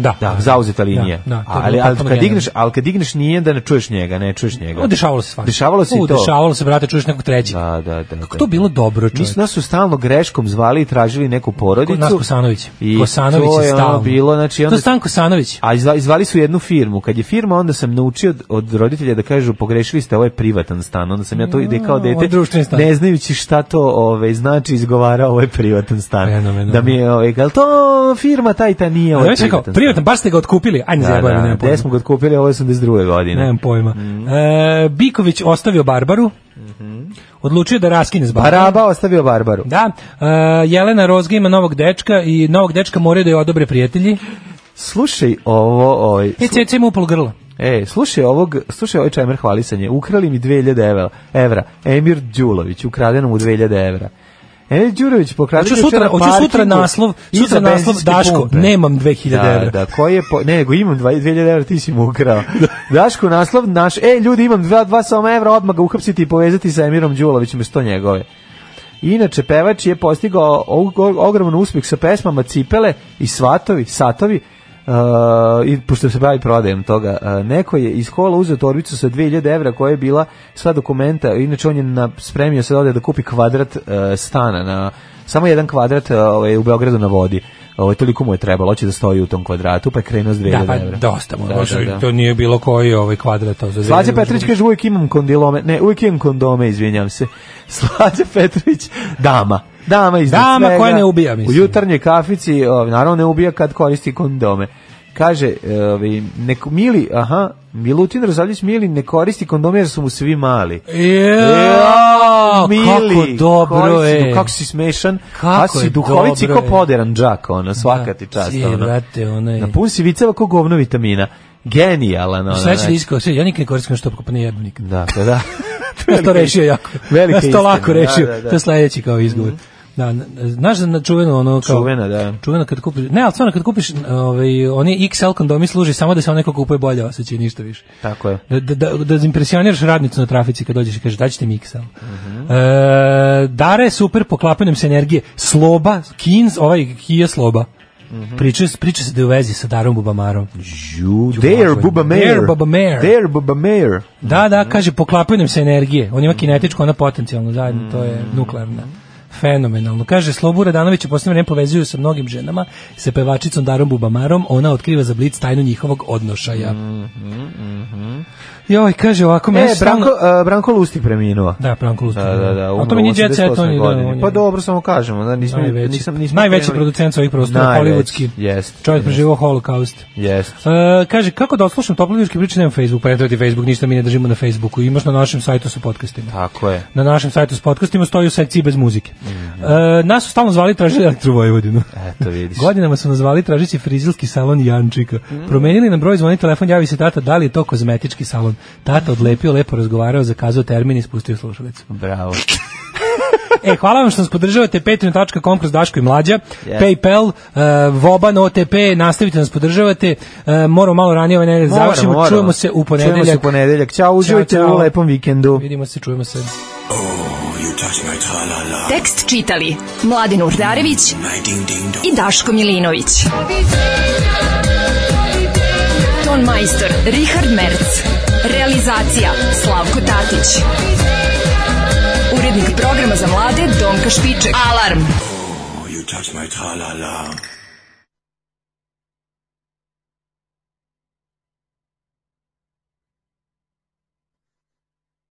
da.
Da, zauzeta linija.
Da, da, to je
ali,
bilo
ali,
potpuno
kad
genijalno.
digneš, ali kad digneš nije da ne čuješ njega, ne čuješ njega.
O, dešavalo se stvarno.
Dešavalo se
U,
i to.
Dešavalo se, brate, čuješ nekog trećeg.
Da, da, da.
Kako
da.
to bilo dobro, čovječe.
Mi su nas su stalno greškom zvali i tražili neku porodicu.
Nas Kosanović.
I
Kosanović
to
je
je ono
stalno.
bilo, znači,
To
onda-
je Stan Kosanović.
A izva- izvali su jednu firmu. Kad je firma, onda sam naučio od, od roditelja da kažu pogrešili ste, ovo je privatan stan. Onda sam ja to ide kao
Mm, ovo je
dete,
društveni stan.
ne znajući šta to ove, znači izgovara, ovo je privatan stan.
Fenomenalno.
Da mi je, ove, ali to firma taj ta nije,
Da,
ovo je
već je kao,
privatan
privatno, baš ste ga otkupili. Ajde,
stan.
zajebali,
Da, da,
nemam pojma.
gde smo Mhm. ga otkupili, ovo je 82. godine.
Nemam pojma. E, Biković ostavio Barbaru. Odlučio da raskine s Barbarom.
Baraba ostavio Mhm. Barbaru.
Da, e, Jelena Rozga ima novog dečka i novog dečka moraju da je odobre prijatelji.
Slušaj ovo, ovaj,
E, CC ima upol grla.
E, slušaj ovog, slušaj ovaj čemer hvalisanje. Ukrali mi 2000 evra. evra. Emir Đulović, ukradeno mu 2000 evra. Ene Đurović pokrali
Hoću sutra, hoću sutra naslov, sutra naslov Daško, nemam 2000
Da,
evra.
da, koji je po, ne, nego imam 2000 evra, ti si mu
[LAUGHS]
ukrao. Daško naslov naš, e, ljudi, imam 2 dva sama evra, odmah ga uhapsiti i povezati sa Emirom Đulovićem, što njegove. Inače, pevač je postigao og- og- ogroman uspjeh sa pesmama Cipele i Svatovi, Satovi, Uh, i pošto se bavi prodajem toga uh, neko je iz kola uzeo torbicu sa 2000 evra koja je bila sva dokumenta inače on je na, spremio se da ode da kupi kvadrat uh, stana na samo jedan kvadrat uh, ovaj, u Beogradu na vodi ovaj, toliko mu je trebalo, hoće da stoji u tom kvadratu pa je krenuo s 2000
Da, pa
evra
dosta mu,
Da,
baš,
da, da.
to nije bilo koji ovaj kvadrat. to za
Slađa
zemlju.
Petrović kaže uvijek imam kondilome, ne, uvijek imam kondome, izvinjam se. [LAUGHS] Slađa Petrović, dama. Dama iz
Dama koja ne ubija, mislim.
U jutarnjoj kafici, o, naravno ne ubija kad koristi kondome. Kaže, e, ovi, nek, mili, aha, Milutin Rozavljić Mili ne koristi kondome jer su mu svi mali.
Ja, E, kako
Mili,
dobro
koji si-
je.
Kako si smešan,
Kako
a si
je
duhovici
dobro,
ko
e.
poderan džak, ono, svaka ti čast.
Si,
ono.
brate, onaj.
Na pun si viceva ko govno vitamina. Genijalan, ono.
Sve će da
znači.
iskao, sve, ja nikad ne koristim što pa ne jedu nikad.
Da, da, da.
Ja sam [LAUGHS] to rešio
[LAUGHS]
jako.
Velika
ja sam to
istina,
lako
da,
rešio.
da, da.
To je sledeći kao izgovor. Da, na- znaš da na čuveno ono kao
Čuvena, da.
čuveno kad kupiš, ne, ali stvarno kad kupiš ovaj, oni XL kondomi služi samo da se onaj ko kupuje bolje osjeća i ništa više.
Tako je.
Da, da, da, da impresioniraš radnicu na trafici kad dođeš i kažeš daćete mi XL.
Mhm.
e, Dara je super poklapanjem se energije. Sloba, Kins, ovaj Kia Sloba.
Mhm.
Priča, se- priča se da je u vezi sa Darom Bubamarom.
You dare Bubba Mayer.
Dare Bubba Mayer.
Dare Bubba Mayer.
Da, da, kaže, poklapaju nam se energije. On ima kinetičku, ona potencijalnu zajedno, to je
Mm.
nuklearna. Fenomenalno. Kaže, Slobu Radanović u posljednje vreme povezuju sa mnogim ženama, sa pevačicom Darom Bubamarom, ona otkriva za blic tajnu njihovog odnošaja. Joj, kaže ovako, meni
Mhm, E,
se stalno-
Branko, uh, Branko Lustig preminuo.
Da, Branko Lustig.
Da, da, da.
A
umro
to mi nije
u
jet set, on je,
88.
da,
godini.
on je-
Pa dobro, samo kažemo. Da, nismo,
Najveći,
nisam, nismo
najveći
krenuli-
producent sa ovih prostora,
Najveći,
hollywoodski.
jest,
Čovjek
jest.
preživao holokaust.
Jest.
E, kaže, kako da odslušam toplodičke priče, nemam Facebook, pa ne treba ti Facebook, ništa mi ne držimo na Facebooku, imaš na našem sajtu sa podcastima.
Tako je. Mhm.
Na našem sajtu s podcastima stoji u sekciji bez muzike. E, nas su stalno zvali i tražili elektrovojvodinu.
Eto, vidiš.
Godinama su nas zvali tražeći frizilski salon Jančika. Promenili nam broj, zvoni telefon, javi se tata, da li je to kozmetički salon. Tata odlepio, lepo razgovarao, zakazao termin i spustio slušalicu.
Bravo.
E, hvala vam što nas podržavate, patreon.com kroz Daško i Mlađa,
Yes.
Paypal, uh, Voban, OTP, nastavite da nas podržavate, e, moramo malo ranije ove nedelje da
Moramo,
završimo,
moramo.
čujemo se u ponedeljak.
Čujemo se u ponedeljak. Ćao, uživajte
Ćao,
u
ćao.
lepom vikendu.
Vidimo se, čujemo se.
Tekst čitali Mladin Urdarević i Daško Milinović. Ton majstor Richard Merc. Realizacija Slavko Tatić. Urednik programa za mlade Donka Špiček. Alarm!
Oh, you touch my tra-la-la.